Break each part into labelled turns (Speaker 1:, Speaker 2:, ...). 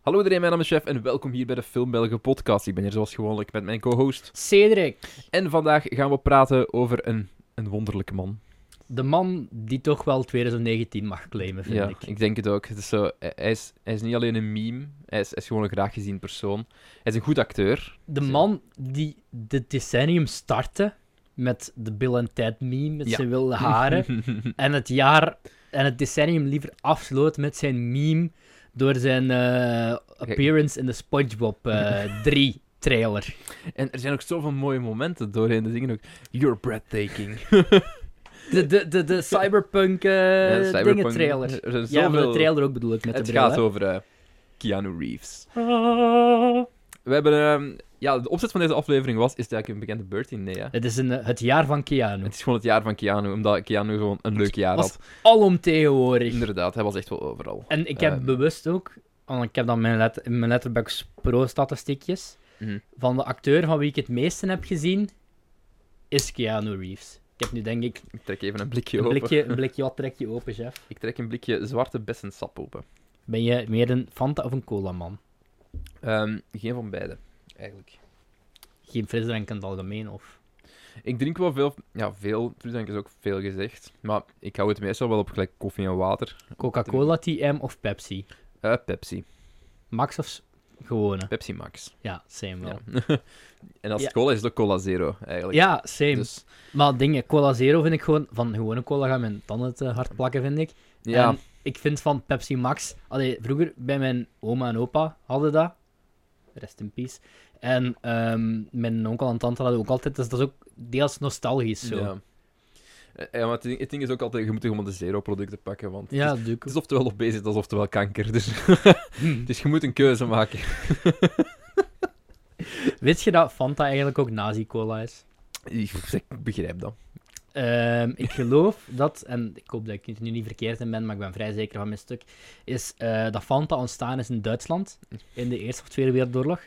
Speaker 1: Hallo iedereen, mijn naam is Chef en welkom hier bij de Film Belgen podcast. Ik ben hier zoals gewoonlijk met mijn co-host.
Speaker 2: Cedric,
Speaker 1: En vandaag gaan we praten over een, een wonderlijke man.
Speaker 2: de man die toch wel 2019 mag claimen, vind
Speaker 1: ja,
Speaker 2: ik.
Speaker 1: denk het ook. Het is zo, hij, hij is, hij is niet alleen een meme, hij is, hij is gewoon een graag gezien persoon. Hij is een goed acteur.
Speaker 2: De
Speaker 1: Zo.
Speaker 2: man die dit decennium startte met de Bill en Ted meme, met
Speaker 1: Ja.
Speaker 2: zijn wilde haren. en het jaar en het decennium liever afsloot met zijn meme door zijn eh, appearance in de SpongeBob eh 3 trailer.
Speaker 1: En er zijn ook zoveel mooie momenten doorheen. De dingen ook. You're breathtaking.
Speaker 2: Eh, De, de, de, de cyberpunk, eh,
Speaker 1: Ja,
Speaker 2: dingen
Speaker 1: Cyberpunk.
Speaker 2: trailer.
Speaker 1: Er zijn
Speaker 2: Ja, maar de
Speaker 1: zoveel-
Speaker 2: trailer ook bedoel ik met
Speaker 1: Het
Speaker 2: de bril.
Speaker 1: gaat over eh, Keanu Reeves. We hebben... ehm, ja, de opzet van deze aflevering was... Is het eigenlijk een bekende Bertie? Nee, hè?
Speaker 2: Het is een, eh, het jaar van Keanu.
Speaker 1: Het is gewoon het jaar van Keanu, omdat Keanu gewoon een leuk jaar
Speaker 2: Was
Speaker 1: had.
Speaker 2: alomtegenwoordig.
Speaker 1: Inderdaad, hij was echt wel overal.
Speaker 2: En ik heb
Speaker 1: Ehm.
Speaker 2: bewust ook, want ik heb dan mijn, let, in mijn Letterboxd Pro-statistiekjes,
Speaker 1: Mhm.
Speaker 2: van de acteur van wie ik het meeste heb gezien, is Keanu Reeves. Ik heb nu denk ik
Speaker 1: Ik trek even een blikje
Speaker 2: een
Speaker 1: open.
Speaker 2: blikje, een blikje wat trek je open, chef.
Speaker 1: Ik trek een blikje zwarte bessensap open.
Speaker 2: Ben je meer een Fanta of een cola man?
Speaker 1: Ehm, geen van beide, eigenlijk.
Speaker 2: Geen frisdrank in het algemeen of?
Speaker 1: Ik drink wel veel... Ja, veel. Frisdrank is ook veel gezegd. Maar ik hou het meestal wel op gelijk koffie en water.
Speaker 2: Coca-Cola, TM of Pepsi?
Speaker 1: Eh, Pepsi.
Speaker 2: Max of s- gewone?
Speaker 1: Pepsi Max.
Speaker 2: Ja, same wel.
Speaker 1: Ja.
Speaker 2: Ja,
Speaker 1: en als
Speaker 2: Ja.
Speaker 1: het cola is, is het ook Cola Zero, eigenlijk.
Speaker 2: same.
Speaker 1: Dus,
Speaker 2: Maar dingen, Cola Zero vind ik gewoon, van gewone cola gaan mijn tanden te hard plakken, vind ik.
Speaker 1: ja.
Speaker 2: En ik vind van Pepsi Max. Allee, vroeger bij mijn oma en opa hadden dat. Rest in peace. En ehm, mijn onkel en tante hadden ook altijd. Dus dat is ook deels nostalgisch zo. Ja,
Speaker 1: Ja. Eh, Ja, maar het ding, het ding is ook altijd, je moet gewoon de zero-producten pakken, want het, is,
Speaker 2: doe ik
Speaker 1: het
Speaker 2: ook.
Speaker 1: is oftewel op bezig, dat is oftewel kanker. Dus,
Speaker 2: Hm.
Speaker 1: dus je moet een keuze maken.
Speaker 2: Weet je dat Fanta eigenlijk ook nazi-cola is?
Speaker 1: Ik begrijp dat.
Speaker 2: Ehm, ik geloof dat, en ik hoop dat ik het nu niet verkeerd in ben, maar ik ben vrij zeker van mijn stuk, is eh, dat Fanta ontstaan is in Duitsland in de Eerste of Tweede Wereldoorlog.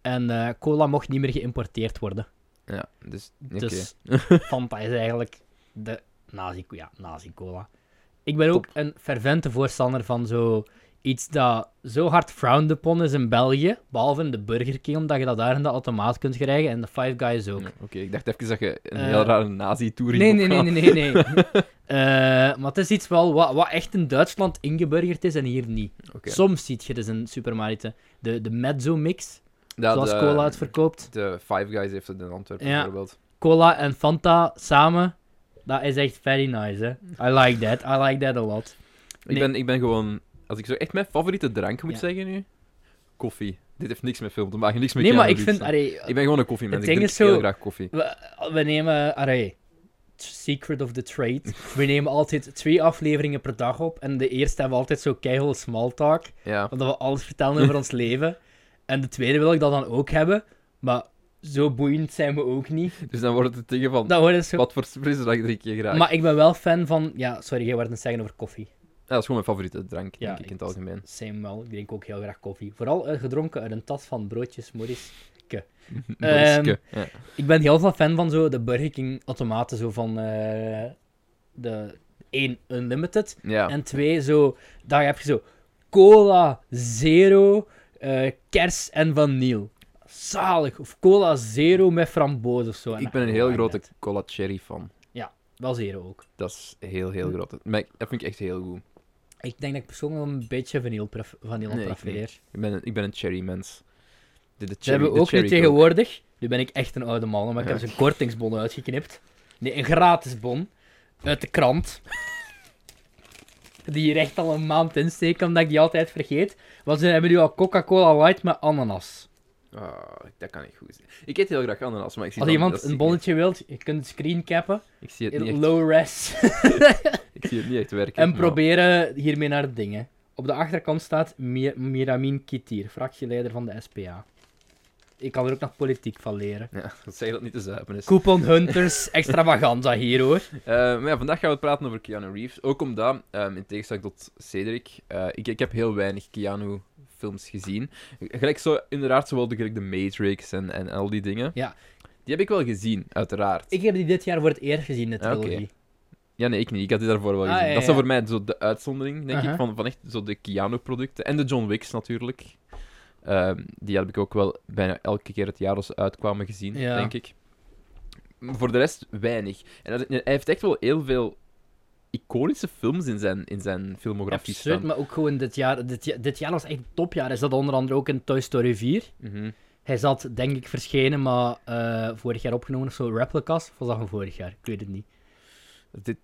Speaker 2: En eh, cola mocht niet meer geïmporteerd worden.
Speaker 1: Ja, dus... oké.
Speaker 2: Dus Fanta is eigenlijk de nazi, ja, nazi-cola. Ik ben ook een fervente voorstander van zo iets dat zo hard frowned upon is in België, behalve in de Burger King, omdat je dat daar in de automaat kunt krijgen en de Five Guys ook.
Speaker 1: Ja, Oké, ik dacht even dat je een
Speaker 2: Eh,
Speaker 1: heel rare nazi-tour
Speaker 2: Nee, nee, nee, nee, nee. nee. Eh, maar het is iets wel wat, wat echt in Duitsland ingeburgerd is en hier niet.
Speaker 1: Oké.
Speaker 2: Soms ziet je dus in supermarkten de, de mezzo-mix,
Speaker 1: Ja,
Speaker 2: zoals
Speaker 1: de-
Speaker 2: cola het verkoopt.
Speaker 1: eh, De Five Guys heeft het in Antwerpen
Speaker 2: Ja.
Speaker 1: bijvoorbeeld.
Speaker 2: cola en Fanta samen, dat is echt very nice, hè. I like that. I like that a lot.
Speaker 1: Ik,
Speaker 2: Nee.
Speaker 1: ben, ik ben gewoon... Als ik zo echt mijn favoriete drank moet
Speaker 2: Ja.
Speaker 1: zeggen nu... Koffie. Dit heeft niks met film te maken, niks met
Speaker 2: Nee, maar ik
Speaker 1: Keanu
Speaker 2: vind...
Speaker 1: Reeves.
Speaker 2: Array,
Speaker 1: Ik ben gewoon een koffiemens,
Speaker 2: Het
Speaker 1: ik
Speaker 2: ding
Speaker 1: drink
Speaker 2: is zo-
Speaker 1: heel graag koffie.
Speaker 2: we, we nemen... Array, Secret of the Trade. We nemen altijd twee afleveringen per dag op. En de eerste hebben we altijd zo keihard small talk.
Speaker 1: Ja.
Speaker 2: Omdat we alles vertellen over ons leven. En de tweede wil ik dat dan ook hebben. Maar zo boeiend zijn we ook niet.
Speaker 1: Dus dan wordt het tegen van...
Speaker 2: Dat wordt het zo...
Speaker 1: Wat voor frisdrank drink je graag?
Speaker 2: Maar ik ben wel fan van... Ja, sorry, jij werd het zeggen over koffie.
Speaker 1: Ja, dat is gewoon mijn favoriete drank,
Speaker 2: Ja,
Speaker 1: denk ik, in het
Speaker 2: ik-
Speaker 1: algemeen.
Speaker 2: Same wel, ik drink ook heel graag koffie. Vooral eh, gedronken uit een tas van broodjes, Morris. Ehm,
Speaker 1: Boriske, ja.
Speaker 2: Ik ben heel veel fan van zo de Burger King automaten, zo van eh, de 1 Unlimited
Speaker 1: Ja.
Speaker 2: en 2 zo, daar heb je zo cola zero, eh, kers en vanille. Zalig. Of cola zero met framboos of zo. En
Speaker 1: Ik ben een
Speaker 2: dat-
Speaker 1: heel
Speaker 2: oh,
Speaker 1: grote
Speaker 2: net.
Speaker 1: cola cherry fan.
Speaker 2: Wel zero ook.
Speaker 1: Dat is heel,
Speaker 2: Hm.
Speaker 1: heel groot. Maar ik- dat vind ik echt heel goed.
Speaker 2: Ik denk dat ik persoonlijk wel een beetje vanille, pref- vanille
Speaker 1: Nee, ik
Speaker 2: prefereer.
Speaker 1: Ik ben een, ik ben een cherry mens. De, de
Speaker 2: Ze
Speaker 1: cherry,
Speaker 2: hebben
Speaker 1: de
Speaker 2: ook nu
Speaker 1: cherry coke.
Speaker 2: tegenwoordig, nu ben ik echt een oude man, maar ik heb zo'n kortingsbon uitgeknipt. Nee, een gratis bon uit de krant. Die hier echt al een maand insteken, omdat ik die altijd vergeet. Want ze hebben nu al Coca-Cola Light met ananas.
Speaker 1: Ah, dat kan niet goed zijn. Ik eet heel graag ananas, maar ik zie
Speaker 2: Als
Speaker 1: dat-
Speaker 2: iemand
Speaker 1: dat
Speaker 2: een
Speaker 1: zie-
Speaker 2: bonnetje wilt, je kunt het screencappen
Speaker 1: Ik zie het, niet
Speaker 2: in
Speaker 1: echt,
Speaker 2: low res
Speaker 1: ik zie het niet echt werken.
Speaker 2: en
Speaker 1: maar-
Speaker 2: proberen hiermee naar de dingen. Op de achterkant staat Mi- Miramin Kitir, fractieleider van de SPA. Ik kan er ook nog politiek van leren.
Speaker 1: Ja, dat zeg je dat niet te zuipen is.
Speaker 2: Coupon Hunters, extravaganza hier hoor.
Speaker 1: Eh, maar ja, vandaag gaan we praten over Keanu Reeves. Ook omdat, ehm, in tegenstelling tot Cedric, eh, ik, ik heb heel weinig Keanu-films gezien. Gelijk zo, inderdaad, zowel de, gelijk de Matrix en, en al die dingen.
Speaker 2: Ja.
Speaker 1: Die heb ik wel gezien, uiteraard.
Speaker 2: Ik heb die dit jaar voor het eerst gezien, de
Speaker 1: Ah, oké.
Speaker 2: trilogie.
Speaker 1: Ja, nee, ik niet. Ik had die daarvoor wel
Speaker 2: Ah,
Speaker 1: gezien.
Speaker 2: ja,
Speaker 1: Dat is dan
Speaker 2: ja.
Speaker 1: voor mij zo de uitzondering, denk
Speaker 2: Aha.
Speaker 1: ik, van, van echt zo de Keanu-producten. En de John Wicks natuurlijk. Ehm, die heb ik ook wel bijna elke keer het jaar als ze uitkwamen gezien,
Speaker 2: Ja.
Speaker 1: denk ik. Maar Voor de rest weinig. En dat- hij heeft echt wel heel veel iconische films in zijn, in zijn filmografie
Speaker 2: Absurd,
Speaker 1: staan.
Speaker 2: maar ook gewoon dit jaar. Dit, ja- dit jaar was echt een topjaar. Hij zat onder andere ook in Toy Story 4.
Speaker 1: Mhm.
Speaker 2: Hij zat, denk ik, verschenen, maar eh, vorig jaar opgenomen of zo. Replicas, of was dat van vorig jaar? Ik weet het niet.
Speaker 1: Dit,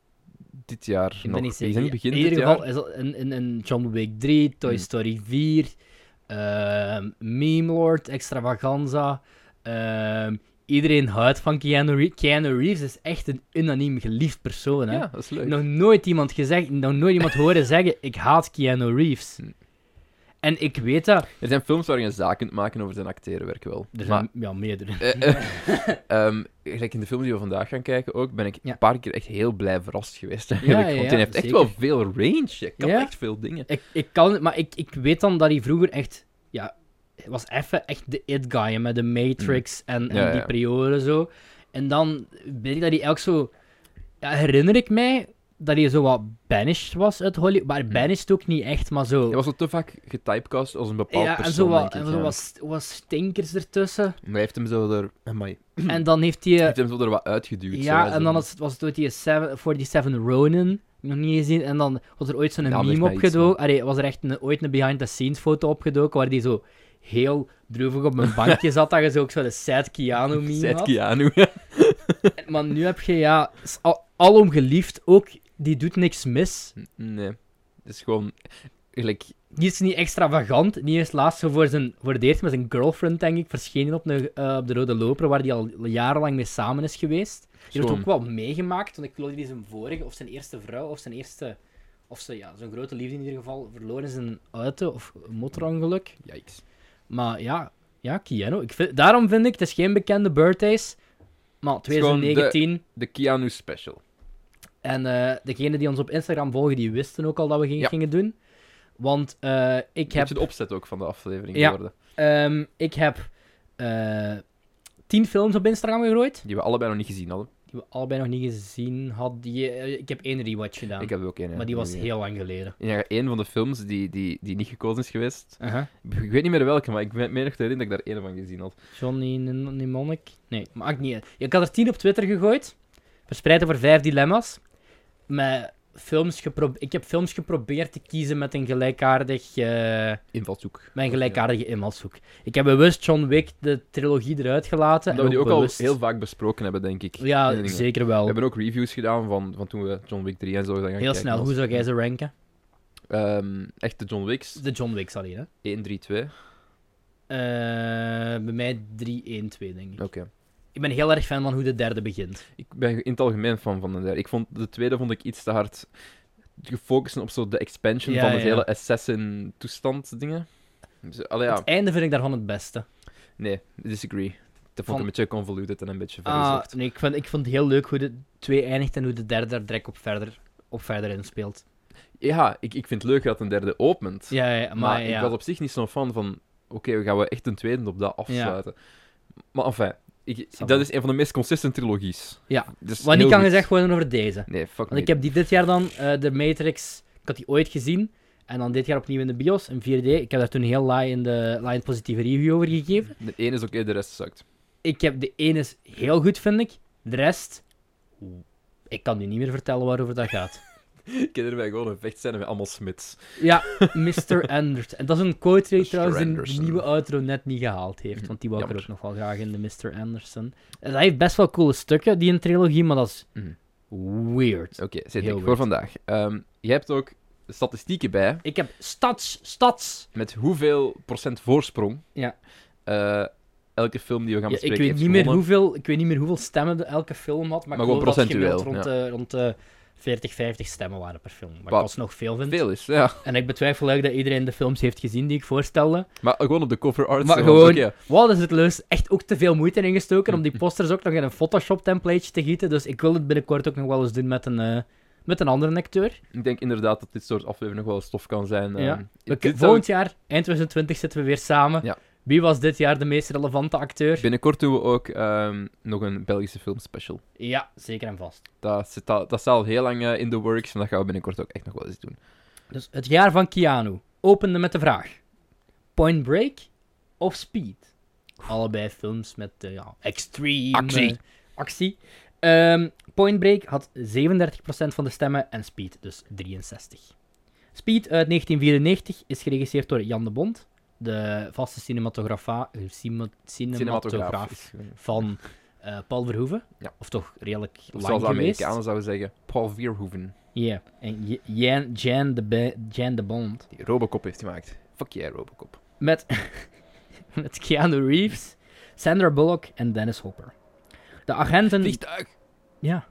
Speaker 1: dit jaar
Speaker 2: Ik
Speaker 1: nog.
Speaker 2: ben niet
Speaker 1: Ik
Speaker 2: zeker.
Speaker 1: denk begin
Speaker 2: in ieder
Speaker 1: dit
Speaker 2: geval,
Speaker 1: jaar.
Speaker 2: hij zat in, in, in John Wick 3, Toy
Speaker 1: Hmm.
Speaker 2: Story 4, ehm Meme Lord, Extravaganza. ehm, iedereen houdt van Keanu Reeves. Keanu Reeves is echt een unaniem geliefd persoon. Hè?
Speaker 1: Ja, dat is leuk.
Speaker 2: Nog nooit iemand gezegd, nog nooit iemand horen zeggen: Ik haat Keanu Reeves.
Speaker 1: Hmm.
Speaker 2: En ik weet dat.
Speaker 1: Er zijn films waar je een zaak kunt maken over zijn acterenwerk wel. Maar
Speaker 2: Er zijn ja, meerdere.
Speaker 1: Eh, eh, ehm, gelijk in de film die we vandaag gaan kijken ook, ben ik
Speaker 2: Ja.
Speaker 1: een paar keer echt heel blij verrast geweest. Eigenlijk,
Speaker 2: ja,
Speaker 1: want
Speaker 2: ja,
Speaker 1: hij heeft echt
Speaker 2: zeker.
Speaker 1: wel veel range. Hij kan
Speaker 2: Ja.
Speaker 1: echt veel dingen.
Speaker 2: Ik, ik kan het, maar ik, ik weet dan dat hij vroeger echt. Ja, hij was even echt de it guy hè, met de Matrix en, en
Speaker 1: Hm. Ja,
Speaker 2: die
Speaker 1: ja.
Speaker 2: prioren zo. En dan weet ik dat hij elk zo. Ja, herinner ik mij dat hij zo wat banished was uit Hollywood.
Speaker 1: Hm.
Speaker 2: Maar banished ook niet echt, maar zo.
Speaker 1: Hij was al te vaak getypecast als een bepaald
Speaker 2: Ja, en zo
Speaker 1: persoon,
Speaker 2: wat,
Speaker 1: denk ik,
Speaker 2: en zo
Speaker 1: ja.
Speaker 2: wat, st- wat stinkers ertussen.
Speaker 1: Maar hij heeft hem zo er, amai,
Speaker 2: en dan heeft hij. eh,
Speaker 1: heeft hem zo er wat uitgeduwd. zo,
Speaker 2: Ja,
Speaker 1: hè,
Speaker 2: en
Speaker 1: zo.
Speaker 2: dan was het, was het ooit die seven, 47 Ronin, nog niet gezien. En dan was er ooit zo'n
Speaker 1: Ja, ligt
Speaker 2: meme
Speaker 1: mij iets,
Speaker 2: opgedoken. Allee, was er echt een, ooit een behind-the-scenes foto opgedoken, waar die zo heel droevig op een bankje zat, dat je zo ook zo de Sad Keanu meme
Speaker 1: Zet
Speaker 2: had.
Speaker 1: Keanu. ja.
Speaker 2: En- Maar nu heb je, ja, is al, alom geliefd ook, die doet niks mis.
Speaker 1: Nee, het is gewoon... Gelijk,
Speaker 2: Die is niet extravagant. Die is laatst zo voor, zijn, voor het eerst met zijn girlfriend, denk ik, verschenen op, de eh, op de Rode Loper, waar die al jarenlang mee samen is geweest. Die heeft
Speaker 1: Schoon.
Speaker 2: ook wel meegemaakt, want ik geloof dat hij zijn vorige, of zijn eerste vrouw, of zijn eerste... Of ze, ja, zijn grote liefde in ieder geval, verloren is in een auto- of motorongeluk.
Speaker 1: yikes.
Speaker 2: Maar ja, ja Keanu. Ik vind, daarom vind ik, het is geen bekende birthdays, maar
Speaker 1: is gewoon de-
Speaker 2: 2019...
Speaker 1: De Keanu special.
Speaker 2: En eh, degenen die ons op Instagram volgen, die wisten ook al dat we gingen,
Speaker 1: Ja.
Speaker 2: gingen doen. Want eh, ik
Speaker 1: Ik
Speaker 2: heb...
Speaker 1: heb de opzet ook van de aflevering
Speaker 2: Ja.
Speaker 1: geworden.
Speaker 2: Ehm, ik heb eh, tien films op Instagram gegooid.
Speaker 1: Die we allebei nog niet gezien hadden.
Speaker 2: Die we allebei nog niet gezien hadden. Die, eh, ik heb één rewatch gedaan.
Speaker 1: Ik heb er ook één. hè.
Speaker 2: maar die was
Speaker 1: Ja.
Speaker 2: heel lang geleden.
Speaker 1: Ja, een van de films die, die, die niet gekozen is geweest.
Speaker 2: Uh-huh.
Speaker 1: Ik weet niet meer welke, maar ik ben me nog te herinneren dat ik daar een van gezien had.
Speaker 2: Johnny N- Mnemonic? Nee, maakt niet uit. Ik had er tien op Twitter gegooid. Verspreid over vijf dilemma's. Met films gepro- ik heb films geprobeerd te kiezen met een gelijkaardig... eh,
Speaker 1: Invalshoek.
Speaker 2: Mijn gelijkaardige invalshoek. Ik heb bewust John Wick de trilogie eruit gelaten.
Speaker 1: Omdat we
Speaker 2: en
Speaker 1: die ook al
Speaker 2: bewust-
Speaker 1: heel vaak besproken hebben, denk ik.
Speaker 2: Ja,
Speaker 1: In de dingen.
Speaker 2: zeker
Speaker 1: We
Speaker 2: wel.
Speaker 1: hebben ook reviews gedaan van, van toen we John Wick 3 en zo zijn gaan
Speaker 2: Heel
Speaker 1: kijken
Speaker 2: snel,
Speaker 1: was.
Speaker 2: hoe zou jij ze ranken?
Speaker 1: Ehm, echte John Wicks.
Speaker 2: De John Wick, sorry. Hè?
Speaker 1: 1, 3, 2. Oké.
Speaker 2: Eh, bij mij 3-1-2, denk ik. Ik ben heel erg fan van hoe de derde begint.
Speaker 1: Ik ben in het algemeen fan van de derde. Ik vond, de tweede vond ik iets te hard gefocust op zo de expansion
Speaker 2: Ja,
Speaker 1: van het
Speaker 2: ja.
Speaker 1: hele assassin-toestand dingen. Dus, allee, ja,
Speaker 2: Het einde vind ik daarvan het beste.
Speaker 1: nee, disagree. Dat vond
Speaker 2: Van-
Speaker 1: ik een beetje convoluted en een beetje
Speaker 2: Ah,
Speaker 1: vergezocht.
Speaker 2: nee, ik, vond, ik vond het heel leuk hoe de 2 eindigt en hoe de derde daar direct op verder, op verder inspeelt.
Speaker 1: Ja, ik, ik vind het leuk dat een derde opent.
Speaker 2: Ja, ja, ja, maar,
Speaker 1: maar
Speaker 2: ja.
Speaker 1: ik was op zich niet zo'n fan van... Oké, we gaan we echt een tweede op dat afsluiten. Maar enfin, ik,
Speaker 2: Snap
Speaker 1: dat
Speaker 2: ik.
Speaker 1: is een van de meest consistent trilogies.
Speaker 2: Ja,
Speaker 1: Dus
Speaker 2: Wat
Speaker 1: heel
Speaker 2: niet kan
Speaker 1: goed.
Speaker 2: gezegd worden over deze.
Speaker 1: Nee, fuck
Speaker 2: Want ik
Speaker 1: me.
Speaker 2: heb die dit jaar dan, eh, de Matrix, ik had die ooit gezien. En dan dit jaar opnieuw in de bios, in 4D. Ik heb daar toen een heel laai in de laai in positieve review over gegeven.
Speaker 1: De ene is oké, de rest sukt.
Speaker 2: Ik heb de ene is heel goed, vind ik. De rest, ik kan nu niet meer vertellen waarover dat gaat.
Speaker 1: Ik ken erbij gewoon een vecht zijn en we allemaal smits.
Speaker 2: Ja, Mr. Anderson. En dat is een quote die
Speaker 1: Mr.
Speaker 2: trouwens in de
Speaker 1: Anderson.
Speaker 2: nieuwe outro net niet gehaald heeft. Want die wou ik er
Speaker 1: Jammer.
Speaker 2: ook nog wel graag in, de Mr. Anderson. En hij heeft best wel coole stukken, die in trilogie, maar dat is
Speaker 1: Mhm.
Speaker 2: weird.
Speaker 1: Oké, zit
Speaker 2: Heel
Speaker 1: ik voor
Speaker 2: weird.
Speaker 1: vandaag. Ehm, je hebt ook statistieken bij,
Speaker 2: Ik heb stads, stads.
Speaker 1: met hoeveel procent voorsprong
Speaker 2: Ja.
Speaker 1: eh, elke film die we gaan
Speaker 2: Ja, ik,
Speaker 1: bespreken
Speaker 2: weet
Speaker 1: heeft
Speaker 2: niet meer
Speaker 1: gewonnen.
Speaker 2: hoeveel, ik weet niet meer hoeveel stemmen de- elke film had, maar,
Speaker 1: Maar
Speaker 2: ik
Speaker 1: gewoon
Speaker 2: geloof dat het
Speaker 1: procentueel,
Speaker 2: gemiddeld rond, de rond de 40, 50 stemmen waren per film. Wat
Speaker 1: Wat
Speaker 2: ik alsnog veel vind.
Speaker 1: Veel is, ja.
Speaker 2: En ik betwijfel ook dat iedereen de films heeft gezien die ik voorstelde.
Speaker 1: Maar gewoon op de cover art.
Speaker 2: Maar
Speaker 1: zo,
Speaker 2: gewoon-
Speaker 1: oké.
Speaker 2: Wat is het leus? Echt ook te veel moeite in gestoken om die posters ook nog in een Photoshop-templateje te gieten. Dus ik wil het binnenkort ook nog wel eens doen met een, eh, met een andere acteur.
Speaker 1: Ik denk inderdaad dat dit soort afleveringen nog wel stof kan zijn.
Speaker 2: Ja.
Speaker 1: ehm.
Speaker 2: We,
Speaker 1: Dit zou
Speaker 2: volgend jaar, eind 2020, zitten we weer samen.
Speaker 1: Ja.
Speaker 2: Wie was dit jaar de meest relevante acteur?
Speaker 1: Binnenkort doen we ook ehm, nog een Belgische filmspecial.
Speaker 2: Ja, zeker en vast.
Speaker 1: Dat, zit al- dat staat al heel lang eh, in the works en dat gaan we binnenkort ook echt nog wel eens doen.
Speaker 2: Dus het jaar van Keanu opende met de vraag: Point Break of Speed. Allebei films met eh, ja, extreme
Speaker 1: Actie.
Speaker 2: eh, actie. Ehm, Point Break had 37% van de stemmen en Speed dus 63%. Speed uit 1994 is geregisseerd door Jan de Bond, de vaste cinematografa- eh, cine- cinematograaf
Speaker 1: Cinematograaf.
Speaker 2: van eh, Paul Verhoeven.
Speaker 1: Ja.
Speaker 2: Of toch redelijk lang
Speaker 1: Zoals de
Speaker 2: geweest.
Speaker 1: Amerikanen zouden zeggen, Paul Verhoeven.
Speaker 2: Ja, en J- Jan, Jan, de Be- Jan de Bond.
Speaker 1: Die Robocop heeft gemaakt. Fuck jij, Robocop.
Speaker 2: Met, met Keanu Reeves, Sandra Bullock en Dennis Hopper. De agenten...
Speaker 1: Vliegtuig.
Speaker 2: Ja.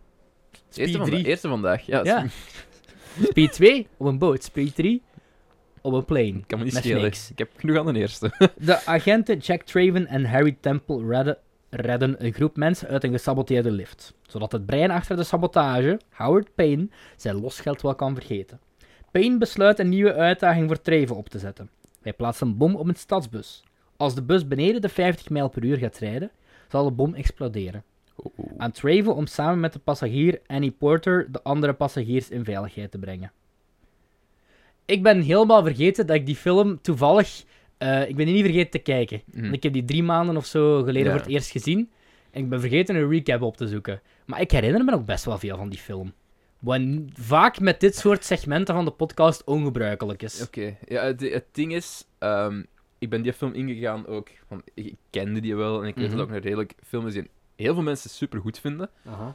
Speaker 1: Eerste, vanda-
Speaker 2: drie.
Speaker 1: eerste vandaag. Ja,
Speaker 2: Ja.
Speaker 1: dat
Speaker 2: Speed 2 op een boot. Speed 3 op een plane.
Speaker 1: kan me niet
Speaker 2: Met
Speaker 1: schelen.
Speaker 2: niks.
Speaker 1: Ik heb genoeg aan de eerste.
Speaker 2: De agenten Jack Traven en Harry Temple redden, redden een groep mensen uit een gesaboteerde lift. Zodat het brein achter de sabotage, Howard Payne, zijn losgeld wel kan vergeten. Payne besluit een nieuwe uitdaging voor Traven op te zetten. Hij plaatst een bom op een stadsbus. Als de bus beneden de 50 mijl per uur gaat rijden, zal de bom exploderen.
Speaker 1: Oh, oh.
Speaker 2: Aan Traven om samen met de passagier Annie Porter de andere passagiers in veiligheid te brengen. Ik ben helemaal vergeten dat ik die film toevallig. eh, ik ben die niet vergeten te kijken.
Speaker 1: Mhm.
Speaker 2: Want Ik heb die drie maanden of zo geleden
Speaker 1: Ja.
Speaker 2: voor het eerst gezien. En ik ben vergeten een recap op te zoeken. Maar ik herinner me nog best wel veel van die film. Wat n- vaak met dit soort segmenten van de podcast ongebruikelijk is.
Speaker 1: Oké, ja, het, het ding is, ehm, ik ben die film ingegaan ook, want ik, ik kende die wel en ik weet
Speaker 2: Mhm.
Speaker 1: dat het ook een redelijk film is die heel veel mensen super goed vinden.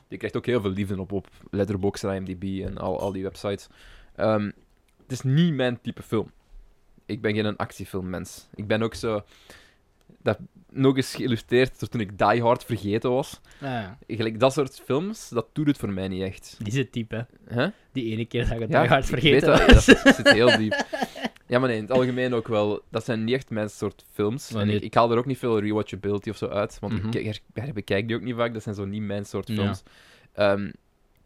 Speaker 1: Je krijgt ook heel veel liefde op, op Letterboxd en IMDb en al, al die websites. Ehm, het is niet mijn type film. Ik ben geen actiefilmmens. Ik ben ook zo, dat nog eens geïllustreerd door toen ik Die Hard vergeten was.
Speaker 2: Ah, ja.
Speaker 1: Gelijk dat soort films, dat doet het voor mij niet echt.
Speaker 2: die zit diep, hè.
Speaker 1: Huh?
Speaker 2: Die ene keer dat ik het
Speaker 1: Ja,
Speaker 2: ja, hard
Speaker 1: ik weet
Speaker 2: vergeten
Speaker 1: dat,
Speaker 2: was.
Speaker 1: dat zit- zit heel diep. Ja, maar nee, in het algemeen ook wel. Dat zijn niet echt mijn soort films.
Speaker 2: Maar
Speaker 1: En
Speaker 2: nee.
Speaker 1: ik, ik haal er ook niet veel rewatchability of zo uit, want
Speaker 2: Mhm.
Speaker 1: ik, her- her- bekijk die ook niet vaak. Dat zijn zo niet mijn soort
Speaker 2: Ja.
Speaker 1: films. Ehm,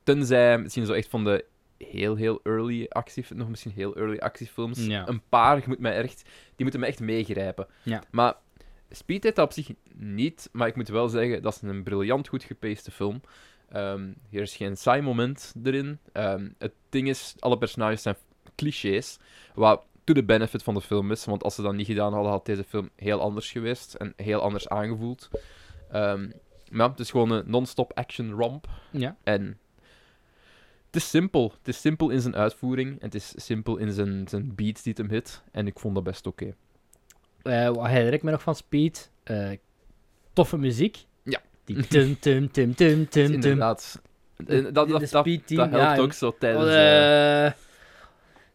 Speaker 1: tenzij misschien zo echt van de heel, heel early actie, nog misschien heel early actiefilms.
Speaker 2: Ja.
Speaker 1: Een paar, je moet mij echt, die moeten mij echt meegrijpen.
Speaker 2: Ja.
Speaker 1: Maar Speed deed dat op zich niet, maar ik moet wel zeggen, dat is een briljant goed gepaste film. Ehm er is geen saai moment erin. Ehm, het ding is, alle personages zijn clichés, wat to the benefit van de film is, want als ze dat niet gedaan hadden, had deze film heel anders geweest en heel anders aangevoeld. Ehm, maar ja, het is gewoon een non-stop action romp.
Speaker 2: Ja.
Speaker 1: En het is simpel. Het is simpel in zijn uitvoering. En het is simpel in zijn, zijn beats die het hem hit. En ik vond dat best oké.
Speaker 2: Eh, wat herinner ik me nog van Speed? Eh, toffe muziek.
Speaker 1: Ja.
Speaker 2: Die tum tum tum tum
Speaker 1: Het is
Speaker 2: tum tum.
Speaker 1: Inderdaad. En Dat, dat,
Speaker 2: de
Speaker 1: dat, dat,
Speaker 2: speed team,
Speaker 1: helpt
Speaker 2: ja,
Speaker 1: ook zo tijdens... eh,
Speaker 2: Eh,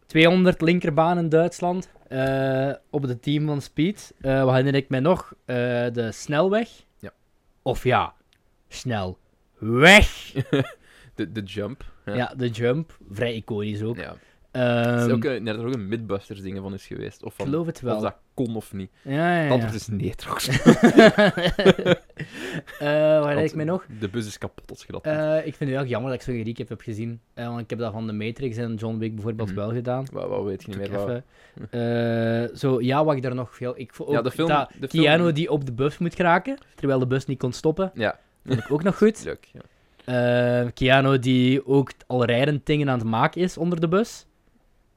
Speaker 2: 200 linkerbaan in Duitsland eh, op de team van Speed. Eh, wat herinner ik me nog? Eh, de snelweg.
Speaker 1: Ja.
Speaker 2: Of ja, snel weg.
Speaker 1: de, de jump. Ja.
Speaker 2: ja. de jump. Vrij iconisch ook.
Speaker 1: Ja.
Speaker 2: Ehm,
Speaker 1: Het is ook, eh, een- nee, dat er ook een Midbusters ding van is geweest. Of,
Speaker 2: ik
Speaker 1: van,
Speaker 2: geloof het wel.
Speaker 1: of dat kon of niet. dus
Speaker 2: Ja, ja,
Speaker 1: Het
Speaker 2: ja.
Speaker 1: antwoord is nee, trouwens.
Speaker 2: Eh, wat herinner ik me nog?
Speaker 1: De bus is kapot als je dat doet.
Speaker 2: Eh, ik vind het heel erg jammer dat ik zo'n recap heb gezien. Eh, want ik heb dat van de Matrix en John Wick bijvoorbeeld
Speaker 1: Mhm.
Speaker 2: wel gedaan.
Speaker 1: Wat, wat weet je niet
Speaker 2: Toen
Speaker 1: meer.
Speaker 2: ik
Speaker 1: wat-
Speaker 2: even, eh, zo, ja, wat ik daar nog veel... Ik vond
Speaker 1: Ja,
Speaker 2: ook
Speaker 1: de film-
Speaker 2: dat
Speaker 1: de film-
Speaker 2: Keanu die op de bus moet geraken, terwijl de bus niet kon stoppen.
Speaker 1: Ja.
Speaker 2: Vond ik ook nog goed.
Speaker 1: Leuk, ja.
Speaker 2: Eh Keanu die ook al rijdend dingen aan het maken is onder de bus.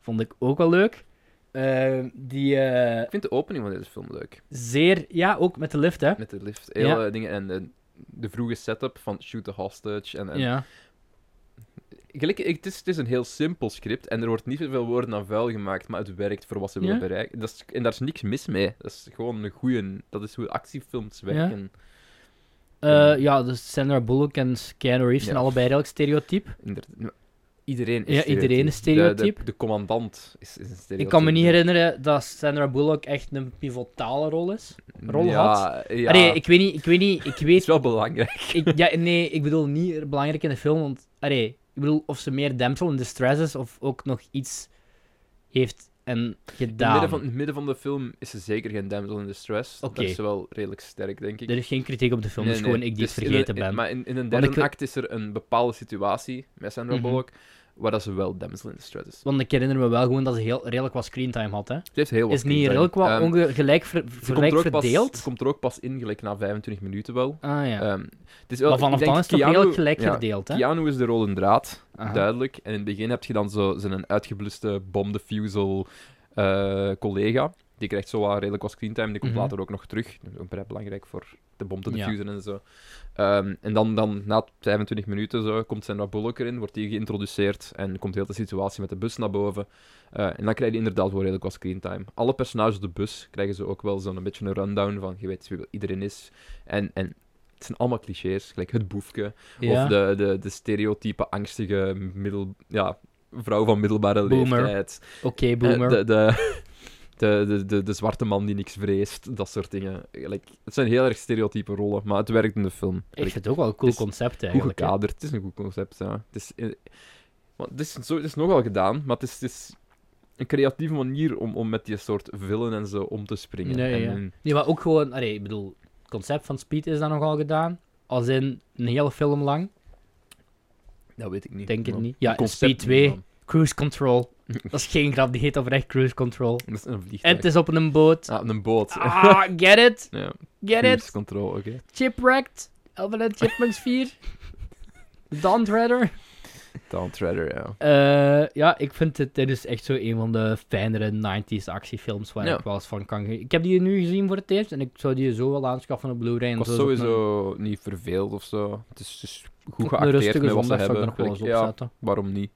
Speaker 2: Vond ik ook wel leuk. Eh, die eh,
Speaker 1: Ik vind de opening van deze film leuk.
Speaker 2: zeer... Ja, ook met de lift, hè.
Speaker 1: Met de lift.
Speaker 2: Ja.
Speaker 1: Hele dingen. En de, de vroege setup van shoot the hostage. En, en
Speaker 2: Ja.
Speaker 1: Gelijk, ik- het, is, het is een heel simpel script en er wordt niet veel woorden aan vuil gemaakt, maar het werkt voor wat ze willen
Speaker 2: Ja.
Speaker 1: bereiken. Dat is, en daar is niks mis mee. Dat is gewoon een goeie... Dat is hoe actiefilms werken.
Speaker 2: Eh, ja, dus Sandra Bullock en Keanu Reeves zijn
Speaker 1: Ja.
Speaker 2: allebei redelijk stereotyp.
Speaker 1: Inderdaad. Iedereen is
Speaker 2: Ja, iedereen is
Speaker 1: stereotyp. De- De,
Speaker 2: stereotyp.
Speaker 1: de, commandant is, is een stereotype.
Speaker 2: Ik kan me niet herinneren dat Sandra Bullock echt een pivotale rol is. rol
Speaker 1: ja, ja.
Speaker 2: Allee, ik weet niet, ik weet niet, ik
Speaker 1: Het is
Speaker 2: weet...
Speaker 1: wel belangrijk.
Speaker 2: ik, ja, nee, ik bedoel niet belangrijk in de film, want... Allee, ik bedoel of ze meer damsel in distress is of ook nog iets heeft en
Speaker 1: In het,
Speaker 2: gedaan.
Speaker 1: midden van, in het midden van de film is ze zeker geen damsel in distress.
Speaker 2: Oké.
Speaker 1: Dat is ze wel redelijk sterk, denk ik.
Speaker 2: Er is geen kritiek op de film,
Speaker 1: Nee,
Speaker 2: het is
Speaker 1: nee,
Speaker 2: gewoon ik die
Speaker 1: dus
Speaker 2: het
Speaker 1: in een-
Speaker 2: vergeten
Speaker 1: in-
Speaker 2: ben.
Speaker 1: Maar in, in een
Speaker 2: ik
Speaker 1: derde
Speaker 2: weet-
Speaker 1: act is er een bepaalde situatie met Sandra
Speaker 2: Mhm.
Speaker 1: Bullock, waar dat ze wel damsel in distress is.
Speaker 2: Want ik herinner me wel gewoon dat ze heel, redelijk wat screentime had, hè.
Speaker 1: Ze heeft heel wat
Speaker 2: Is niet
Speaker 1: screentime.
Speaker 2: redelijk wat
Speaker 1: Ehm,
Speaker 2: onge- gelijk ver-
Speaker 1: ze komt
Speaker 2: gelijk
Speaker 1: er ook pas-
Speaker 2: verdeeld?
Speaker 1: ze komt er ook pas in, gelijk na 25 minuten wel.
Speaker 2: Ah ja.
Speaker 1: Ehm, het is wel
Speaker 2: maar
Speaker 1: ik
Speaker 2: vanaf
Speaker 1: denk
Speaker 2: dan is het toch
Speaker 1: Keanu-
Speaker 2: redelijk gelijk
Speaker 1: ja,
Speaker 2: verdeeld, hè?
Speaker 1: Keanu is de rode draad,
Speaker 2: Aha.
Speaker 1: duidelijk. En in het begin heb je dan zo zijn een uitgebluste bomdefusel eh collega. Die krijgt zo wat redelijk wat screentime. Die komt
Speaker 2: Mhm.
Speaker 1: later ook nog terug. Dat is ook vrij belangrijk voor de bom te
Speaker 2: Ja.
Speaker 1: diffusen en zo. Ehm, en dan, dan na 25 minuten zo, komt Sandra Bullock erin, wordt die geïntroduceerd en komt heel de situatie met de bus naar boven. Eh, en dan krijg je inderdaad wel redelijk wat screentime. Alle personages op de bus krijgen ze ook wel zo'n een beetje een rundown van je weet wie wel iedereen is. En, en het zijn allemaal clichés, gelijk het boefje.
Speaker 2: Ja.
Speaker 1: Of de, de, de stereotype angstige middel, ja, vrouw van middelbare
Speaker 2: Boomer.
Speaker 1: leeftijd.
Speaker 2: Oké,
Speaker 1: Eh,
Speaker 2: boomer.
Speaker 1: De, de, de, de, de, de zwarte man die niks vreest, dat soort dingen. Like, het zijn heel erg stereotype rollen, maar het werkt in de film.
Speaker 2: Ik
Speaker 1: Like,
Speaker 2: vind het ook wel een cool
Speaker 1: het is
Speaker 2: concept
Speaker 1: goed
Speaker 2: eigenlijk. hè.
Speaker 1: gekaderd, het is een goed concept. Ja. Het, is, eh, want het, is zo, het is nogal gedaan, maar het is, het is een creatieve manier om, om met die soort villen en zo om te springen.
Speaker 2: Nee,
Speaker 1: en,
Speaker 2: ja.
Speaker 1: en-
Speaker 2: Nee, maar ook gewoon, allee, ik bedoel, het concept van Speed is dat nogal gedaan. Als in een hele film lang.
Speaker 1: dat weet ik niet.
Speaker 2: Denk het
Speaker 1: maar
Speaker 2: niet. Ja,
Speaker 1: het concept
Speaker 2: Speed 2.
Speaker 1: niet,
Speaker 2: Cruise Control. Dat is geen grap, die heet oprecht Cruise Control.
Speaker 1: man. Dat is een
Speaker 2: En
Speaker 1: vliegtuig.
Speaker 2: het is op een boot.
Speaker 1: Ah, een boot.
Speaker 2: Ah, get it?
Speaker 1: ja,
Speaker 2: Get
Speaker 1: cruise
Speaker 2: it?
Speaker 1: control, oké.
Speaker 2: Chipwrecked? Elvin en Chipmunks 4? Dawn Treader?
Speaker 1: Dawn Treader, ja.
Speaker 2: Eh, ja, ik vind het, dit is echt zo een van de fijnere 90s actiefilms waar
Speaker 1: Ja.
Speaker 2: ik wel eens van kan... ge- Ik heb die nu gezien voor het eerst en ik zou die zo wel aanschaffen op Blu-ray.
Speaker 1: Ik
Speaker 2: en
Speaker 1: was
Speaker 2: zo is ook een-
Speaker 1: sowieso niet verveeld of zo. Het is, het is goed
Speaker 2: Op een
Speaker 1: geacteerd
Speaker 2: rustige
Speaker 1: met wat ze
Speaker 2: zondag zou ik
Speaker 1: hebben.
Speaker 2: er nog wel eens
Speaker 1: Like,
Speaker 2: op
Speaker 1: ja,
Speaker 2: zetten.
Speaker 1: waarom niet?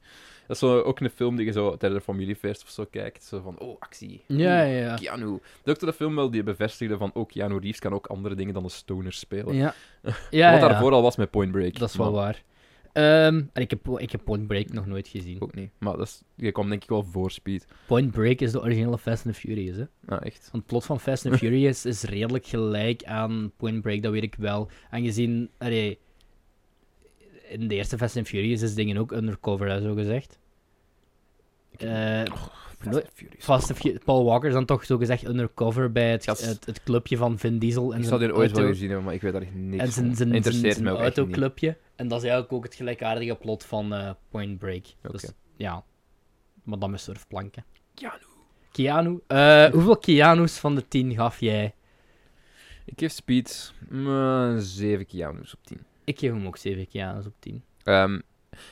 Speaker 1: Dat is zo ook een film die je zo tijdens de familiefeest of zo kijkt. Zo van, oh, actie.
Speaker 2: Ja,
Speaker 1: Oeh,
Speaker 2: ja, ja.
Speaker 1: Keanu. Dat ook de film wel die bevestigde van, ook Keanu Reeves kan ook andere dingen dan een stoner spelen.
Speaker 2: Ja, ja,
Speaker 1: wat
Speaker 2: ja.
Speaker 1: daarvoor al was met Point Break.
Speaker 2: dat is wel
Speaker 1: maar
Speaker 2: waar. Ehm, en ik, heb, ik heb Point Break nog nooit gezien.
Speaker 1: Ook niet. Maar dat is, je kwam denk ik wel voor Speed.
Speaker 2: Point Break is de originele Fast and the Furious, hè.
Speaker 1: Ja, echt.
Speaker 2: Want het plot van Fast and Furious is redelijk gelijk aan Point Break, dat weet ik wel. Aangezien, allee, in de eerste Fast and Furious is dingen ook undercover, hè, zo gezegd. Eh,
Speaker 1: Oh, Fast and Furious.
Speaker 2: Fast and Fu- Paul Walker is dan toch zo gezegd undercover bij het,
Speaker 1: Ja, s-
Speaker 2: het, het clubje van Vin Diesel en
Speaker 1: Ik zou
Speaker 2: zijn
Speaker 1: die ooit wel
Speaker 2: auto-
Speaker 1: gezien hebben, maar ik weet daar echt niks
Speaker 2: en zijn,
Speaker 1: van.
Speaker 2: zijn, zijn,
Speaker 1: Interesseert
Speaker 2: zijn
Speaker 1: mij ook echt niet.
Speaker 2: autoclubje. En dat is eigenlijk ook het gelijkaardige plot van eh, Point Break. Dus
Speaker 1: Oké.
Speaker 2: ja, maar dan met surfplanken.
Speaker 1: Keanu.
Speaker 2: Keanu. Eh, hoeveel Keanu's van de 10 gaf jij?
Speaker 1: Ik geef Speed mm, 7 Keanu's op 10.
Speaker 2: Ik geef hem ook 7 Keanu's op 10.
Speaker 1: Ehm,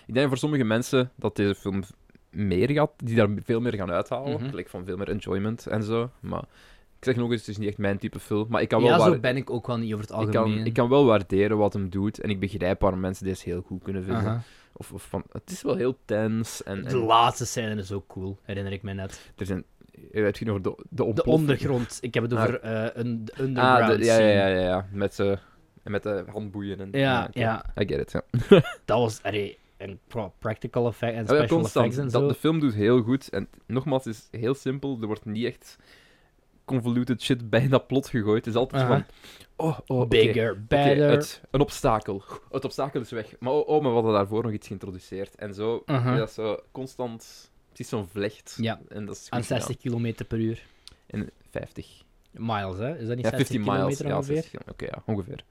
Speaker 1: ik denk voor sommige mensen dat deze film meer gaat, die daar veel meer gaan uithalen.
Speaker 2: Mhm.
Speaker 1: Gelijk van veel meer enjoyment en zo. Maar ik zeg nog eens, het is niet echt mijn type film. Maar ik kan wel,
Speaker 2: ja, zo
Speaker 1: waar-
Speaker 2: ben ik ook wel niet over het
Speaker 1: ik
Speaker 2: algemeen.
Speaker 1: kan, ik kan wel waarderen wat hem doet. En ik begrijp waarom mensen deze heel goed kunnen vinden.
Speaker 2: Aha.
Speaker 1: Of, of van, het is wel heel tens. En,
Speaker 2: De
Speaker 1: en
Speaker 2: laatste scène is ook cool, herinner ik me net.
Speaker 1: er zijn, je hebt het over de, de,
Speaker 2: De
Speaker 1: ontploffing.
Speaker 2: ondergrond, ik heb het
Speaker 1: Ah.
Speaker 2: over eh, een de underground
Speaker 1: Ah, de- ja,
Speaker 2: scene.
Speaker 1: ja, ja, ja. Met, eh, en met de handboeien. En,
Speaker 2: Ja,
Speaker 1: oké.
Speaker 2: ja.
Speaker 1: I get it, ja.
Speaker 2: dat was... Allee, en pra- practical effect en
Speaker 1: Ja, Oh ja,
Speaker 2: special effects en
Speaker 1: constant.
Speaker 2: zo.
Speaker 1: Dat, de film doet heel goed. En nogmaals, het is heel simpel. Er wordt niet echt convoluted shit bij dat plot gegooid. Het is altijd
Speaker 2: Aha.
Speaker 1: van... Oh, oh, oké.
Speaker 2: Bigger,
Speaker 1: Oké,
Speaker 2: better.
Speaker 1: het, een obstakel. Het obstakel is weg. Maar oh, oh, maar we hadden daarvoor nog iets geïntroduceerd. En zo,
Speaker 2: Aha.
Speaker 1: ja, dat is zo constant... Het is zo'n vlecht.
Speaker 2: Ja.
Speaker 1: En dat is goed
Speaker 2: Aan
Speaker 1: gedaan.
Speaker 2: 60 km per uur.
Speaker 1: En 50.
Speaker 2: Miles, hè? Is dat niet
Speaker 1: Ja,
Speaker 2: 60
Speaker 1: 50 miles.
Speaker 2: kilometer
Speaker 1: Ja,
Speaker 2: ongeveer?
Speaker 1: 60. Oké, ja, ongeveer.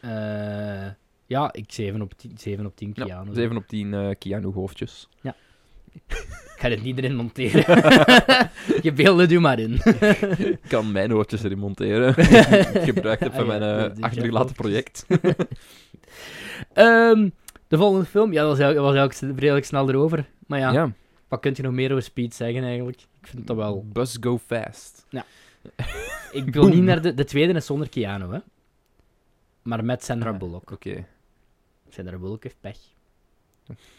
Speaker 2: Eh, ja, ik 7 op 10, 7 op 10
Speaker 1: Ja,
Speaker 2: Keanu.
Speaker 1: 7 op 10 eh Keanu-hoofdjes.
Speaker 2: Ik ga dit niet erin monteren. Je beelden doe maar in.
Speaker 1: Ik kan mijn hoofdjes erin monteren. Ik gebruik het van
Speaker 2: Ah, ja,
Speaker 1: mijn
Speaker 2: de-
Speaker 1: eh,
Speaker 2: de
Speaker 1: achtergelaten
Speaker 2: Jack-hoofdjes.
Speaker 1: project.
Speaker 2: Ehm, de volgende film, ja, dat was eigenlijk, was eigenlijk redelijk snel erover. Maar ja,
Speaker 1: ja.
Speaker 2: wat kun je nog meer over Speed zeggen eigenlijk? Ik vind dat wel.
Speaker 1: Bus go fast.
Speaker 2: Ik wil
Speaker 1: Boom.
Speaker 2: niet naar de, de tweede is zonder Keanu, hè? Maar met Sandra
Speaker 1: Ah.
Speaker 2: Bullock.
Speaker 1: Oké.
Speaker 2: Sandra Bullock heeft pech.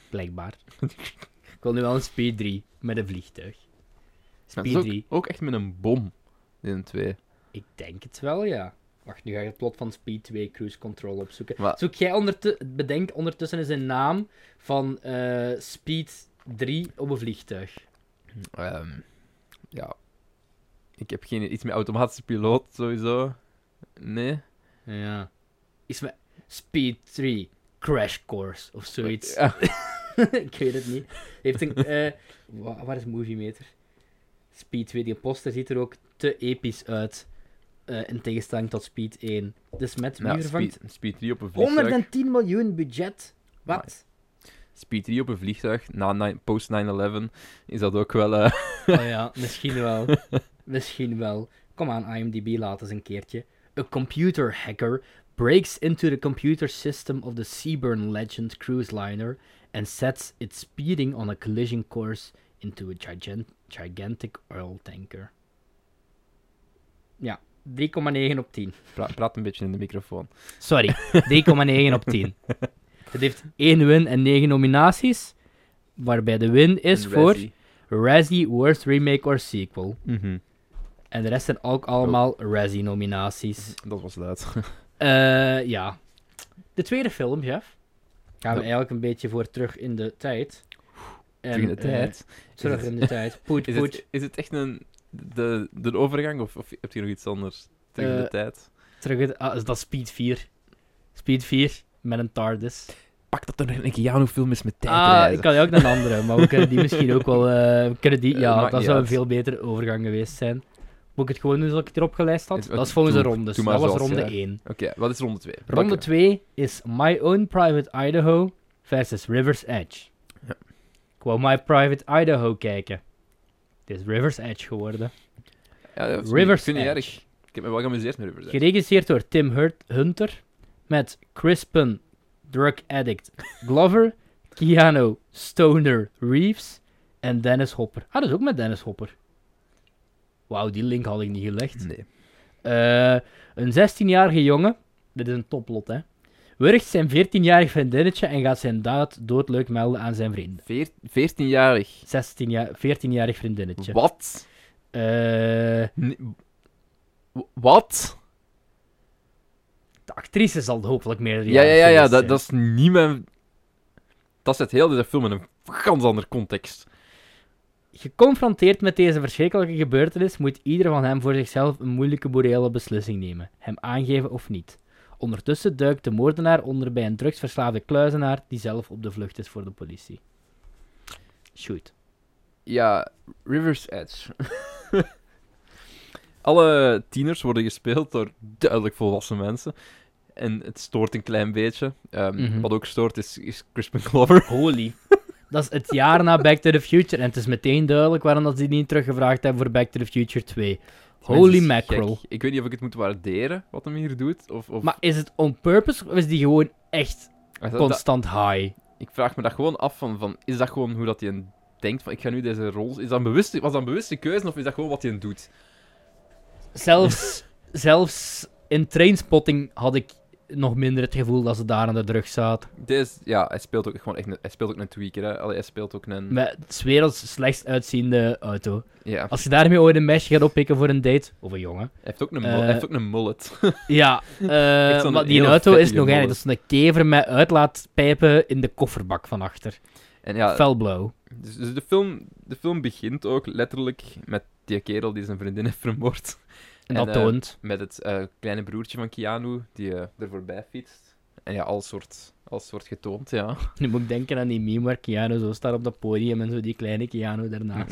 Speaker 2: Blijkbaar. ik wil nu wel een Speed 3 met een vliegtuig.
Speaker 1: Dat
Speaker 2: Speed
Speaker 1: is ook,
Speaker 2: 3.
Speaker 1: ook echt met een bom in twee.
Speaker 2: Ik denk het wel, ja. Wacht, nu ga ik het plot van Speed 2 Cruise Control opzoeken.
Speaker 1: Maar-
Speaker 2: Zoek jij ondertussen... Bedenk ondertussen eens een naam van eh, Speed 3 op een vliegtuig.
Speaker 1: Ehm, ja. Ik heb geen iets met automatische piloot sowieso. Nee.
Speaker 2: Ja. Is me... Speed 3 Crash Course of zoiets.
Speaker 1: Ja.
Speaker 2: ik weet het niet. Heeft een... eh, wa- waar is Movie Meter? Speed 2, die poster ziet er ook te episch uit. eh, in tegenstelling tot Speed 1. Dus met wie
Speaker 1: Ja,
Speaker 2: vervangt?
Speaker 1: speed, speed 3 op een vliegtuig.
Speaker 2: 110 miljoen budget. Wat?
Speaker 1: Speed 3 op een vliegtuig na nine- post 9-11 is dat ook wel. eh,
Speaker 2: Oh ja, misschien wel. misschien wel. Kom aan, IMDb, laat eens een keertje. A computer hacker breaks into the computer system of the Seaburn Legend cruise liner and sets it speeding on a collision course into a gigan- gigantic oil tanker. Ja, 3,9 op 10.
Speaker 1: Pra- praat een beetje in de microfoon.
Speaker 2: Sorry, 3,9 op 10. Het heeft 1 win en 9 nominaties. Waarbij de win is
Speaker 1: Een
Speaker 2: voor
Speaker 1: Razzie.
Speaker 2: Razzie Worst Remake or Sequel.
Speaker 1: Mhm.
Speaker 2: En de rest zijn ook allemaal Razzie-nominaties.
Speaker 1: Dat was luid.
Speaker 2: Eh, ja. De tweede film, Jeff. Gaan we
Speaker 1: Ja.
Speaker 2: eigenlijk een beetje voor terug in de tijd. En,
Speaker 1: Terug in de
Speaker 2: eh,
Speaker 1: tijd.
Speaker 2: terug
Speaker 1: het-
Speaker 2: in de tijd. Poet,
Speaker 1: Is
Speaker 2: poet.
Speaker 1: het, is het echt een, de, de overgang of, of heb je nog iets anders? Terug in de
Speaker 2: Eh,
Speaker 1: tijd.
Speaker 2: Terug in de- ah, is dat Speed 4? Speed 4 met een TARDIS.
Speaker 1: Pak dat er een Keanu-film is met
Speaker 2: Ah, ik
Speaker 1: tijdreizen.
Speaker 2: kan die ook naar een andere, maar we kunnen die misschien ook wel. eh, we kunnen die,
Speaker 1: Eh,
Speaker 2: ja,
Speaker 1: maakt
Speaker 2: dat
Speaker 1: niet
Speaker 2: zou een
Speaker 1: uit.
Speaker 2: veel betere overgang geweest zijn. Moet ik het gewoon doen zoals ik het erop gelijst had?
Speaker 1: Het-
Speaker 2: dat is volgens de
Speaker 1: doe-
Speaker 2: rondes.
Speaker 1: doe maar
Speaker 2: dat was
Speaker 1: zoals
Speaker 2: ronde
Speaker 1: jij.
Speaker 2: 1.
Speaker 1: Oké, wat is ronde 2?
Speaker 2: Ronde 2 is My Own Private Idaho versus River's Edge.
Speaker 1: Ja.
Speaker 2: Ik wou My Private Idaho kijken. Het is River's Edge geworden. River's
Speaker 1: Rivers. Vind je
Speaker 2: Edge.
Speaker 1: erg? Ik heb me wel geamuseerd met Rivers. Edge.
Speaker 2: Geregisseerd door Tim Hurt- Hunter. Met Crispin, drug addict Glover, Keanu, Stoner Reeves en Dennis Hopper. Ah, dat is ook met Dennis Hopper. Wauw, die link had ik niet gelegd.
Speaker 1: Nee.
Speaker 2: Eh, een 16-jarige jongen, dit is een toplot hè, wurgt zijn 14-jarig vriendinnetje en gaat zijn daad doodleuk melden aan zijn vrienden.
Speaker 1: Veer- 14-jarig.
Speaker 2: 16 ja 14-jarig vriendinnetje.
Speaker 1: Wat?
Speaker 2: Eh,
Speaker 1: Nee. W- Wat?
Speaker 2: de actrice zal hopelijk meer
Speaker 1: Ja, ja, ja, ja dat, dat is niet mijn. Dat zet heel deze film in een ganz ander context.
Speaker 2: Geconfronteerd met deze verschrikkelijke gebeurtenis, moet ieder van hen voor zichzelf een moeilijke morele beslissing nemen: hem aangeven of niet. Ondertussen duikt de moordenaar onder bij een drugsverslaafde kluizenaar die zelf op de vlucht is voor de politie. Shoot.
Speaker 1: Ja, Rivers Edge. Alle tieners worden gespeeld door duidelijk volwassen mensen. En het stoort een klein beetje. Ehm,
Speaker 2: Mhm.
Speaker 1: Wat ook stoort is, is Crispin Glover.
Speaker 2: Holy. Dat is het jaar na Back to the Future en het is meteen duidelijk waarom dat ze die niet teruggevraagd hebben voor Back to the Future 2.
Speaker 1: Mensen
Speaker 2: Holy
Speaker 1: is
Speaker 2: mackerel.
Speaker 1: gek. Ik weet niet of ik het moet waarderen wat hem hier doet. Of, of...
Speaker 2: Maar is het on purpose of is die gewoon echt
Speaker 1: Ah, dat- dat-
Speaker 2: constant high?
Speaker 1: ik vraag me dat gewoon af van, van is dat gewoon hoe dat hij een denkt van ik ga nu deze rol is dat een bewuste was dat een bewuste keuze of is dat gewoon wat hij doet
Speaker 2: Zelfs, zelfs in Trainspotting had ik nog minder het gevoel dat ze daar aan de drug zaten.
Speaker 1: deze ja hij speelt ook gewoon echt een, hij speelt ook een tweaker hè Allee, hij speelt ook een
Speaker 2: Met het 's werelds slechtst uitziende auto.
Speaker 1: ja
Speaker 2: Als je daarmee ooit een meisje gaat oppikken voor een date, of een jongen.
Speaker 1: hij heeft ook een, mul-
Speaker 2: eh,
Speaker 1: hij heeft ook een mullet
Speaker 2: Ja, eh,
Speaker 1: Echt zo'n
Speaker 2: maar die
Speaker 1: heel
Speaker 2: auto is
Speaker 1: vettige
Speaker 2: nog eigenlijk
Speaker 1: modus.
Speaker 2: dat is een kever met uitlaatpijpen in de kofferbak van achter.
Speaker 1: en ja
Speaker 2: Fel blauw.
Speaker 1: dus, dus de film de film begint ook letterlijk met die kerel die zijn vriendin heeft vermoord
Speaker 2: En
Speaker 1: En,
Speaker 2: dat
Speaker 1: eh,
Speaker 2: toont.
Speaker 1: met het eh, kleine broertje van Keanu die eh, er voorbij fietst en ja al soort al soort getoond ja
Speaker 2: Nu moet ik denken aan die meme waar Keanu zo staat op dat podium en zo die kleine Keanu daarnaast.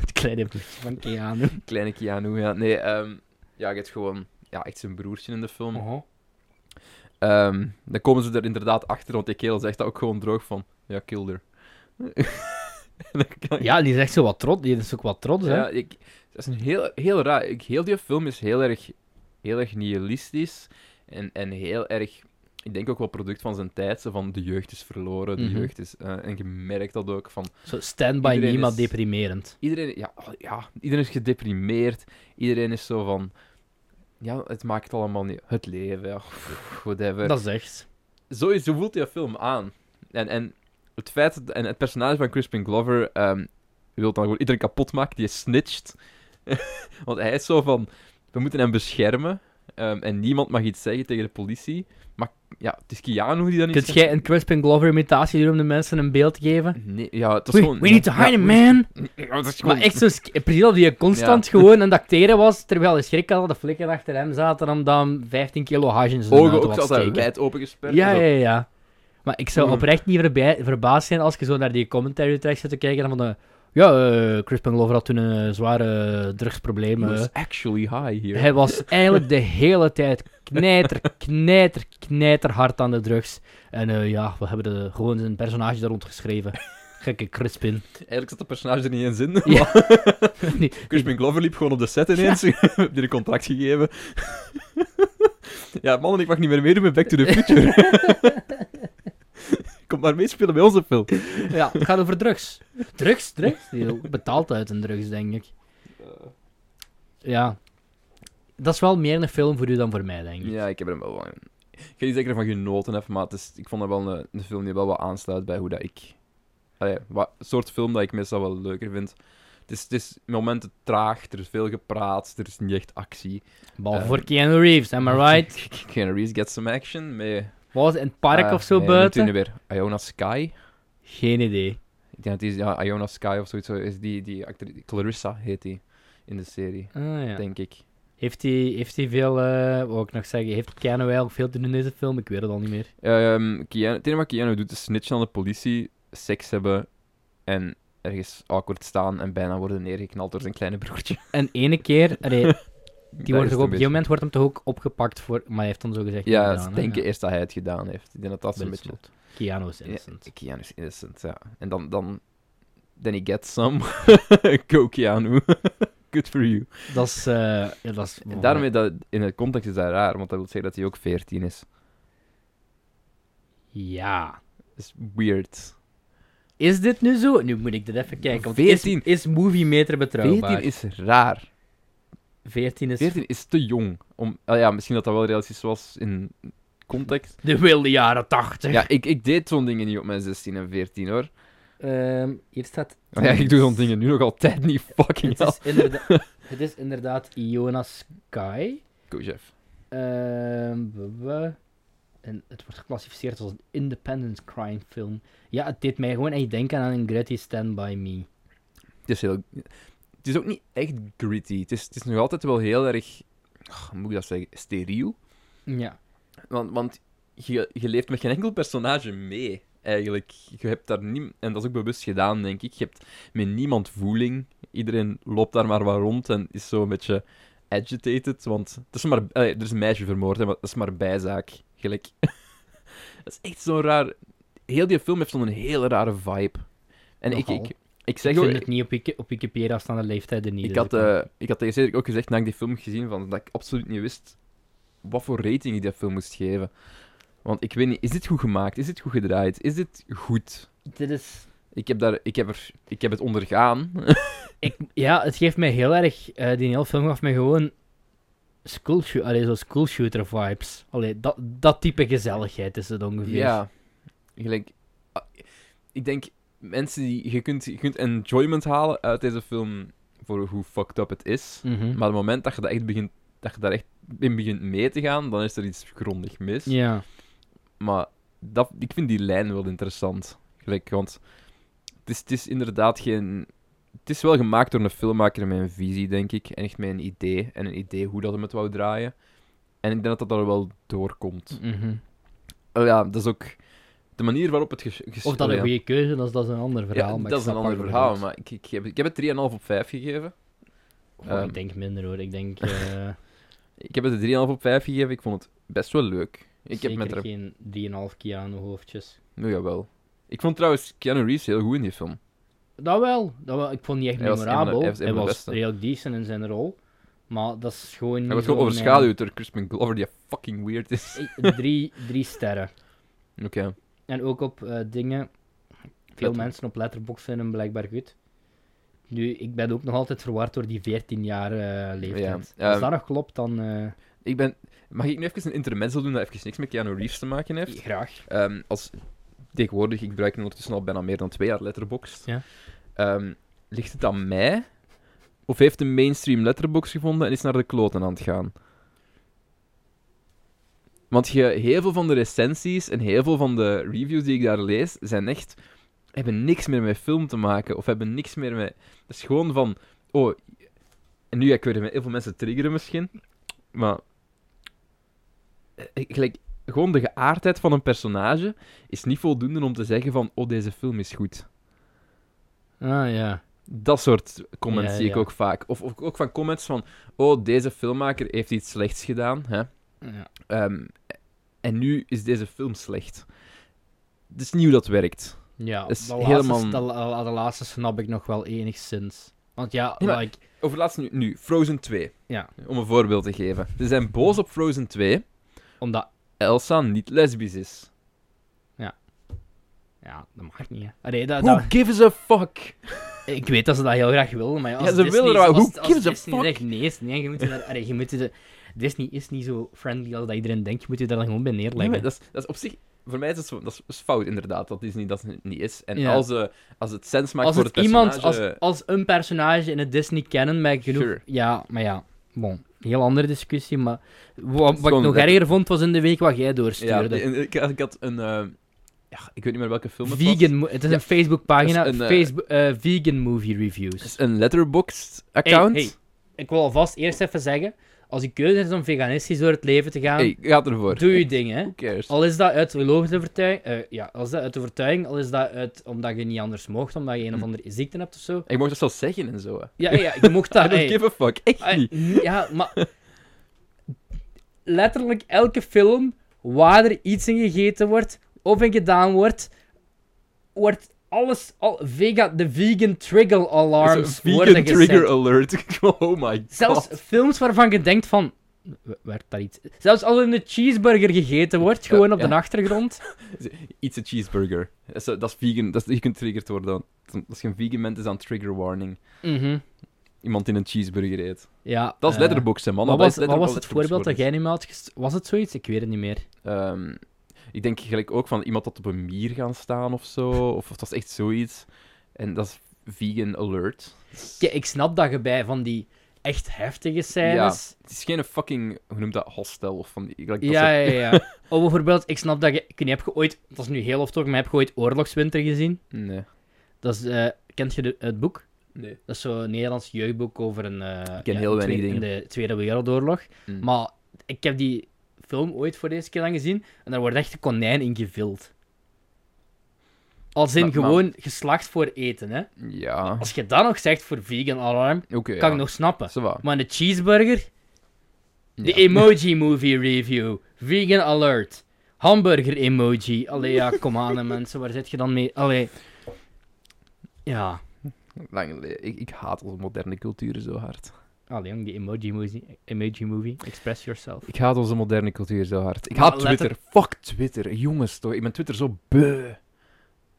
Speaker 2: het kleine broertje van Keanu.
Speaker 1: kleine Keanu ja nee ehm, ja je hebt gewoon ja echt zijn broertje in de film
Speaker 2: Oh.
Speaker 1: Ehm, dan komen ze er inderdaad achter, want die kerel zegt dat ook gewoon droog van... Ja, kill her. En dan kan-
Speaker 2: Ja, die is echt zo wat trots. Die is ook wat trots, hè?
Speaker 1: ja, ik, dat is een heel, heel raar... Ik, heel die film is heel erg, heel erg nihilistisch. En, en heel erg... Ik denk ook wel product van zijn tijd. Zo van, de jeugd is verloren, de
Speaker 2: Mhm.
Speaker 1: jeugd is... eh, en je merkt dat ook van...
Speaker 2: Zo stand by
Speaker 1: Iedereen
Speaker 2: Nima
Speaker 1: is-
Speaker 2: deprimerend.
Speaker 1: Iedereen, ja, oh, ja, iedereen is gedeprimeerd. Iedereen is zo van... Ja, het maakt allemaal niet... Het leven, ja, whatever.
Speaker 2: Dat is echt.
Speaker 1: zo, is- zo voelt die film aan. En, en het feit dat- en het personage van Crispin Glover ehm wil dan gewoon iedereen kapot maken die is snitcht. Want hij is zo van: we moeten hem beschermen ehm, en niemand mag iets zeggen tegen de politie. Maar ja, het is Keanu die dan
Speaker 2: Kunt
Speaker 1: iets
Speaker 2: jij een Crispin Glover imitatie doen om de mensen een beeld te geven?
Speaker 1: Nee, ja, het was
Speaker 2: We,
Speaker 1: gewoon.
Speaker 2: we need to hide him, man! Maar echt zo... sk- Precies dat hij constant
Speaker 1: Ja.
Speaker 2: gewoon aan het acteren was, terwijl hij schrik had dat de flikken achter hem zaten en dan 15 kilo hash in zijn
Speaker 1: Ogen
Speaker 2: auto
Speaker 1: ook
Speaker 2: had
Speaker 1: altijd
Speaker 2: steken.
Speaker 1: wijd open gesperd.
Speaker 2: Ja,
Speaker 1: zo.
Speaker 2: ja, ja. Maar ik zou
Speaker 1: Mm.
Speaker 2: oprecht niet verbij- verbaasd zijn als je zo naar die commentary track zit te kijken en van... eh, ja, eh, Crispin Glover had toen een zware drugsprobleem.
Speaker 1: He
Speaker 2: eh."
Speaker 1: was actually high here.
Speaker 2: Hij was eigenlijk de hele tijd knijter, knijter, knijter hard aan de drugs. En eh, ja, we hebben de, gewoon zijn personage daar rond geschreven. Gekke Crispin.
Speaker 1: Eigenlijk zat de personage er niet eens in.
Speaker 2: Ja.
Speaker 1: maar
Speaker 2: Nee,
Speaker 1: Crispin Glover liep gewoon op de set ineens. Ik heb die een contract gegeven. ja, mannen, ik mag niet meer meedoen met Back to the Future. Kom maar meespelen bij onze film.
Speaker 2: ja, het gaat over drugs.
Speaker 1: Eh.
Speaker 2: Drugs, drugs? Die betaalt uit een drugs, denk ik. Ja. Dat is wel meer een film voor u dan voor mij, denk ik.
Speaker 1: Ja, ik heb er wel van. Ik ga niet zeker van genoten heb, maar het is, ik vond dat wel een, een film die wel wat aansluit bij hoe dat ik. Allee, wat soort film dat ik meestal wel leuker vind. Het is, het is momenten traag, er is veel gepraat, er is niet echt actie.
Speaker 2: Behalve
Speaker 1: Eh,
Speaker 2: voor Keanu Reeves, am I right?
Speaker 1: Keanu Reeves gets some action. Met,
Speaker 2: Wat was het, in het park
Speaker 1: eh,
Speaker 2: of zo
Speaker 1: nee, hoe heet die
Speaker 2: buiten?
Speaker 1: nu weer? Iona Sky.
Speaker 2: Geen idee.
Speaker 1: Ik denk dat die is, ja, Iona Sky of zoiets zo is. Die, die actrice, Clarissa heet die in de serie,
Speaker 2: Ah, ja.
Speaker 1: denk ik.
Speaker 2: Heeft hij heeft hij veel, eh wat wou ik nog zeggen, heeft Keanu eigenlijk veel te doen in deze film? Ik weet het al niet meer.
Speaker 1: Ehm Keanu, het enige wat Keanu doet is snitchen aan de politie, seks hebben en ergens awkward staan en bijna worden neergeknald door zijn kleine broertje.
Speaker 2: En ene keer, allee,
Speaker 1: Dat
Speaker 2: die wordt
Speaker 1: is het
Speaker 2: toch op
Speaker 1: een
Speaker 2: een gegeven moment wordt hem toch ook opgepakt voor, maar hij heeft dan zo gezegd.
Speaker 1: beetje. Ja,
Speaker 2: niet
Speaker 1: ze
Speaker 2: gedaan, hè?
Speaker 1: denken eerst dat hij het gedaan heeft. Ik denk dat dat zo'n
Speaker 2: But it's
Speaker 1: beetje...
Speaker 2: not. Keanu is innocent.
Speaker 1: Keanu is innocent, ja. En dan... dan then he gets some. Go Keanu. Good for you.
Speaker 2: Dat is, eh, ja, dat is
Speaker 1: En daarmee, dat, in het context is dat raar, want dat wil zeggen dat hij ook 14 is.
Speaker 2: Ja.
Speaker 1: Dat is weird.
Speaker 2: Is dit nu zo? Nu moet ik dit even kijken. Want is,
Speaker 1: 14.
Speaker 2: is Movie Meter betrouwbaar?
Speaker 1: 14
Speaker 2: 14 is...
Speaker 1: is raar.
Speaker 2: 14 is
Speaker 1: 14 is te jong. Om, ah ja, misschien dat dat wel realistisch was in context.
Speaker 2: de wilde jaren 80.
Speaker 1: Ja, ik, ik deed zo'n dingen niet op mijn 16 en 14 hoor.
Speaker 2: Ehm, hier staat...
Speaker 1: Maar ja, ik doe zo'n dingen nu nog altijd niet fucking
Speaker 2: dus Het
Speaker 1: hell.
Speaker 2: is, inderda- het is inderdaad Iona Sky.
Speaker 1: Go, Jeff.
Speaker 2: Ehm, we- we- en het wordt geclassificeerd als een independent crime film. Ja, het deed mij gewoon echt denken aan een Gritty Stand By Me.
Speaker 1: Het is heel. Het is ook niet echt gritty. Het is, het is nog altijd wel heel erg. oh, hoe moet ik dat zeggen? Steriel.
Speaker 2: Ja.
Speaker 1: Want, want je, je leeft met geen enkel personage mee, eigenlijk. Je hebt daar niet, en dat is ook bewust gedaan, denk ik. Je hebt met niemand voeling. Iedereen loopt daar maar wat rond en is zo een beetje agitated. Want het is maar, allee, er is een meisje vermoord, hè, maar dat is maar bijzaak. Gelijk. dat is echt zo'n raar. Heel die film heeft zo'n hele rare vibe. En ik,
Speaker 2: Nogal.
Speaker 1: ik, ik
Speaker 2: Ik
Speaker 1: zeg
Speaker 2: vind
Speaker 1: ook,
Speaker 2: het niet op, Wiki- op Wikipedia staan de leeftijden niet.
Speaker 1: ik
Speaker 2: dus
Speaker 1: had, eh, ik had tegen Cedric ook gezegd, nadat ik die film gezien, van, dat ik absoluut niet wist wat voor rating ik die film moest geven. Want ik weet niet, is dit goed gemaakt? Is dit goed gedraaid? Is dit goed?
Speaker 2: Dit is...
Speaker 1: Ik heb, daar, ik heb, er, ik heb het ondergaan.
Speaker 2: Ik, ja, het geeft mij heel erg... eh, die hele film gaf mij gewoon... School shoo- allee, zo school shooter vibes. Allee, dat, dat type gezelligheid is het ongeveer.
Speaker 1: ja. Gelijk, ah, ik denk, mensen die... Je kunt, je kunt enjoyment halen uit deze film voor hoe fucked up het is.
Speaker 2: Mhm.
Speaker 1: Maar het moment dat je, dat, echt begint, dat je daar echt in begint mee te gaan, dan is er iets grondig mis.
Speaker 2: Ja.
Speaker 1: Maar dat, ik vind die lijn wel interessant. Gelijk, want het is, het is inderdaad geen. Het is wel gemaakt door een filmmaker met een visie, denk ik. En echt met een idee. En een idee hoe dat hem het wou draaien. En ik denk dat dat er wel doorkomt.
Speaker 2: Mhm.
Speaker 1: Oh ja, dat is ook. De manier waarop het ges- ges-
Speaker 2: Of dat
Speaker 1: oh
Speaker 2: een
Speaker 1: ja.
Speaker 2: goede keuze is, dat is een ander verhaal.
Speaker 1: Ja,
Speaker 2: maar ik
Speaker 1: dat is een
Speaker 2: snap wat
Speaker 1: ander
Speaker 2: je
Speaker 1: verhaal.
Speaker 2: bedoelt.
Speaker 1: Maar ik, ik, heb, ik heb het 3,5 op 5 gegeven.
Speaker 2: Oh,
Speaker 1: Ehm.
Speaker 2: ik denk minder hoor. Ik denk... eh,
Speaker 1: Ik heb het 3,5 op 5 gegeven. Ik vond het best wel leuk. Ik heb
Speaker 2: Zeker
Speaker 1: met er...
Speaker 2: geen 3,5 Keanu hoofdjes.
Speaker 1: Nou, jawel. Ik vond trouwens Keanu Reeves heel goed in die film.
Speaker 2: Dat wel, dat wel. Ik vond die echt
Speaker 1: Hij was een van de-
Speaker 2: memorabel.
Speaker 1: hij was een
Speaker 2: hij
Speaker 1: van de
Speaker 2: was
Speaker 1: beste.
Speaker 2: redelijk decent in zijn rol. Maar dat is gewoon niet
Speaker 1: Hij wordt gewoon
Speaker 2: zo'n,
Speaker 1: overschaduwd door Crispin Glover, die fucking weird is.
Speaker 2: eh, eh, drie, drie sterren.
Speaker 1: Oké.
Speaker 2: En ook op eh, dingen... Veel
Speaker 1: Letter-
Speaker 2: mensen op Letterboxd vinden hem blijkbaar goed. Nu, ik ben ook nog altijd verward door die 14 jaar eh, leeftijd.
Speaker 1: Ja, ehm,
Speaker 2: Als dat nog klopt, dan eh,
Speaker 1: Ik ben... Mag ik nu even een intermezzo doen dat even niks met Keanu Reeves te maken heeft?
Speaker 2: graag.
Speaker 1: Ehm, als... Tegenwoordig, ik gebruik ondertussen al bijna meer dan twee jaar Letterboxd.
Speaker 2: Ja.
Speaker 1: Ehm, ligt het aan mij? Of heeft de mainstream Letterboxd gevonden en is naar de kloten aan het gaan? Want je, heel veel van de recensies en heel veel van de reviews die ik daar lees, zijn echt... Hebben niks meer met film te maken. Of hebben niks meer met... Het is gewoon van... Oh, en nu ga ik weer met heel veel mensen triggeren misschien. Maar... eh, Gelijk, gewoon de geaardheid van een personage is niet voldoende om te zeggen van, oh, deze film is goed.
Speaker 2: Ah ja.
Speaker 1: Dat soort comments
Speaker 2: Ja,
Speaker 1: zie ik
Speaker 2: ja.
Speaker 1: ook vaak. Of, of ook van comments van, oh, deze filmmaker heeft iets slechts gedaan. Hè?
Speaker 2: ja.
Speaker 1: Ehm, en nu is deze film slecht. Het is nieuw dat werkt.
Speaker 2: Ja,
Speaker 1: Dat is
Speaker 2: de
Speaker 1: helemaal-
Speaker 2: laatste, de, la- de laatste snap ik nog wel enigszins. Want ja,
Speaker 1: Nee, maar-
Speaker 2: like,
Speaker 1: Over laatst nu, nu, Frozen 2.
Speaker 2: Ja.
Speaker 1: Om een voorbeeld te geven. Ze zijn boos op Frozen 2,
Speaker 2: omdat...
Speaker 1: Elsa niet lesbisch is.
Speaker 2: Ja, dat mag niet, hè. Allee, dat,
Speaker 1: Who
Speaker 2: dat-
Speaker 1: gives a fuck?
Speaker 2: Ik weet dat ze dat heel graag wilden, maar ja, als
Speaker 1: Ja, ze
Speaker 2: Disney,
Speaker 1: willen er wel.
Speaker 2: als-
Speaker 1: Who
Speaker 2: als
Speaker 1: gives a
Speaker 2: Disney
Speaker 1: fuck?
Speaker 2: zegt nee, is het niet, en je moet je daar, allee, je moet je de- Disney is niet zo friendly als dat iedereen denkt, je moet je daar dan gewoon bij
Speaker 1: Nee,
Speaker 2: neerleggen.
Speaker 1: maar dat, is, dat is op zich... Voor mij is dat, zo- dat is fout, inderdaad, dat Disney dat niet is. En
Speaker 2: Ja.
Speaker 1: als, eh, als het sens maakt
Speaker 2: als
Speaker 1: voor
Speaker 2: het,
Speaker 1: het,
Speaker 2: iemand, als,
Speaker 1: personage...
Speaker 2: als een personage in het Disney kennen, met genoeg...
Speaker 1: Sure.
Speaker 2: Ja, maar ja, bon, heel andere discussie, maar... wa- Wat, ik
Speaker 1: gewoon
Speaker 2: nog
Speaker 1: dat-
Speaker 2: erger vond, was in de week wat jij
Speaker 1: ja,
Speaker 2: doorstuurde.
Speaker 1: en ik, ik had een... eh, ja, ik weet niet meer welke film het was.
Speaker 2: vegan, mo- het is
Speaker 1: Ja.
Speaker 2: een Facebookpagina,
Speaker 1: Dat is een, eh,
Speaker 2: Facebook, eh, vegan movie reviews.
Speaker 1: Het is een Letterboxd-account.
Speaker 2: Hey, hey, ik wil alvast eerst even zeggen, als je keuze is om veganistisch door het leven te gaan,
Speaker 1: Hey, gaat ervoor.
Speaker 2: doe je ding, hè.
Speaker 1: Who cares?
Speaker 2: Al is dat uit gelovige overtuiging, eh, ja, als dat uit overtuiging, al is dat uit omdat je niet anders mocht, omdat je een of
Speaker 1: Hm.
Speaker 2: andere ziekte hebt of zo.
Speaker 1: Ik mocht dat zelfs zeggen en zo. hè.
Speaker 2: Ja, ja, ja, je mocht
Speaker 1: I
Speaker 2: dat.
Speaker 1: don't
Speaker 2: Ah, hey.
Speaker 1: give a fuck. Echt
Speaker 2: Ah,
Speaker 1: niet.
Speaker 2: n- Ja, maar letterlijk elke film waar er iets in gegeten wordt of in gedaan wordt, wordt alles al vega, de vegan trigger alarms
Speaker 1: Zo'n vegan
Speaker 2: worden gezet.
Speaker 1: trigger alert. Oh my god.
Speaker 2: Zelfs films waarvan je denkt van. w- Werd daar iets. Zelfs als er een cheeseburger gegeten wordt,
Speaker 1: Ja,
Speaker 2: gewoon op
Speaker 1: ja.
Speaker 2: de achtergrond.
Speaker 1: Iets a cheeseburger. Dat is, dat is vegan. Dat is, je kunt getriggerd worden. dan. Als je een vegan bent, is dat een trigger warning.
Speaker 2: Mhm.
Speaker 1: Iemand die een cheeseburger eet.
Speaker 2: Ja,
Speaker 1: Dat is
Speaker 2: eh,
Speaker 1: Letterboxd, hè, man.
Speaker 2: Wat
Speaker 1: Dat
Speaker 2: was,
Speaker 1: is
Speaker 2: wat was
Speaker 1: Letterboxd-
Speaker 2: het voorbeeld dat
Speaker 1: Letterboxd
Speaker 2: jij nu me had gest- Was het zoiets? Ik weet het niet meer.
Speaker 1: Ehm, ik denk gelijk ook van iemand dat op een mier gaan staan of zo. Of dat is echt zoiets. En dat is vegan alert.
Speaker 2: Ja, ik snap dat je bij van die echt heftige scènes.
Speaker 1: Het is geen fucking, hoe noemt dat, hostel of van die... gelijk dat
Speaker 2: Ja,
Speaker 1: soort-
Speaker 2: ja, ja. Of bijvoorbeeld, ik snap dat je. Ik weet niet, heb je ooit. Dat is nu heel off topic, maar heb je ooit Oorlogswinter gezien?
Speaker 1: Nee.
Speaker 2: Dat is, eh, kent je de- het boek?
Speaker 1: Nee.
Speaker 2: Dat is zo'n Nederlands jeugdboek over een. eh,
Speaker 1: Ik ken heel
Speaker 2: in
Speaker 1: weinig
Speaker 2: tweede- In de Tweede Wereldoorlog.
Speaker 1: Mm.
Speaker 2: Maar ik heb die film ooit voor de eerste keer lang gezien en daar wordt echt een konijn in gevild. Als in
Speaker 1: Maar- maar-
Speaker 2: gewoon geslacht voor eten, hè?
Speaker 1: Ja.
Speaker 2: Als je dat nog zegt voor vegan alarm,
Speaker 1: Oké,
Speaker 2: kan
Speaker 1: ja.
Speaker 2: ik nog snappen.
Speaker 1: Ça va.
Speaker 2: Maar de cheeseburger, de
Speaker 1: Ja.
Speaker 2: emoji movie review, vegan alert, hamburger emoji. Allee, ja, kom aan, hè, mensen, waar zit je dan mee? Allee. Ja,
Speaker 1: Lang geleden. Ik, ik haat onze moderne cultuur zo hard.
Speaker 2: allee, jong, die emoji movie, emoji movie, express yourself.
Speaker 1: Ik haat onze moderne cultuur zo hard. Ik
Speaker 2: Maar
Speaker 1: haat
Speaker 2: letter-
Speaker 1: Twitter. Fuck Twitter. Jongens, toch. Ik ben Twitter zo beu.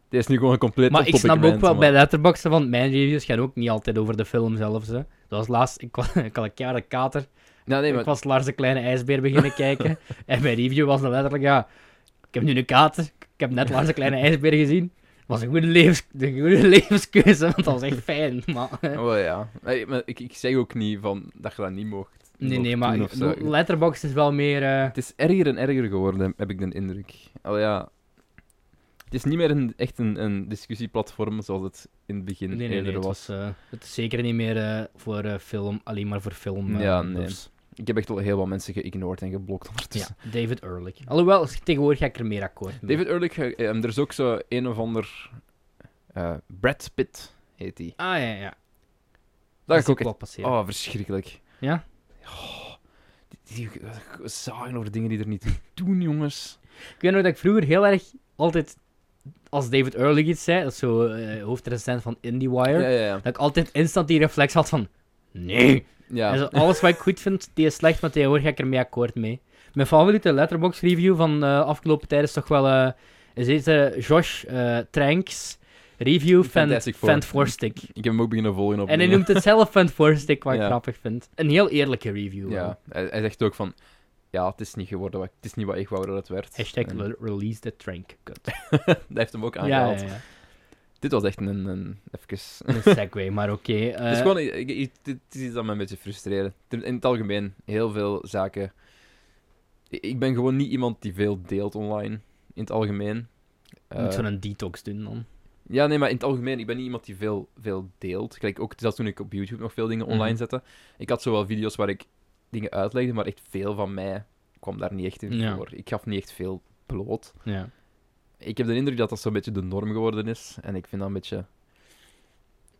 Speaker 1: Dit is nu gewoon een compleet
Speaker 2: Maar ik
Speaker 1: off-topic
Speaker 2: snap ook
Speaker 1: rant,
Speaker 2: wel
Speaker 1: man.
Speaker 2: bij Letterboxd, want mijn reviews gaan ook niet altijd over de film zelf. Hè. Dat was laatst, ik, wa- ik had een keiharde kater.
Speaker 1: Ja, Nou, nee, maar...
Speaker 2: Ik was Lars de Kleine IJsbeer beginnen kijken. en mijn review was dan letterlijk, ja, ik heb nu een kater. Ik heb net Lars de Kleine IJsbeer gezien. Het was een goede, levens, een goede levenskeuze, want dat was echt fijn. Maar, hè.
Speaker 1: Oh, ja. Nee, maar ik, ik zeg ook niet van dat je dat niet mocht.
Speaker 2: nee,
Speaker 1: mocht
Speaker 2: nee,
Speaker 1: doen
Speaker 2: maar
Speaker 1: of zo.
Speaker 2: Letterboxd is wel meer... eh,
Speaker 1: Het is erger en erger geworden, heb ik de indruk. Al ja... Het is niet meer een, echt een, een discussieplatform zoals het in het begin
Speaker 2: nee, nee, nee,
Speaker 1: eerder
Speaker 2: het,
Speaker 1: was.
Speaker 2: was, eh, het is zeker niet meer eh, voor eh, film, alleen maar voor film. eh,
Speaker 1: Ja, nee.
Speaker 2: dus-
Speaker 1: Ik heb echt al heel wat mensen geïgnoord en geblokt ondertussen.
Speaker 2: ja, David Ehrlich. Alhoewel, tegenwoordig ga ik er meer akkoord mee.
Speaker 1: David Ehrlich, eh, ehm, er is ook zo een of ander... eh, Brad Pitt heet die.
Speaker 2: Ah, ja, ja.
Speaker 1: Dat
Speaker 2: is
Speaker 1: is ook
Speaker 2: wel
Speaker 1: echt...
Speaker 2: passeren.
Speaker 1: Oh, verschrikkelijk.
Speaker 2: Ja?
Speaker 1: Oh, die, die die zagen over dingen die er niet toe doen, jongens.
Speaker 2: Ik weet nog dat ik vroeger heel erg altijd, als David Ehrlich iets zei, dat is zo eh, hoofdrecensent van IndieWire,
Speaker 1: Ja, ja, ja.
Speaker 2: dat ik altijd instant die reflex had van, nee.
Speaker 1: ja.
Speaker 2: En zo, alles wat ik goed vind, die is slecht, maar tegenwoordig ga ik ermee akkoord mee. Mijn favoriete letterbox review van eh afgelopen tijd is toch wel, eh, is deze Josh eh Tranks review van
Speaker 1: Fantastic Four.
Speaker 2: Fantastic.
Speaker 1: Ik heb hem ook beginnen volgen op
Speaker 2: En hij
Speaker 1: dingen.
Speaker 2: noemt het zelf Fantastic, wat ik
Speaker 1: Ja.
Speaker 2: grappig vind. Een heel eerlijke review. wel.
Speaker 1: Ja, hij, hij zegt ook van... Ja, het is niet geworden wat, het is niet wat ik wou dat het werd.
Speaker 2: Hashtag
Speaker 1: En Ah,
Speaker 2: re- release the trank. Kut.
Speaker 1: Dat heeft hem ook
Speaker 2: Ja,
Speaker 1: aangehaald.
Speaker 2: ja, ja.
Speaker 1: Dit was echt een... een even...
Speaker 2: Een segue, maar oké. eh,
Speaker 1: het, is gewoon, ik- ik- ik- dit is iets dat me een beetje frustreert. In in het algemeen, heel veel zaken... Ik- Ik ben gewoon niet iemand die veel deelt online. In het algemeen.
Speaker 2: Je moet
Speaker 1: Eh,
Speaker 2: zo'n detox doen dan.
Speaker 1: Ja, nee, maar in het algemeen, ik ben niet iemand die veel, veel deelt. Kijk, ook zelfs toen ik op YouTube nog veel dingen online
Speaker 2: Mhm.
Speaker 1: zette. Ik had zowel video's waar ik dingen uitlegde, maar echt veel van mij kwam daar niet echt in
Speaker 2: Ja.
Speaker 1: voor. Ik gaf niet echt veel bloot.
Speaker 2: Ja.
Speaker 1: Ik heb de indruk dat dat zo'n beetje de norm geworden is. En ik vind dat een beetje...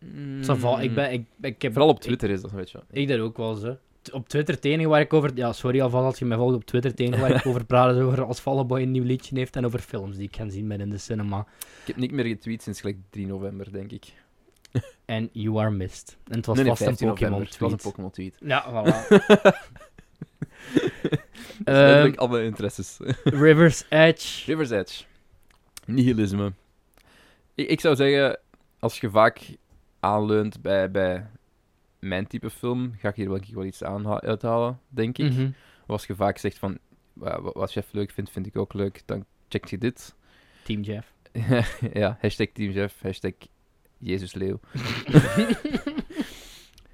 Speaker 1: Mm,
Speaker 2: ik ben... Ik, ik heb,
Speaker 1: Vooral op Twitter is dat een beetje...
Speaker 2: Ik, ik dat ook wel, zo. T- Op Twitter, het enige waar ik over... Ja, sorry alvast als je mij volgt op Twitter. Het enige waar ik over praat is over als Falleboy een nieuw liedje heeft en over films die ik ga zien ben in de cinema.
Speaker 1: Ik heb niet meer getweet sinds gelijk 3 november, denk ik.
Speaker 2: En You Are Missed. En het was
Speaker 1: nee, nee,
Speaker 2: vast een
Speaker 1: 15 november.
Speaker 2: Pokémon
Speaker 1: Het was een Pokémon
Speaker 2: tweet.
Speaker 1: tweet.
Speaker 2: Ja, voilà. Ehm.
Speaker 1: Dat is letterlijk al mijn interesses.
Speaker 2: River's Edge.
Speaker 1: River's Edge. Nihilisme. Ik, ik zou zeggen, als je vaak aanleunt bij, bij mijn type film, ga ik hier wel, wel iets aan uithalen, denk ik.
Speaker 2: Mhm.
Speaker 1: Of als je vaak zegt van, "Wa- wa- wat Jeff leuk vindt, vind ik ook leuk, dan check je dit.
Speaker 2: Team Jeff.
Speaker 1: ja, hashtag Team Jeff, hashtag Jezus Leeuw.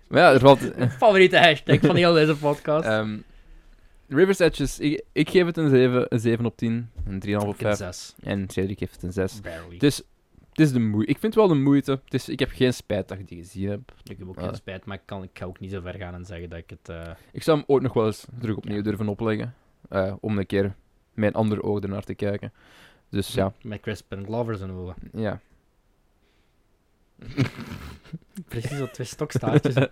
Speaker 1: maar ja, er valt...
Speaker 2: Favoriete hashtag van heel deze podcast.
Speaker 1: ehm, River's Edges, ik, ik geef het een 7, een 7 op 10, een 3,5 op
Speaker 2: Ik een
Speaker 1: 5.
Speaker 2: zes.
Speaker 1: En Cedric geeft het een 6.
Speaker 2: Barely.
Speaker 1: Dus het is de moeite. Ik vind het wel de moeite. Het is, ik heb geen spijt dat ik die gezien heb.
Speaker 2: Ik heb ook
Speaker 1: Ah.
Speaker 2: geen spijt, maar ik, kan, ik ga ook niet zo ver gaan en zeggen dat ik het... eh,
Speaker 1: Ik zou hem ooit nog wel eens terug opnieuw
Speaker 2: Ja.
Speaker 1: durven opleggen. eh, om een keer met een ander oog ernaar te kijken. Dus ja,
Speaker 2: Met Crispin Glover zijn ogen.
Speaker 1: ja.
Speaker 2: Precies op twee stokstaartjes.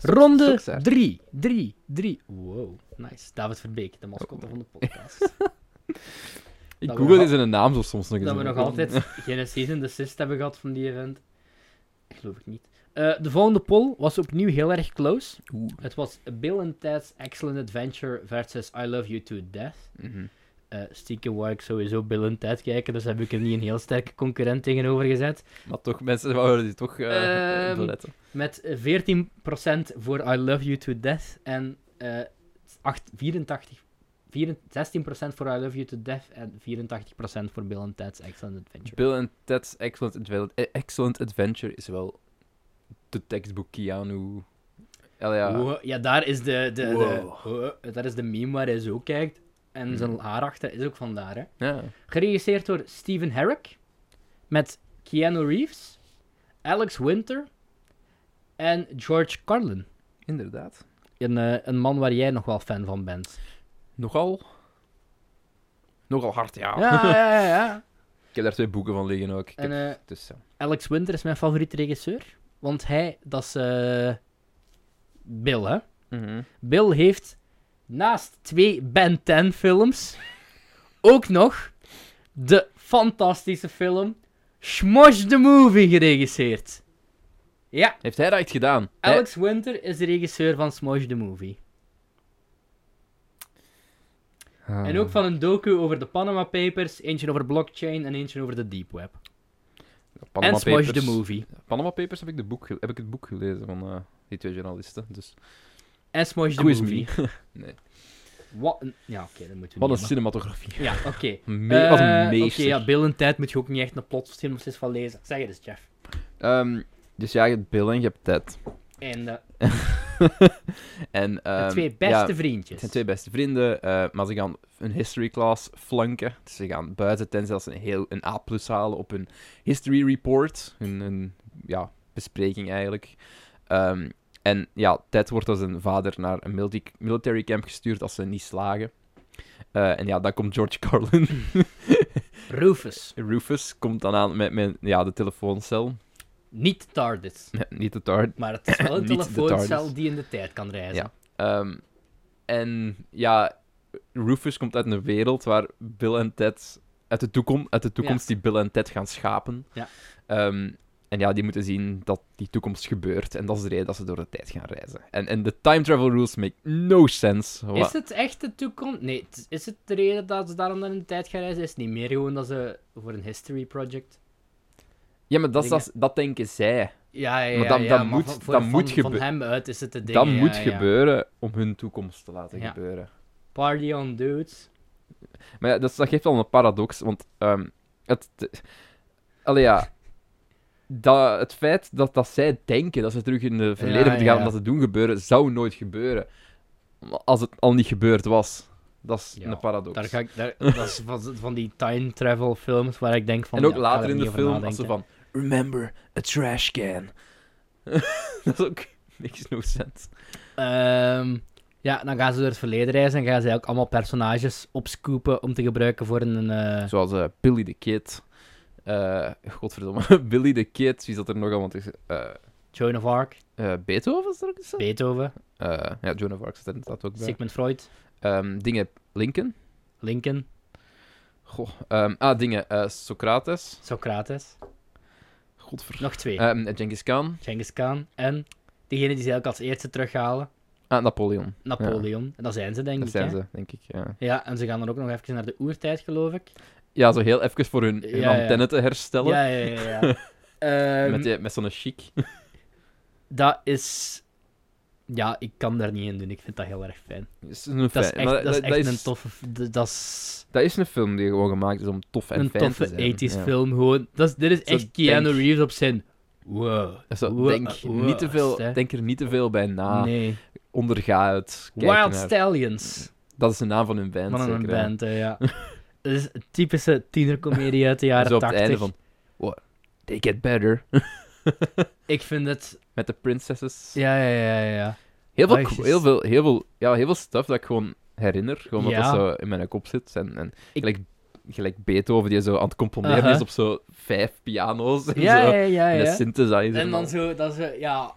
Speaker 2: Ronde
Speaker 1: stokstaart.
Speaker 2: 3. 3. 3. Wow. Nice. David Verbeek, de mascotte van de podcast.
Speaker 1: Ik
Speaker 2: we
Speaker 1: google
Speaker 2: nog-
Speaker 1: deze naam zo soms nog eens.
Speaker 2: dat we nog altijd geen season desist hebben gehad van die event. Ik geloof het niet. Eh, de volgende poll was opnieuw heel erg close.
Speaker 1: Oeh.
Speaker 2: Het was Bill and Ted's Excellent Adventure versus I Love You to Death.
Speaker 1: Mhm.
Speaker 2: Eh, stiekem wou ik sowieso Bill en Ted kijken, dus heb ik er niet een heel sterke concurrent tegenover gezet.
Speaker 1: Maar toch, mensen wouden die toch eh
Speaker 2: Ehm,
Speaker 1: beletten.
Speaker 2: Met eh, 14% voor I Love You to Death en eh, acht- 84, 4 16% voor I Love You to Death en 84% voor Bill and Ted's Excellent Adventure.
Speaker 1: Bill and Ted's Excellent, Adve- eh, Excellent Adventure is wel de tekstboek Keanu. Allee, ja.
Speaker 2: Wow, ja, daar is de, de,
Speaker 1: Wow.
Speaker 2: de, daar is de meme waar hij zo kijkt. En
Speaker 1: Hmm.
Speaker 2: zijn haar achter is ook vandaar. Hè.
Speaker 1: ja.
Speaker 2: Geregisseerd door Steven Herrick. Met Keanu Reeves, Alex Winter en George Carlin.
Speaker 1: Inderdaad.
Speaker 2: Een, eh, een man waar jij nog wel fan van bent.
Speaker 1: Nogal. Nogal hard, ja.
Speaker 2: ja, ja. ja.
Speaker 1: Ik heb daar twee boeken van liggen ook. Ik
Speaker 2: En
Speaker 1: heb,
Speaker 2: eh,
Speaker 1: dus, ja.
Speaker 2: Alex Winter is mijn favoriete regisseur. Want hij, dat is eh, Bill, hè?
Speaker 1: Mhm.
Speaker 2: Bill heeft naast twee Ben 10 films ook nog de fantastische film Smosh the Movie geregisseerd. Ja,
Speaker 1: Heeft hij dat echt gedaan?
Speaker 2: Alex Winter is de regisseur van Smosh the Movie.
Speaker 1: Hij-
Speaker 2: En ook van een docu over de Panama Papers, eentje over blockchain en eentje over de deep web.
Speaker 1: Panama
Speaker 2: en Smosh
Speaker 1: Papers.
Speaker 2: the Movie.
Speaker 1: Panama Papers heb ik, de boek, ge- heb ik het boek gelezen van eh, die twee journalisten. Dus.
Speaker 2: En Smosh the
Speaker 1: Quiz me.
Speaker 2: Movie.
Speaker 1: Nee.
Speaker 2: Wat een... Ja, oké, dat moeten we
Speaker 1: Wat een
Speaker 2: niet
Speaker 1: cinematografie.
Speaker 2: hebben. Ja, oké.
Speaker 1: Me- wat een
Speaker 2: Eh,
Speaker 1: meester.
Speaker 2: Oké, ja, Bill en Ted moet je ook niet echt een plot synopsis van lezen. Zeg het eens, Jeff.
Speaker 1: Ehm, dus ja, je hebt Bill en je hebt Ted.
Speaker 2: En eh,
Speaker 1: En,
Speaker 2: de
Speaker 1: ehm,
Speaker 2: twee
Speaker 1: ja,
Speaker 2: beste vriendjes.
Speaker 1: het zijn twee beste vrienden, eh, maar ze gaan een history class flanken. Dus ze gaan buiten ten zelfs een, heel, een A plus halen op hun history report. Hun, hun, ja, bespreking eigenlijk. Ehm, en ja, Ted wordt als een vader naar een milti- military camp gestuurd als ze niet slagen. Eh, en ja, dan komt George Carlin.
Speaker 2: Rufus,
Speaker 1: Rufus komt dan aan met, met ja, de telefooncel.
Speaker 2: niet TARDIS.
Speaker 1: Niet de taart.
Speaker 2: Maar het is wel een
Speaker 1: Niet de
Speaker 2: telefooncel
Speaker 1: TARDIS.
Speaker 2: die in de tijd kan reizen.
Speaker 1: Ja. Ehm, en ja, Rufus komt uit een wereld waar Bill en Ted uit de toekomst, uit de toekomst die Bill en Ted gaan schapen.
Speaker 2: Ja.
Speaker 1: Ehm, en ja, die moeten zien dat die toekomst gebeurt. En dat is de reden dat ze door de tijd gaan reizen. En, en de time travel rules make no sense. Wa-
Speaker 2: Is het echt de toekomst? Nee, het- is het de reden dat ze daarom dan in de tijd gaan reizen? Is het niet meer gewoon dat ze voor een history project...
Speaker 1: Ja, maar dat, is-
Speaker 2: dingen?
Speaker 1: dat, dat denken zij.
Speaker 2: Ja, ja, ja.
Speaker 1: Maar dat-
Speaker 2: ja,
Speaker 1: dat
Speaker 2: maar
Speaker 1: moet-
Speaker 2: van, voor-
Speaker 1: dat
Speaker 2: van-
Speaker 1: moet
Speaker 2: Van
Speaker 1: gebeuren.
Speaker 2: hem uit is het de ding.
Speaker 1: dat
Speaker 2: ja,
Speaker 1: moet
Speaker 2: ja.
Speaker 1: gebeuren om hun toekomst te laten
Speaker 2: Ja.
Speaker 1: gebeuren.
Speaker 2: Party on dudes.
Speaker 1: Maar ja, dat, is- dat geeft al een paradox, want ehm, het... het- Allee, ja... Dat, het feit dat, dat zij denken dat ze terug in het verleden
Speaker 2: Ja,
Speaker 1: moeten gaan om
Speaker 2: ja.
Speaker 1: dat te doen gebeuren, zou nooit gebeuren. Als het al niet gebeurd was. Dat is
Speaker 2: Ja,
Speaker 1: een paradox.
Speaker 2: Daar ga ik, daar, dat is van, van die time travel films waar ik denk van...
Speaker 1: en ook
Speaker 2: ja, ik ga
Speaker 1: later
Speaker 2: er
Speaker 1: in de
Speaker 2: niet over
Speaker 1: film, als ze
Speaker 2: nadenken.
Speaker 1: van... Remember a trash can. dat is ook niks no sense.
Speaker 2: Ehm, ja, dan gaan ze door het verleden reizen en gaan ze ook allemaal personages opscoopen om te gebruiken voor een... eh,
Speaker 1: Zoals eh, Billy the Kid. Eh, godverdomme. Billy the Kid, wie zat er nog aan? Want is, eh
Speaker 2: Joan of Arc,
Speaker 1: eh, Beethoven is er ook eens aan?
Speaker 2: Beethoven,
Speaker 1: Eh, ja, Joan of Arc staat er inderdaad ook bij.
Speaker 2: Sigmund Freud,
Speaker 1: Ehm, dingen Lincoln.
Speaker 2: Lincoln,
Speaker 1: Goh. ehm, ah, dingen eh, Socrates.
Speaker 2: Socrates.
Speaker 1: Godver.
Speaker 2: Nog twee.
Speaker 1: Ehm, Genghis Khan.
Speaker 2: Genghis Khan en degene die ze eigenlijk als eerste terughalen,
Speaker 1: Ah, Napoleon.
Speaker 2: Napoleon. En dat zijn ze, denk
Speaker 1: Dat
Speaker 2: ik.
Speaker 1: zijn
Speaker 2: hè?
Speaker 1: ze, denk ik. Ja.
Speaker 2: Ja, en ze gaan dan ook nog even naar de oertijd, geloof ik.
Speaker 1: ja, zo heel even voor hun, hun
Speaker 2: Ja, ja.
Speaker 1: antenne te herstellen.
Speaker 2: Ja, ja, ja. ja. Ehm,
Speaker 1: met, die- met zo'n chic.
Speaker 2: Dat is... Ja, ik kan daar niet in doen. Ik vind dat heel erg fijn.
Speaker 1: Dat is een
Speaker 2: Dat is
Speaker 1: fijn-
Speaker 2: echt,
Speaker 1: maar
Speaker 2: dat is
Speaker 1: dat-
Speaker 2: echt
Speaker 1: dat
Speaker 2: een toffe... f- d- Dat is...
Speaker 1: Dat is een film die gewoon gemaakt is om tof en
Speaker 2: een
Speaker 1: fijn
Speaker 2: toffe
Speaker 1: te zijn.
Speaker 2: 80s
Speaker 1: Ja.
Speaker 2: film. Gewoon, dat is, dit is
Speaker 1: Zo
Speaker 2: echt Keanu
Speaker 1: denk-
Speaker 2: Reeves op zijn. Wow.
Speaker 1: Zo,
Speaker 2: Wow,
Speaker 1: denk,
Speaker 2: wow,
Speaker 1: niet te veel,
Speaker 2: hè.
Speaker 1: denk er niet te veel bij na.
Speaker 2: nee.
Speaker 1: Onderga het. Kijk
Speaker 2: Wild
Speaker 1: naar-
Speaker 2: Stallions.
Speaker 1: Dat is de naam van hun band.
Speaker 2: Van een
Speaker 1: zeker, hè.
Speaker 2: band, hè, ja. Dat is een typische tienercomedie uit de
Speaker 1: En
Speaker 2: jaren
Speaker 1: zo op
Speaker 2: 80.
Speaker 1: het einde van... What? They get better.
Speaker 2: Ik vind het.
Speaker 1: Met de princesses.
Speaker 2: Ja, ja, ja, ja, ja.
Speaker 1: Heel, veel,
Speaker 2: Ah, jezus.
Speaker 1: heel, veel, heel, veel, ja, heel veel stuff dat ik gewoon herinner. Gewoon wat
Speaker 2: Ja.
Speaker 1: dat zo in mijn kop zit. En, en
Speaker 2: Ik-
Speaker 1: gelijk, gelijk Beethoven die zo aan het componeren
Speaker 2: Aha.
Speaker 1: is op zo vijf piano's. En
Speaker 2: Ja,
Speaker 1: zo.
Speaker 2: ja, ja,
Speaker 1: En
Speaker 2: ja.
Speaker 1: een synthesizer.
Speaker 2: En dan zo, dat is, eh, ja...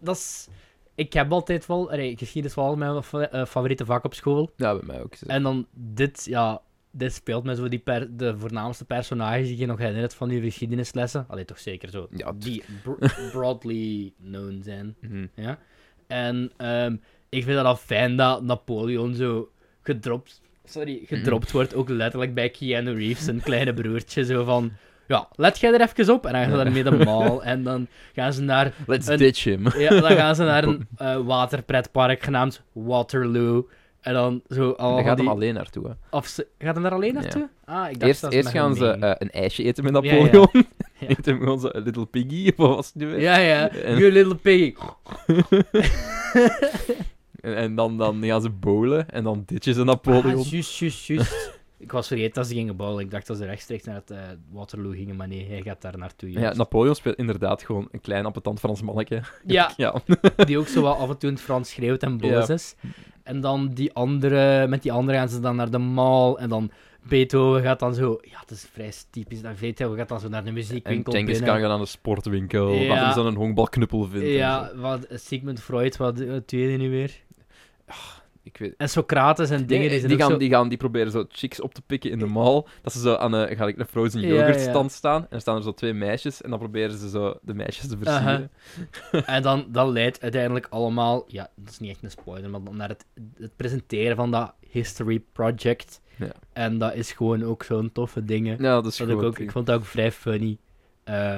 Speaker 2: Dat is... Ik heb altijd wel... allee, geschiedenis was altijd mijn fa- eh, favoriete vak op school.
Speaker 1: Ja, bij mij ook. zo.
Speaker 2: En dan dit, ja... Dit speelt met zo die per- de voornaamste personages die je nog herinnert van die geschiedenislessen. Allee, toch zeker zo.
Speaker 1: Ja, mhm. die...
Speaker 2: Die bro- broadly known zijn. Ja? En ehm, ik vind dat al fijn dat Napoleon zo gedropt,
Speaker 1: Mhm.
Speaker 2: sorry, gedropt wordt, ook letterlijk bij Keanu Reeves, zijn kleine broertje, zo van... Ja, let jij er even op. En dan gaan ze daarmee de mall. En dan gaan ze naar,
Speaker 1: Let's
Speaker 2: Een-
Speaker 1: ditch him.
Speaker 2: ja, dan gaan ze naar een eh, waterpretpark genaamd Waterloo. En dan zo al
Speaker 1: Daar gaat
Speaker 2: die...
Speaker 1: hem alleen naartoe. Hè.
Speaker 2: Of ze- Gaat hem daar alleen
Speaker 1: Ja.
Speaker 2: naartoe? Ah, ik dacht
Speaker 1: Eerst,
Speaker 2: dat
Speaker 1: eerst
Speaker 2: met hem
Speaker 1: gaan ze
Speaker 2: meegingen.
Speaker 1: eh, een ijsje eten met
Speaker 2: Ja, ja.
Speaker 1: Napoleon.
Speaker 2: Ja.
Speaker 1: Eet hem gewoon zo een Little Piggy, of wat was het nu weer?
Speaker 2: Ja, ja.
Speaker 1: En-
Speaker 2: You little piggy.
Speaker 1: En, en dan, dan gaan ze bowlen en dan ditchen ze
Speaker 2: Ah,
Speaker 1: Napoleon.
Speaker 2: juist, juist, juist. ik was vergeten dat ze gingen bouwen. Ik dacht dat ze rechtstreeks naar het eh, Waterloo gingen, maar nee, hij gaat daar naartoe.
Speaker 1: ja,
Speaker 2: juist.
Speaker 1: Napoleon speelt inderdaad gewoon een klein appetant Frans manneke.
Speaker 2: Ja,
Speaker 1: Ja.
Speaker 2: die ook zo wel af en toe in het Frans schreeuwt en boos
Speaker 1: Ja.
Speaker 2: is. En dan die andere, met die andere gaan ze dan naar de mall. En dan Beethoven gaat dan zo... Ja, het is vrij typisch. Dan Beethoven gaat dan zo naar de
Speaker 1: En
Speaker 2: muziekwinkel
Speaker 1: Genghis Khan
Speaker 2: binnen.
Speaker 1: gaat aan de sportwinkel,
Speaker 2: Ja.
Speaker 1: waar hij zo'n honkbalknuppel vindt. en zo.
Speaker 2: Ja, wat, Sigmund Freud, wat eh, het tweede nu weer.
Speaker 1: Ik weet...
Speaker 2: En Socrates en dingen. Die,
Speaker 1: Die,
Speaker 2: zijn
Speaker 1: die,
Speaker 2: ook
Speaker 1: gaan,
Speaker 2: zo-
Speaker 1: die gaan die proberen zo chicks op te pikken in de mall. Dat ze zo aan een, ga ik een frozen
Speaker 2: Ja,
Speaker 1: yoghurt
Speaker 2: ja.
Speaker 1: stand staan. En er staan er zo twee meisjes. En dan proberen ze zo de meisjes te versieren.
Speaker 2: Aha. En dan, dat leidt uiteindelijk allemaal, ja, dat is niet echt een spoiler, maar dan naar het, het presenteren van dat History Project.
Speaker 1: Ja.
Speaker 2: En dat is gewoon ook zo'n toffe dingen.
Speaker 1: Ja, dat is
Speaker 2: dat ik,
Speaker 1: gewoon-
Speaker 2: ook, ik vond dat ook vrij funny. Eh,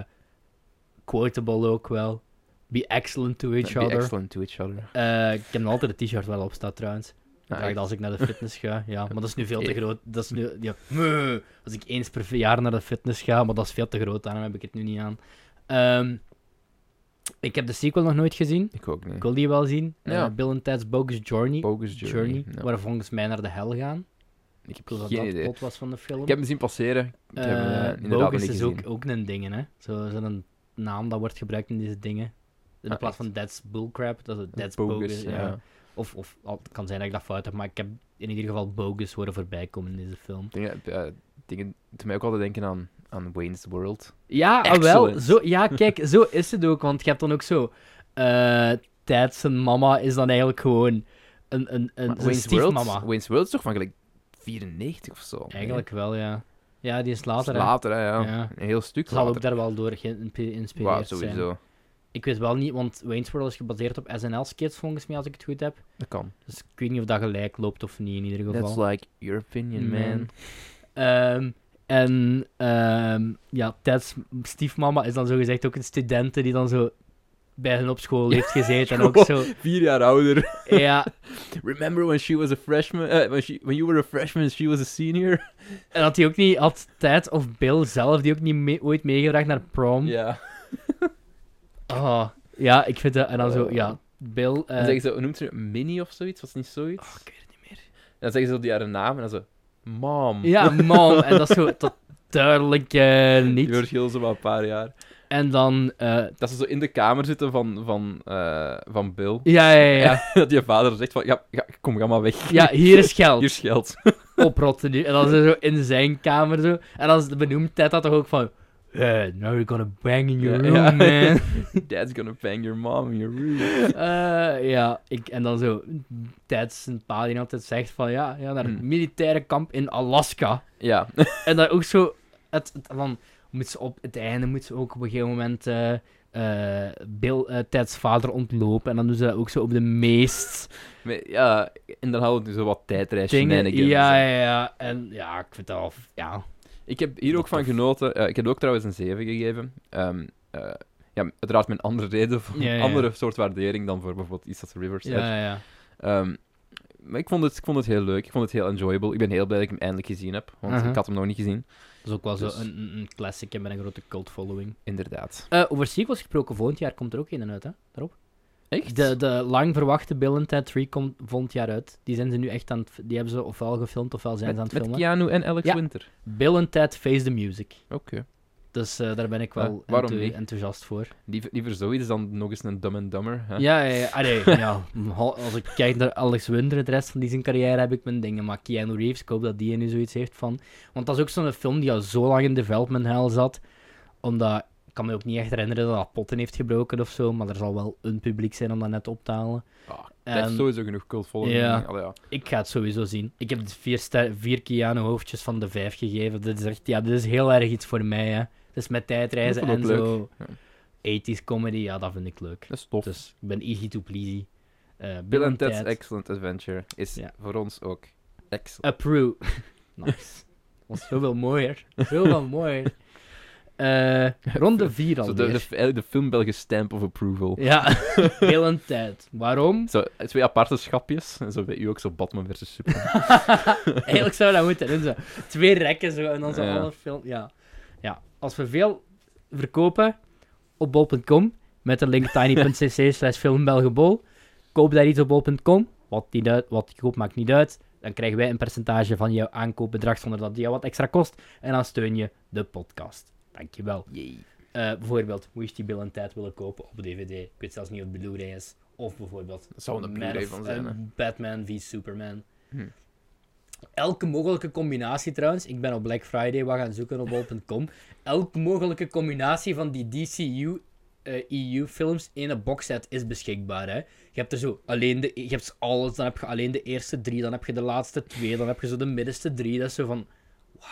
Speaker 2: quotable ook wel. Be excellent to each
Speaker 1: Be
Speaker 2: other.
Speaker 1: excellent to each other.
Speaker 2: Eh, ik heb nog altijd het t-shirt wel op staat trouwens.
Speaker 1: Ja,
Speaker 2: Draag dat als ik naar de fitness ga. Ja, maar dat is nu veel te
Speaker 1: Ah, Eh.
Speaker 2: groot. Dat is nu, ja, meh. als ik eens per jaar naar de fitness ga, maar dat is veel te groot, daarom heb ik het nu niet aan. Ehm, ik heb de sequel nog nooit gezien.
Speaker 1: ik ook niet.
Speaker 2: Ik wil die wel zien. Eh,
Speaker 1: Ja.
Speaker 2: Bill and Ted's Bogus Journey.
Speaker 1: Bogus
Speaker 2: Journey,
Speaker 1: Journey. ja.
Speaker 2: Waar we volgens mij naar de hel gaan.
Speaker 1: Ik heb
Speaker 2: Ik wil dat
Speaker 1: geen
Speaker 2: dat
Speaker 1: idee.
Speaker 2: plot was van de film.
Speaker 1: Ik heb hem zien passeren. Ik
Speaker 2: Eh,
Speaker 1: heb hem eh, inderdaad nog
Speaker 2: Bogus
Speaker 1: niet
Speaker 2: is
Speaker 1: gezien.
Speaker 2: ook, ook een ding, hè. Zo- Zo'n naam dat wordt gebruikt in deze dingen. In
Speaker 1: Ah,
Speaker 2: plaats
Speaker 1: echt?
Speaker 2: van That's Bullcrap, dat is het That's Bogus.
Speaker 1: Bogus,
Speaker 2: ja.
Speaker 1: ja.
Speaker 2: Of, of al- het kan zijn dat ik dat fout heb, maar ik heb in ieder geval Bogus horen voorbij komen in deze film.
Speaker 1: Dingen, eh, dingen doet mij ook altijd denken aan, aan Wayne's World.
Speaker 2: Ja, ah, wel.
Speaker 1: Excellent.
Speaker 2: Zo, ja, kijk, zo is het ook. Want je hebt dan ook zo... eh Ted, zijn mama, is dan eigenlijk gewoon een, een, een,
Speaker 1: Maar
Speaker 2: zijn
Speaker 1: Wayne's World,
Speaker 2: stiefmama.
Speaker 1: Wayne's World is toch van gelijk 94 of zo? nee?
Speaker 2: Eigenlijk wel, ja. Ja, die is
Speaker 1: Dat
Speaker 2: later.
Speaker 1: is
Speaker 2: hè.
Speaker 1: later, hè, ja.
Speaker 2: Ja.
Speaker 1: Een heel stuk
Speaker 2: Zal ook
Speaker 1: later.
Speaker 2: daar wel door
Speaker 1: Wauw,
Speaker 2: geïnspireerd zijn.
Speaker 1: sowieso.
Speaker 2: Ik weet wel niet, want Wayne's World is gebaseerd op SNL-skits, volgens mij, als ik het goed heb.
Speaker 1: Dat kan.
Speaker 2: Dus ik weet niet of dat gelijk loopt of niet, in ieder geval. Mm.
Speaker 1: That's like your opinion, man.
Speaker 2: Man. Ehm, en ehm, ja, Ted's stiefmama is dan zogezegd ook een studente die dan zo bij hun op school heeft gezeten. en ook zo...
Speaker 1: Vier jaar ouder.
Speaker 2: Ja,
Speaker 1: Remember when she was a freshman? eh, when, she, when you were a freshman and she was a senior?
Speaker 2: en had hij ook niet... Had Ted of Bill zelf die ook niet mee- ooit meegebracht naar prom?
Speaker 1: Ja.
Speaker 2: Oh, ja, ik vind dat... En dan zo,
Speaker 1: Eh.
Speaker 2: ja, Bill... eh,
Speaker 1: Dan zeggen ze, hoe noemt ze het? Mini of zoiets? Was het niet zoiets?
Speaker 2: oh, ik weet het niet meer.
Speaker 1: En dan zeggen ze die haar naam en dan zo... Mom.
Speaker 2: Ja, man. En dat is zo tot duidelijk eh,
Speaker 1: Die
Speaker 2: niet.
Speaker 1: verschil ze maar een paar jaar.
Speaker 2: En dan... eh,
Speaker 1: Dat ze zo in de kamer zitten van, van, eh, van Bill.
Speaker 2: ja, ja, ja.
Speaker 1: dat je vader zegt van, ja, ja, kom, ga maar weg.
Speaker 2: Ja, hier is
Speaker 1: Hier
Speaker 2: geld.
Speaker 1: is geld.
Speaker 2: Oprotten nu. En dan zo in zijn kamer zo. En dan benoemt Ted dat toch ook van... Yeah, now you're gonna bang in your
Speaker 1: Ja, ja.
Speaker 2: room, man.
Speaker 1: Dad's gonna bang your mom in your room.
Speaker 2: Eh, ja, ik, en dan zo... Ted zijn pa die altijd zegt van... Ja, ja naar het
Speaker 1: Hmm.
Speaker 2: militaire kamp in Alaska.
Speaker 1: Ja.
Speaker 2: En dan ook zo... Het, het- van, moet ze op het einde moet ze ook op een gegeven moment eh, eh, Bill, eh, Ted's vader ontlopen. En dan doen ze dat ook zo op de meest
Speaker 1: Maar ja, en dan hadden we zo wat tijdreis
Speaker 2: dingen.
Speaker 1: shenanigans.
Speaker 2: Ja, ja, ja. En ja, ik vind dat wel... f- Ja.
Speaker 1: Ik Ik heb hier ook
Speaker 2: Dat
Speaker 1: van
Speaker 2: tof.
Speaker 1: genoten. Eh, ik heb ook trouwens een 7 gegeven. Ehm, eh, ja, uiteraard met andere reden, voor
Speaker 2: Ja, ja, ja.
Speaker 1: andere soort waardering dan voor bijvoorbeeld East of the River's Edge.
Speaker 2: Ja, ja.
Speaker 1: Ehm, maar ik vond, het, ik vond het heel leuk. Ik vond het heel enjoyable. Ik ben heel blij dat ik hem eindelijk gezien heb, want
Speaker 2: Mhm.
Speaker 1: ik had hem nog niet gezien.
Speaker 2: Dat is ook wel
Speaker 1: Dus-
Speaker 2: zo een, een, een classic en met een grote cult following.
Speaker 1: Inderdaad.
Speaker 2: Eh, over sequels gesproken, volgend jaar komt er ook een uit, hè? Daarop.
Speaker 1: Echt?
Speaker 2: De, de lang verwachte Bill and Ted 3 komt volgend jaar uit. Die zijn ze nu echt aan het... Die hebben ze ofwel gefilmd ofwel zijn
Speaker 1: met,
Speaker 2: ze aan het
Speaker 1: met
Speaker 2: filmen.
Speaker 1: Keanu en Alex
Speaker 2: Ja.
Speaker 1: Winter.
Speaker 2: Bill and Ted Face the Music.
Speaker 1: Oké.
Speaker 2: Dus eh, daar ben ik wel
Speaker 1: Eh, waarom
Speaker 2: enthou-
Speaker 1: niet?
Speaker 2: enthousiast voor.
Speaker 1: Liever, liever zoiets dan nog eens een Dumb and Dumber. Hè?
Speaker 2: Ja, ja, ja. Allee, ja. Ho- Als ik kijk naar Alex Winter, de rest van die zijn carrière heb ik mijn dingen. Maar Keanu Reeves, ik hoop dat die nu zoiets heeft van... Want dat is ook zo'n film die al zo lang in development hell zat. Omdat... Ik kan me ook niet echt herinneren dat dat potten heeft gebroken of zo. Maar er zal wel een publiek zijn om dat net op te halen.
Speaker 1: Ah, dat heeft
Speaker 2: En-
Speaker 1: sowieso genoeg cult following.
Speaker 2: Ja.
Speaker 1: Allee, ja.
Speaker 2: Ik ga het sowieso zien. Ik heb de vier, ster- vier Keanu hoofdjes van de vijf gegeven. Dit is echt... Ja, dit is heel erg iets voor mij, hè. Dus met tijdreizen
Speaker 1: Dat
Speaker 2: en
Speaker 1: vind ik ook
Speaker 2: zo...
Speaker 1: leuk.
Speaker 2: 80s comedy, ja, dat vind ik leuk.
Speaker 1: Dat is tof.
Speaker 2: Dus ik ben easy to pleasy. Eh
Speaker 1: Bill and Ted's
Speaker 2: Ted.
Speaker 1: Excellent Adventure is
Speaker 2: Ja.
Speaker 1: voor ons ook excellent.
Speaker 2: Approve. nice. Dat was zoveel mooier. Zoveel mooier. Eh ronde 4
Speaker 1: Zo
Speaker 2: alweer.
Speaker 1: de, de, eigenlijk de filmbelgische stamp of approval.
Speaker 2: Ja, Bill en Ted. Waarom?
Speaker 1: Zo, eh, twee aparte schapjes. En zo bij u ook zo Batman versus Superman.
Speaker 2: Eigenlijk zou dat moeten. doen, zo. Twee rekken zo, en dan zo
Speaker 1: Ja.
Speaker 2: alle film. Ja. ja, als we veel verkopen op bol.com met de link tiny.cc slash filmbelgebol. Koop daar iets op bol.com. Wat, niet uit- wat je koopt maakt niet uit. Dan krijgen wij een percentage van jouw aankoopbedrag zonder dat die jou wat extra kost. En dan steun je de podcast. Dankjewel. Eh, bijvoorbeeld, moest je die Bill en Ted willen kopen op DVD? Ik weet zelfs niet of het Blu-ray is. Of bijvoorbeeld
Speaker 1: Dat zou een
Speaker 2: Man
Speaker 1: Blu-ray
Speaker 2: of-
Speaker 1: van zijn,
Speaker 2: eh,
Speaker 1: hè.
Speaker 2: Batman v Superman.
Speaker 1: Hm.
Speaker 2: Elke mogelijke combinatie trouwens. Ik ben op Black Friday wat gaan zoeken op bol.com. Elke mogelijke combinatie van die DCU eh, EU-films in een boxset is beschikbaar. Hè? Je hebt er zo alleen de, je hebt alles. Dan heb je alleen de eerste drie. Dan heb je de laatste twee. Dan heb je zo de middenste drie. Dat is zo van. Why?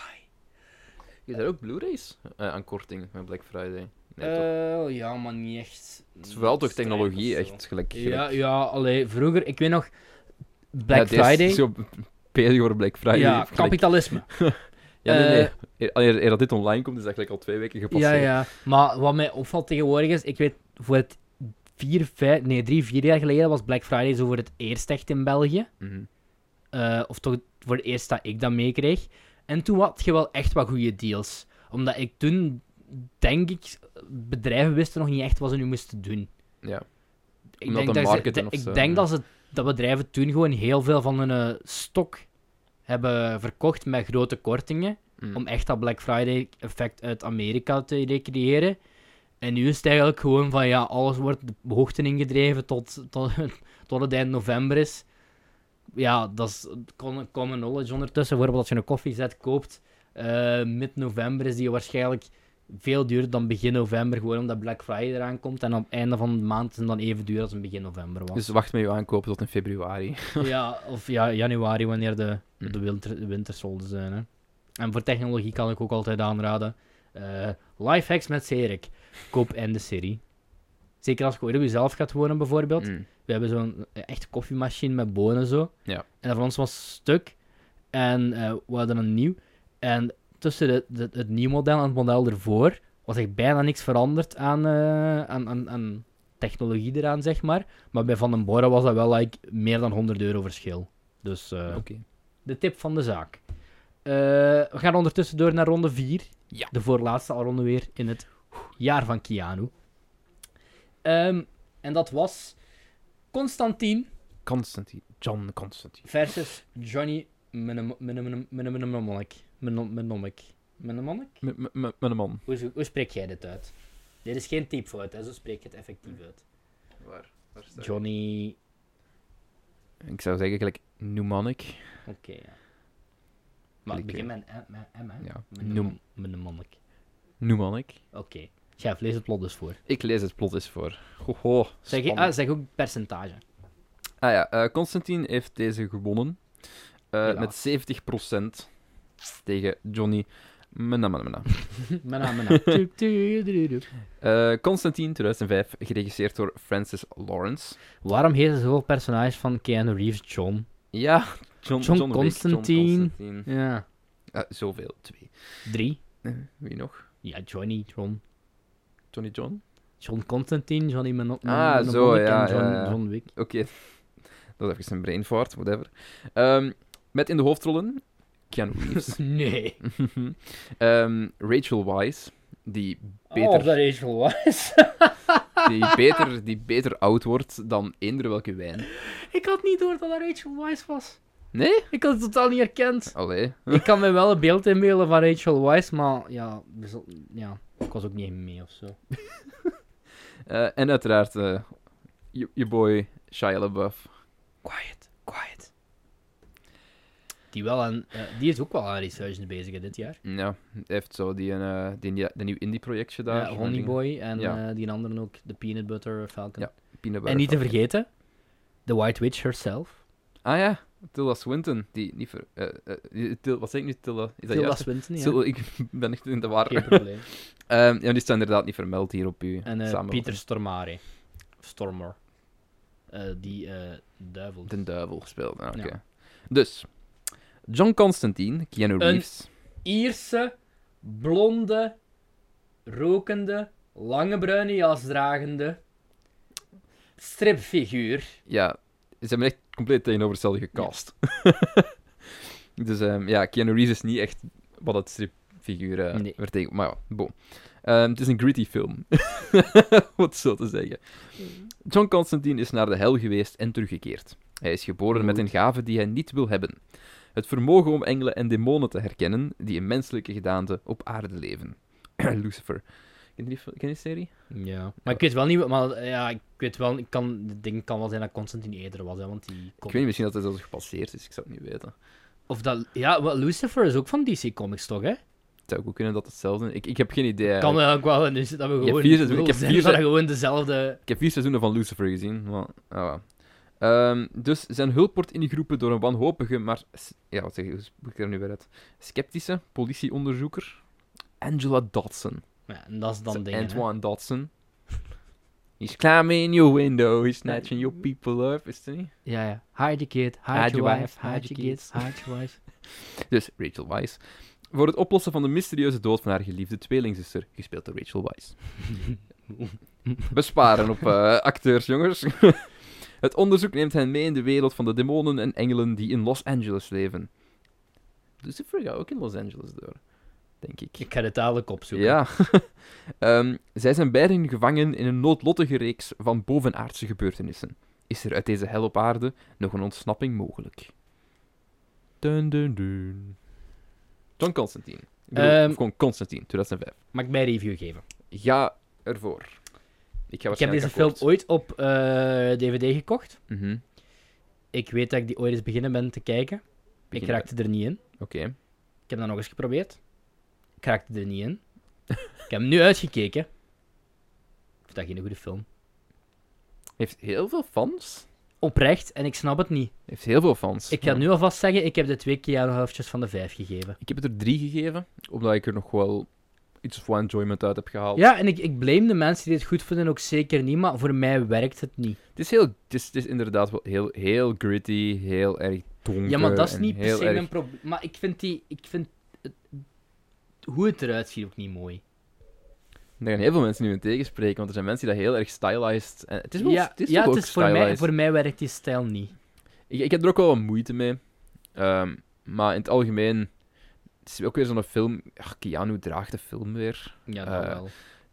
Speaker 1: Is er ook Blu-rays eh, aan korting met Black Friday? Nee, toch?
Speaker 2: Eh, ja, maar niet echt.
Speaker 1: Het is vooral toch
Speaker 2: Strijd
Speaker 1: technologie,
Speaker 2: of zo.
Speaker 1: echt. Gelijk,
Speaker 2: Ja,
Speaker 1: gelijk-
Speaker 2: ja allee, vroeger, ik weet nog. Black
Speaker 1: Ja, deze is
Speaker 2: Friday.
Speaker 1: Zo bezig voor Black Friday.
Speaker 2: ja,
Speaker 1: Gelijk-
Speaker 2: kapitalisme.
Speaker 1: Ja, nee, nee.
Speaker 2: eh,
Speaker 1: Eer- Eer, eer dat dit online komt, is dat gelijk al twee weken
Speaker 2: Ja,
Speaker 1: gepasseerd.
Speaker 2: ja. Maar wat mij opvalt tegenwoordig is, ik weet, voor het vier, vijf, nee, drie, vier jaar geleden was Black Friday zo voor het eerst echt in België.
Speaker 1: Mhm.
Speaker 2: Eh, of toch voor het eerst dat ik dat meekreeg. En toen had je wel echt wat goede deals. Omdat ik toen, denk ik, bedrijven wisten nog niet echt wat ze nu moesten doen.
Speaker 1: ja.
Speaker 2: Ik
Speaker 1: Omdat
Speaker 2: denk,
Speaker 1: de
Speaker 2: dat, ze,
Speaker 1: marketing
Speaker 2: de-
Speaker 1: of zo,
Speaker 2: ik denk
Speaker 1: ja.
Speaker 2: dat, ze, dat bedrijven toen gewoon heel veel van hun eh, stok hebben verkocht met grote kortingen.
Speaker 1: Mm.
Speaker 2: om echt dat Black Friday effect uit Amerika te recreëren. En nu is het eigenlijk gewoon van ja, alles wordt de hoogte ingedreven tot, tot, tot het eind november is. Ja, dat is common common knowledge ondertussen. Bijvoorbeeld als je een koffiezet koopt, eh, mid-november is die waarschijnlijk veel duurder dan begin november, gewoon omdat Black Friday eraan komt. En op het einde van de maand is het dan even duur als een begin november was.
Speaker 1: Dus wacht met je aankopen tot in februari.
Speaker 2: Ja, of ja, januari, wanneer de,
Speaker 1: Hm.
Speaker 2: de, winter, de wintersolden zijn. Hè. En voor technologie kan ik ook altijd aanraden. eh Lifehacks met Serik. Koop en de serie. Zeker als je ooit op jezelf gaat wonen, bijvoorbeeld.
Speaker 1: Mm.
Speaker 2: We hebben zo'n eh, echte koffiemachine met bonen zo.
Speaker 1: Ja.
Speaker 2: En dat van ons was stuk. En eh, we hadden een nieuw. En tussen de, de- het nieuw model en het model ervoor was echt bijna niks veranderd aan, eh, aan, aan, aan technologie eraan, zeg maar. Maar bij Van den Borren was dat wel like, meer dan 100 euro verschil. Dus eh,
Speaker 1: Oké.
Speaker 2: de tip van de zaak. Eh, we gaan ondertussen door naar ronde 4.
Speaker 1: Ja.
Speaker 2: De voorlaatste ronde weer in het jaar van Keanu. Ehm, en dat was Constantine
Speaker 1: Constantine. John Constantine.
Speaker 2: versus Johnny Mnem- Mnem- Mnem- Mnemonic. Mnem- Mnemonic. Mnemonic?
Speaker 1: M- m- m- Met een man.
Speaker 2: Hoe, hoe spreek jij dit uit? Dit is geen typfout, hè? zo spreek je het effectief uit.
Speaker 1: Waar? John.
Speaker 2: Johnny...
Speaker 1: Ik zou zeggen, gelijk Pneumonic.
Speaker 2: Oké, ja. Maar het
Speaker 1: Klik,
Speaker 2: begint met een M, hè? M, hè?
Speaker 1: Ja.
Speaker 2: Mnem- Mnemonic.
Speaker 1: Pneumonic.
Speaker 2: Oké. Chef, lees het plot dus voor.
Speaker 1: Ik lees het plot eens voor. Hoho.
Speaker 2: Zeg, je,
Speaker 1: spannend.
Speaker 2: ah, zeg ook percentage.
Speaker 1: Ah ja, eh Constantine heeft deze gewonnen. eh,
Speaker 2: Helaas.
Speaker 1: met 70% tegen Johnny. Mena, mena, mena.
Speaker 2: Mena, mena. Tu, tu, du, du, du.
Speaker 1: Eh, Constantine 2005, geregisseerd door Francis Lawrence.
Speaker 2: Waarom heet het zoveel personages van Keanu Reeves John?
Speaker 1: Ja, John,
Speaker 2: John
Speaker 1: Wick, John
Speaker 2: Constantine.
Speaker 1: Constantine.
Speaker 2: Ja.
Speaker 1: Eh, zoveel, twee.
Speaker 2: Drie.
Speaker 1: Eh, Wie nog?
Speaker 2: Ja, Johnny, John.
Speaker 1: Johnny John?
Speaker 2: John Constantine, Johnny Menon.
Speaker 1: Ah, zo, ja,
Speaker 2: en John,
Speaker 1: ja, ja.
Speaker 2: John Wick.
Speaker 1: Oké. Dat was even een brain fart, whatever. Ehm, met in de hoofdrollen Keanu Reeves.
Speaker 2: Nee.
Speaker 1: Ehm, Rachel Wise, die beter,
Speaker 2: Oh, dat is wel wijs.
Speaker 1: die, beter, die beter oud wordt dan eender welke wijn.
Speaker 2: Ik had niet door dat dat Rachel Weisz was.
Speaker 1: Nee?
Speaker 2: Ik had het totaal niet herkend.
Speaker 1: Allee.
Speaker 2: Ik kan me wel een beeld inbeelden van Rachel Weisz, maar ja, we zal- ja, ik was ook niet mee of zo.
Speaker 1: Eh, en uiteraard eh, je je boy Shia LaBeouf.
Speaker 2: Quiet, quiet. Die, wel een, eh, die is ook wel aan research bezig dit jaar.
Speaker 1: Ja, hij heeft zo die, een eh, die, die, die nieuw indie-projectje daar.
Speaker 2: Ja, Honeyboy en
Speaker 1: Ja.
Speaker 2: eh, die andere ook, de Peanut Butter eh, Falcon.
Speaker 1: Ja, Peanut
Speaker 2: en
Speaker 1: butter
Speaker 2: niet te
Speaker 1: falcon.
Speaker 2: vergeten, The White Witch herself.
Speaker 1: Ah ja, Tilda Swinton. Die niet ver... eh, eh, die- Til- wat zeg ik nu? Tilda? Is dat
Speaker 2: Tilda
Speaker 1: juist?
Speaker 2: Swinton, ja.
Speaker 1: Til- ik ben echt in de war.
Speaker 2: Geen probleem.
Speaker 1: Ehm, ja, die staan inderdaad niet vermeld hier op u.
Speaker 2: En eh Pieter Stormare. Stormer. Eh, die eh, duivel.
Speaker 1: Den Duivel gespeeld. Ah, oké.
Speaker 2: Ja.
Speaker 1: Dus, John Constantine, Keanu Reeves.
Speaker 2: Ierse, blonde, rokende, lange bruine jas dragende stripfiguur.
Speaker 1: Ja, ze hebben echt compleet tegenover hetzelfde gecast. dus ehm, ja, Keanu Reeves is niet echt wat het stripfiguur eh
Speaker 2: Nee.
Speaker 1: vertegen- Maar ja, boom. Ehm, het is een gritty film. wat zo te zeggen. John Constantine is naar de hel geweest en teruggekeerd. Hij is geboren met een gave die hij niet wil hebben. Het vermogen om engelen en demonen te herkennen die in menselijke gedaante op aarde leven. Lucifer. Ken je die, fil- ken je die serie?
Speaker 2: Ja. Maar ik weet wel niet... wat- Maar eh, ja, ik weet wel... Ik kan, het ding kan wel zijn dat Constantine eerder was, hè, want die...
Speaker 1: Ik
Speaker 2: comic-
Speaker 1: weet niet, misschien dat hij zelfs gepasseerd is, ik zou het niet weten.
Speaker 2: Of dat... Ja, wel, Lucifer is ook van DC Comics, toch, hè?
Speaker 1: Het zou ook kunnen dat hetzelfde is. Ik, ik heb geen idee.
Speaker 2: Kan
Speaker 1: eigenlijk.
Speaker 2: wel ook wel... Dus dat we
Speaker 1: hebt
Speaker 2: gewoon...
Speaker 1: vier seizoenen- ik
Speaker 2: lul
Speaker 1: heb
Speaker 2: zijn,
Speaker 1: vier
Speaker 2: dat
Speaker 1: se-
Speaker 2: we gewoon dezelfde...
Speaker 1: Ik heb vier seizoenen van Lucifer gezien. Maar, ah, wel. Ehm, dus zijn hulp wordt ingeroepen door een wanhopige, maar... s- Ja, wat zeg ik, hoe moet ik er nu weer uit? Sceptische politieonderzoeker Angela Dodson.
Speaker 2: Ja, en dat is dan
Speaker 1: Zo,
Speaker 2: dingen, hè.
Speaker 1: Antoine Dodson. He's climbing your window, he's snatching your people up, is het niet?
Speaker 2: Ja, ja. Hide your kid, hide,
Speaker 1: Hide
Speaker 2: your
Speaker 1: your
Speaker 2: wife,
Speaker 1: wife,
Speaker 2: hide,
Speaker 1: hide
Speaker 2: your
Speaker 1: your
Speaker 2: kids, hide your wife.
Speaker 1: Dus Rachel Weisz. Voor het oplossen van de mysterieuze dood van haar geliefde tweelingzuster, gespeeld door Rachel Weisz. Besparen op eh, acteurs, jongens. het onderzoek neemt hen mee in de wereld van de demonen en engelen die in Los Angeles leven. Lucifer gaat ook in Los Angeles door, denk ik.
Speaker 2: Ik ga het dadelijk opzoeken.
Speaker 1: Ja. Ehm, zij zijn beiden gevangen in een noodlottige reeks van bovenaardse gebeurtenissen. Is er uit deze hel op aarde nog een ontsnapping mogelijk? Dun, dun, dun. John Constantine. Ik bedoel,
Speaker 2: Ehm.
Speaker 1: of gewoon Constantine, 2005.
Speaker 2: Mag ik mij een review geven?
Speaker 1: Ga ervoor. Ik, ga
Speaker 2: Ik heb
Speaker 1: waarschijnlijk
Speaker 2: deze film
Speaker 1: akkoord.
Speaker 2: ooit op eh, DVD gekocht.
Speaker 1: Mhm.
Speaker 2: Ik weet dat ik die ooit eens beginnen ben te kijken. Ik
Speaker 1: Begin-
Speaker 2: raakte er niet in.
Speaker 1: Oké.
Speaker 2: Ik heb dat nog eens geprobeerd. Ik raakte er niet in. ik heb hem nu uitgekeken. Ik vind dat geen goede film.
Speaker 1: Heeft heel veel fans.
Speaker 2: Oprecht, en ik snap het niet.
Speaker 1: Heeft heel veel fans.
Speaker 2: Ik ga
Speaker 1: Ja.
Speaker 2: nu alvast zeggen, ik heb de twee Keanu-hoofdjes van de vijf gegeven.
Speaker 1: Ik heb het er drie gegeven, omdat ik er nog wel iets van enjoyment uit heb gehaald.
Speaker 2: Ja, en ik, ik blame de mensen die het goed vinden ook zeker niet, maar voor mij werkt het niet.
Speaker 1: Het is, heel, het, is, het is inderdaad wel heel, heel gritty, heel erg donker.
Speaker 2: Ja, maar dat is
Speaker 1: en
Speaker 2: niet per
Speaker 1: eh, heel
Speaker 2: se
Speaker 1: erg-
Speaker 2: mijn probleem. Maar ik vind die... Ik vind het- hoe het eruit ziet ook niet mooi.
Speaker 1: Daar gaan heel veel mensen nu in tegenspreken, want er zijn mensen die dat heel erg stylized... En het is wel,
Speaker 2: ja,
Speaker 1: het is
Speaker 2: ja,
Speaker 1: toch
Speaker 2: het
Speaker 1: ook
Speaker 2: is voor, mij,
Speaker 1: stylized.
Speaker 2: voor mij werkt die stijl niet.
Speaker 1: Ik, ik heb er ook wel wat moeite mee. Ehm, maar in het algemeen... Het is ook weer zo'n film... Ach, Keanu draagt de film weer.
Speaker 2: Ja,
Speaker 1: dat Eh, wel.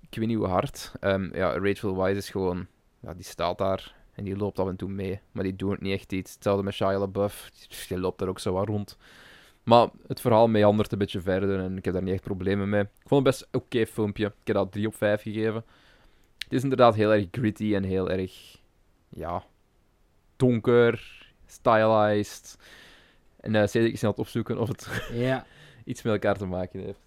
Speaker 1: Ik weet niet hoe hard. Ehm, ja, Rachel Wise is gewoon... Ja, die staat daar en die loopt af en toe mee. Maar die doet niet echt iets. Hetzelfde met Shia LaBeouf. Die loopt daar ook zo wat rond. Maar het verhaal meandert een beetje verder en ik heb daar niet echt problemen mee. Ik vond het best een oké filmpje. Ik heb dat 3 op 5 gegeven. Het is inderdaad heel erg gritty en heel erg... Ja... Donker. Stylized. En eh Cedric is aan het opzoeken of het
Speaker 2: Ja.
Speaker 1: iets met elkaar te maken heeft.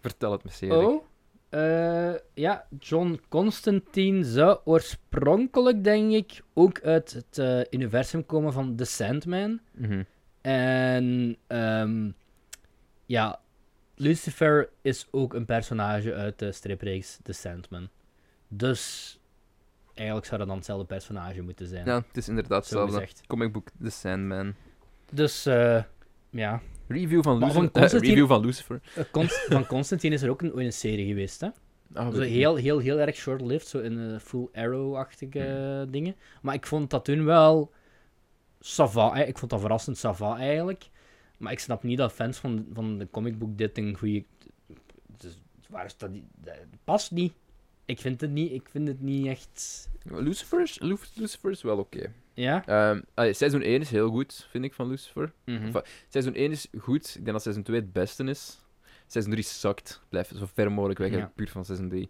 Speaker 1: Vertel het me, Cedric.
Speaker 2: Oh, eh, ja, John Constantine zou oorspronkelijk, denk ik, ook uit het eh, universum komen van The Sandman.
Speaker 1: Mhm.
Speaker 2: En ehm, ja, Lucifer is ook een personage uit de stripreeks The Sandman. Dus eigenlijk zou dat dan hetzelfde personage moeten zijn.
Speaker 1: Ja, het is inderdaad
Speaker 2: zo
Speaker 1: hetzelfde.
Speaker 2: gezegd.
Speaker 1: Comic book The Sandman.
Speaker 2: Dus eh, ja,
Speaker 1: Review van
Speaker 2: Maar van
Speaker 1: Lucifer. eh,
Speaker 2: Constantine-
Speaker 1: review van Lucifer.
Speaker 2: Eh, Const- van Constantine is er ook een, ooit een serie geweest, hè?
Speaker 1: Ah, weet
Speaker 2: Zo
Speaker 1: ik niet.
Speaker 2: heel, heel, heel erg short-lived, zo in eh, full arrow-achtige eh, dingen. Maar ik vond dat toen wel sava. Ik vond dat verrassend sava eigenlijk. Maar ik snap niet dat fans van, van de comicbook dit een goede. Dus, waar is dat? niet- Dat past niet. Ik vind het niet. Ik vind het niet echt.
Speaker 1: Lucifer is, Lu- Lucifer is wel oké.
Speaker 2: Ja.
Speaker 1: Ehm, allee, seizoen 1 is heel goed, vind ik, van Lucifer.
Speaker 2: Mhm.
Speaker 1: Va- Seizoen 1 is goed. Ik denk dat seizoen 2 het beste is. Seizoen 3 sukt. Blijf zo ver mogelijk weg,
Speaker 2: Ja.
Speaker 1: eigenlijk puur van seizoen 3.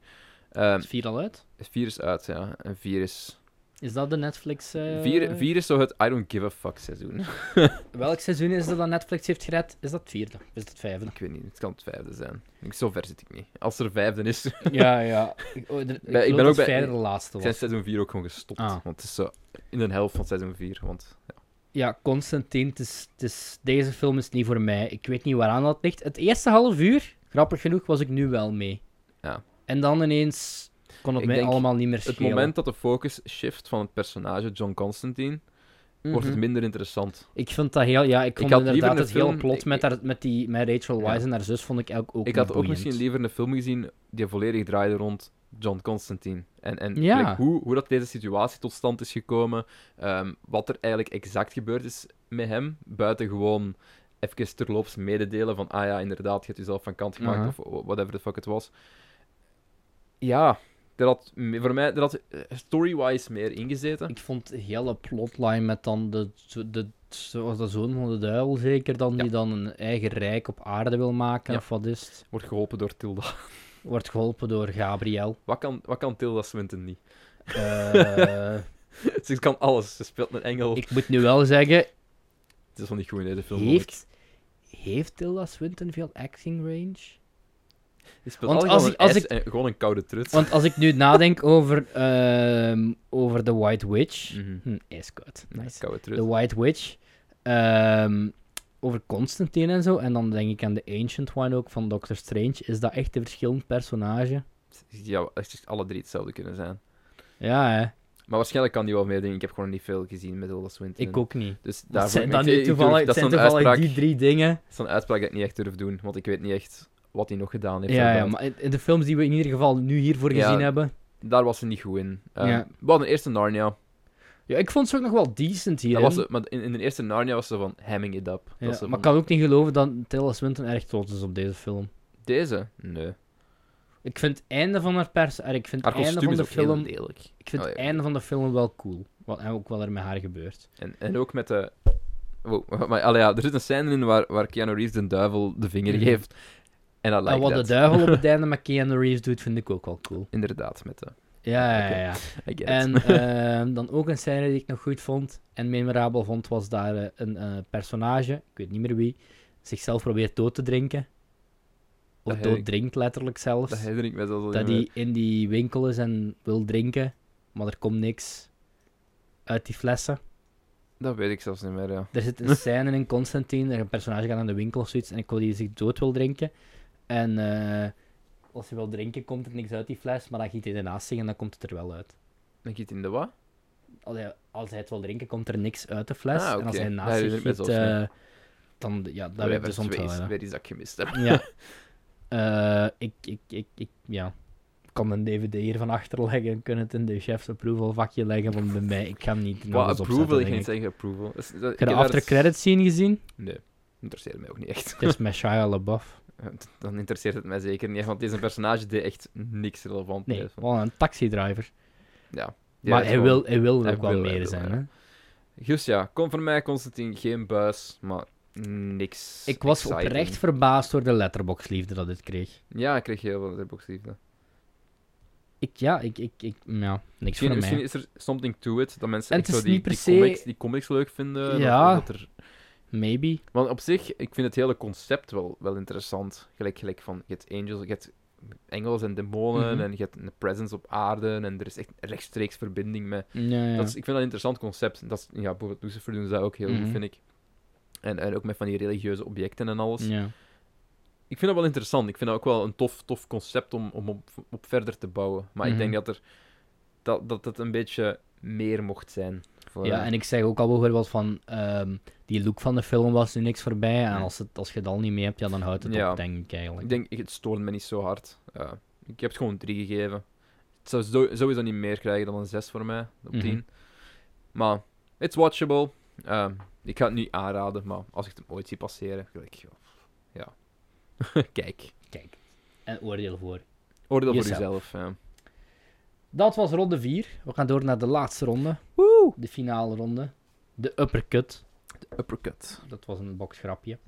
Speaker 1: Ehm
Speaker 2: Is vier al uit?
Speaker 1: 4 is uit, ja. En 4 is...
Speaker 2: Is dat de Netflix? eh,
Speaker 1: 4 is zo het I don't give a fuck seizoen.
Speaker 2: Welk seizoen is dat dat Netflix heeft gered? Is dat het vierde? Of Is dat het vijfde?
Speaker 1: ik weet niet, het kan het vijfde zijn. Ik, zo ver zit ik niet. Als er vijfde is,
Speaker 2: Ja, ja. Ik, oh, er- ik,
Speaker 1: ben
Speaker 2: geloof
Speaker 1: ook
Speaker 2: dat
Speaker 1: bij-
Speaker 2: vijfde de laatste was.
Speaker 1: zijn seizoen 4 ook gewoon gestopt.
Speaker 2: Ah.
Speaker 1: Want het is zo in de helft van seizoen 4. Want
Speaker 2: Ja, Constantine, het is, het is- deze film is niet voor mij. Ik weet niet waaraan dat ligt. Het eerste half uur, grappig genoeg, was ik nu wel mee.
Speaker 1: Ja.
Speaker 2: En dan ineens kon het
Speaker 1: Ik
Speaker 2: mij
Speaker 1: denk,
Speaker 2: allemaal niet meer
Speaker 1: het
Speaker 2: schelen.
Speaker 1: moment dat de focus shift van het personage John Constantine, wordt het
Speaker 2: Mhm.
Speaker 1: minder interessant.
Speaker 2: Ik vond dat heel... Ja, ik vond
Speaker 1: had liever
Speaker 2: inderdaad
Speaker 1: een
Speaker 2: het
Speaker 1: film-
Speaker 2: hele plot
Speaker 1: ik-
Speaker 2: met, haar, met, die, met Rachel
Speaker 1: Ja.
Speaker 2: Wise en haar zus vond ik eigenlijk ook
Speaker 1: ik had
Speaker 2: niet
Speaker 1: ook
Speaker 2: boeiend.
Speaker 1: misschien liever een film gezien die volledig draaide rond John Constantine. En, en
Speaker 2: Ja.
Speaker 1: gelijk hoe, hoe dat deze situatie tot stand is gekomen, ehm, wat er eigenlijk exact gebeurd is met hem, buiten gewoon even terloops mededelen van, ah ja, inderdaad, je hebt jezelf van kant gemaakt,
Speaker 2: Aha.
Speaker 1: of wha- whatever the fuck het was. Ja, er had me- voor mij er had eh, story-wise meer ingezeten.
Speaker 2: Ik vond de hele plotline met dan de, de, zo- was dat zoon van de duivel zeker dan, die dan een eigen rijk op aarde wil maken,
Speaker 1: Ja.
Speaker 2: of wat is het?
Speaker 1: Wordt geholpen door Tilda.
Speaker 2: Wordt geholpen door Gabriel.
Speaker 1: Wat kan, wat kan Tilda Swinton niet?
Speaker 2: Eh...
Speaker 1: Ze Dus kan alles. Ze speelt een engel.
Speaker 2: Ik moet nu wel zeggen,
Speaker 1: Het is wel niet goed in deze film. hoor.
Speaker 2: heeft, heeft Tilda Swinton veel acting range?
Speaker 1: Je speelt
Speaker 2: Want
Speaker 1: altijd
Speaker 2: als
Speaker 1: gewoon
Speaker 2: ik-
Speaker 1: een
Speaker 2: als
Speaker 1: ijs
Speaker 2: ik-
Speaker 1: en gewoon een koude trut.
Speaker 2: Want als ik nu nadenk over, ehm, over The White Witch...
Speaker 1: Mhm.
Speaker 2: Hm, ijskoud.
Speaker 1: Een
Speaker 2: Nice.
Speaker 1: Koude trut.
Speaker 2: The White Witch. ehm, over Constantine en zo. En dan denk ik aan The Ancient One ook van Doctor Strange. Is dat echt een verschillend personage?
Speaker 1: Ja, het is dus alle drie hetzelfde kunnen zijn.
Speaker 2: Ja, hè.
Speaker 1: Maar waarschijnlijk kan die wel meer dingen. Ik heb gewoon niet veel gezien met Tilda Swinton.
Speaker 2: Ik ook niet.
Speaker 1: Dus daarvoor...
Speaker 2: Dat zijn
Speaker 1: ik-
Speaker 2: dan
Speaker 1: ik
Speaker 2: nu
Speaker 1: durf-
Speaker 2: toevallig,
Speaker 1: dat
Speaker 2: het
Speaker 1: is
Speaker 2: zijn
Speaker 1: een
Speaker 2: toevallig
Speaker 1: uitspraak,
Speaker 2: die drie dingen.
Speaker 1: dat is een uitspraak dat ik niet echt durf doen, want ik weet niet echt wat hij nog gedaan heeft.
Speaker 2: Ja, ja,
Speaker 1: verder.
Speaker 2: maar in in de films die we in ieder geval nu hiervoor
Speaker 1: Ja.
Speaker 2: gezien hebben...
Speaker 1: Daar was ze niet goed in. Ehm,
Speaker 2: Ja.
Speaker 1: We hadden eerst een Narnia.
Speaker 2: Ja, ik vond ze ook nog wel decent hier.
Speaker 1: Dat was, ze- maar in, in de eerste Narnia was ze van hamming it up. Dat
Speaker 2: Ja,
Speaker 1: ze van,
Speaker 2: maar ik kan ook niet geloven dat Tilda Swinton erg trots is op deze film.
Speaker 1: Deze? Nee.
Speaker 2: Ik vind het einde van haar pers... eh, Ik vind
Speaker 1: Haar
Speaker 2: het einde
Speaker 1: kostuum
Speaker 2: van
Speaker 1: is
Speaker 2: de
Speaker 1: ook heel
Speaker 2: film...
Speaker 1: lelijk.
Speaker 2: Ik vind
Speaker 1: Oh,
Speaker 2: het
Speaker 1: ja.
Speaker 2: einde van de film wel cool. Wat, en ook wat er met haar gebeurt.
Speaker 1: En, en ook met de. Wow, maar allee, ja, er zit een scène in waar, waar Keanu Reeves de duivel de vinger
Speaker 2: Mhm.
Speaker 1: geeft. En dat lijkt
Speaker 2: en wat
Speaker 1: dat.
Speaker 2: de duivel op het einde met Keanu Reeves doet, vind ik ook wel cool.
Speaker 1: Inderdaad, met de.
Speaker 2: Ja, ja,
Speaker 1: Oké.
Speaker 2: ja. ja.
Speaker 1: I get it.
Speaker 2: En ehm, dan ook een scène die ik nog goed vond en memorabel vond, was daar eh, een eh, personage, ik weet niet meer wie, zichzelf probeert dood te drinken. Of
Speaker 1: Dat hij-
Speaker 2: dood drinkt, letterlijk zelfs.
Speaker 1: dat herinner ik me zelfs al
Speaker 2: dat
Speaker 1: niet
Speaker 2: hij in die winkel is en wil drinken, maar er komt niks uit die flessen.
Speaker 1: meer. Dat weet ik zelfs niet meer, ja.
Speaker 2: Er zit een scène in Constantine, er een personage gaat naar de winkel of zoiets en ik wil die zich dood wil drinken. En eh, als hij wil drinken, komt er niks uit die fles, maar dan giet hij ernaast zich en dan komt het er wel uit.
Speaker 1: Dan giet in de wat?
Speaker 2: Als hij, als hij het wil drinken, komt er niks uit de fles.
Speaker 1: Ah,
Speaker 2: En
Speaker 1: oké.
Speaker 2: als hij
Speaker 1: Ja,
Speaker 2: naast
Speaker 1: dat
Speaker 2: zich
Speaker 1: is net
Speaker 2: giet,
Speaker 1: zoals, ja.
Speaker 2: eh, dan... Ja, dat
Speaker 1: Whatever,
Speaker 2: werd dus
Speaker 1: twee is-
Speaker 2: onthouden.
Speaker 1: Weer iets dat ik gemist heb.
Speaker 2: Ja. Eh, ik, ik, ik, ik, ja. Ik kan een DVD hiervan achterleggen. Ik kan het in de chef's approval vakje leggen. Want bij mij, ik ga hem niet. nog
Speaker 1: Wat
Speaker 2: eens
Speaker 1: approval?
Speaker 2: opzetten,
Speaker 1: Ik ga niet
Speaker 2: denk ik.
Speaker 1: zeggen approval. Dat is- dat- ik
Speaker 2: Heb je de
Speaker 1: heb daar
Speaker 2: after
Speaker 1: eens-
Speaker 2: credits scene gezien?
Speaker 1: Nee, interesseert mij ook niet echt.
Speaker 2: Het is met Shia LaBeouf.
Speaker 1: Dan interesseert het mij zeker niet, want deze personage deed echt niks relevant.
Speaker 2: Nee,
Speaker 1: mee. Van-
Speaker 2: wel een taxidriver.
Speaker 1: Ja. Die
Speaker 2: maar
Speaker 1: is
Speaker 2: hij
Speaker 1: gewoon-
Speaker 2: wil, hij wil er
Speaker 1: hij
Speaker 2: ook wel
Speaker 1: wil, hij
Speaker 2: meer
Speaker 1: wil,
Speaker 2: zijn.
Speaker 1: ja.
Speaker 2: Hè?
Speaker 1: Dus ja, kom voor mij, Constantine, geen buis, maar niks.
Speaker 2: Ik was
Speaker 1: exciting.
Speaker 2: oprecht verbaasd door de letterboxliefde dat dit kreeg.
Speaker 1: Ja, ik kreeg heel veel letterboxliefde.
Speaker 2: Ik, ja, ik, ik, ik, ja, niks
Speaker 1: Misschien,
Speaker 2: voor
Speaker 1: misschien
Speaker 2: mij.
Speaker 1: is er something to it, dat mensen
Speaker 2: En
Speaker 1: echt
Speaker 2: het
Speaker 1: zo
Speaker 2: is
Speaker 1: die,
Speaker 2: niet per
Speaker 1: die
Speaker 2: se-
Speaker 1: comics, die comics leuk vinden.
Speaker 2: Ja.
Speaker 1: Of, dat er...
Speaker 2: Maybe.
Speaker 1: Want op zich, ik vind het hele concept wel, wel interessant. Gelijk, gelijk van, je hebt angels, je hebt engels en demonen,
Speaker 2: Mhm.
Speaker 1: en je hebt een presence op aarde, en er is echt rechtstreeks verbinding met...
Speaker 2: Ja, ja.
Speaker 1: Dat is, ik vind dat een interessant concept. Dat is, ja, bijvoorbeeld Lucifer doen ze dat ook heel
Speaker 2: Mhm.
Speaker 1: goed, vind ik. En, en ook met van die religieuze objecten en alles.
Speaker 2: ja.
Speaker 1: Ik vind dat wel interessant. Ik vind dat ook wel een tof, tof concept om, om op, op verder te bouwen. Maar ik denk
Speaker 2: Mhm.
Speaker 1: dat er dat, dat het een beetje meer mocht zijn. Voor,
Speaker 2: Ja, en ik zeg ook al bijvoorbeeld van ehm, die look van de film was nu niks voorbij. En
Speaker 1: Hm.
Speaker 2: als, het, als je dat al niet mee hebt, ja, dan houdt het
Speaker 1: Ja.
Speaker 2: op, denk ik eigenlijk.
Speaker 1: Ik denk, ik- het stoort me niet zo hard. Ja. ik heb het gewoon drie gegeven. Het zou zo- sowieso niet meer krijgen dan een zes voor mij, op
Speaker 2: Mhm.
Speaker 1: tien. Maar, it's watchable. Ehm, ik ga het niet aanraden, maar als ik het ooit zie passeren, gelijk, ja. ja. Kijk,
Speaker 2: Kijk, en oordeel voor.
Speaker 1: oordeel voor
Speaker 2: Jezelf.
Speaker 1: jezelf. Ja.
Speaker 2: Dat was ronde 4. We gaan door naar de laatste ronde. De finale ronde. De uppercut.
Speaker 1: Uppercut.
Speaker 2: Dat was een boksgrapje.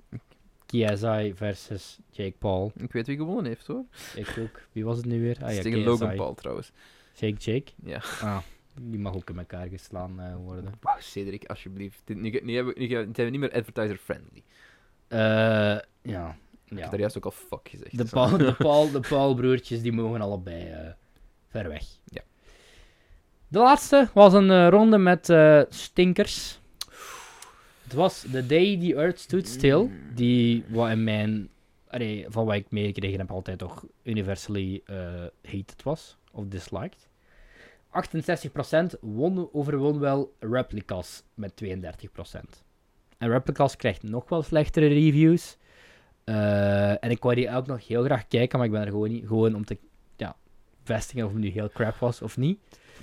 Speaker 2: KSI versus Jake Paul.
Speaker 1: Ik weet wie gewonnen heeft hoor.
Speaker 2: Ik ook. Wie was het nu weer? Ah
Speaker 1: Het
Speaker 2: ja,
Speaker 1: is tegen
Speaker 2: KSI.
Speaker 1: Logan Paul trouwens.
Speaker 2: Jake Jake.
Speaker 1: Ja.
Speaker 2: Ah, die mag ook in elkaar geslaan eh, worden.
Speaker 1: Wauw, Cedric, alsjeblieft. Dit, nu, nu, hebben we- nu gaan- dit hebben we niet meer advertiser-friendly.
Speaker 2: Eh, ja.
Speaker 1: Ik
Speaker 2: ja.
Speaker 1: heb daar juist ook al fuck gezegd.
Speaker 2: De,
Speaker 1: Zo.
Speaker 2: Paul, de, Paul, de Paulbroertjes die mogen allebei eh, ver weg.
Speaker 1: Ja.
Speaker 2: De laatste was een eh, ronde met eh, stinkers. Het was The Day The Earth Stood Still. Die wat in mijn, allee, van wat ik meegekregen heb, altijd toch universally eh, hated was. Of disliked. 68% won, overwon wel Replicas met 32%. En Replicas krijgt nog wel slechtere reviews. Eh, en ik wou die ook nog heel graag kijken, maar ik ben er gewoon niet. Gewoon om te ja, vestigen of het nu heel crap was of niet.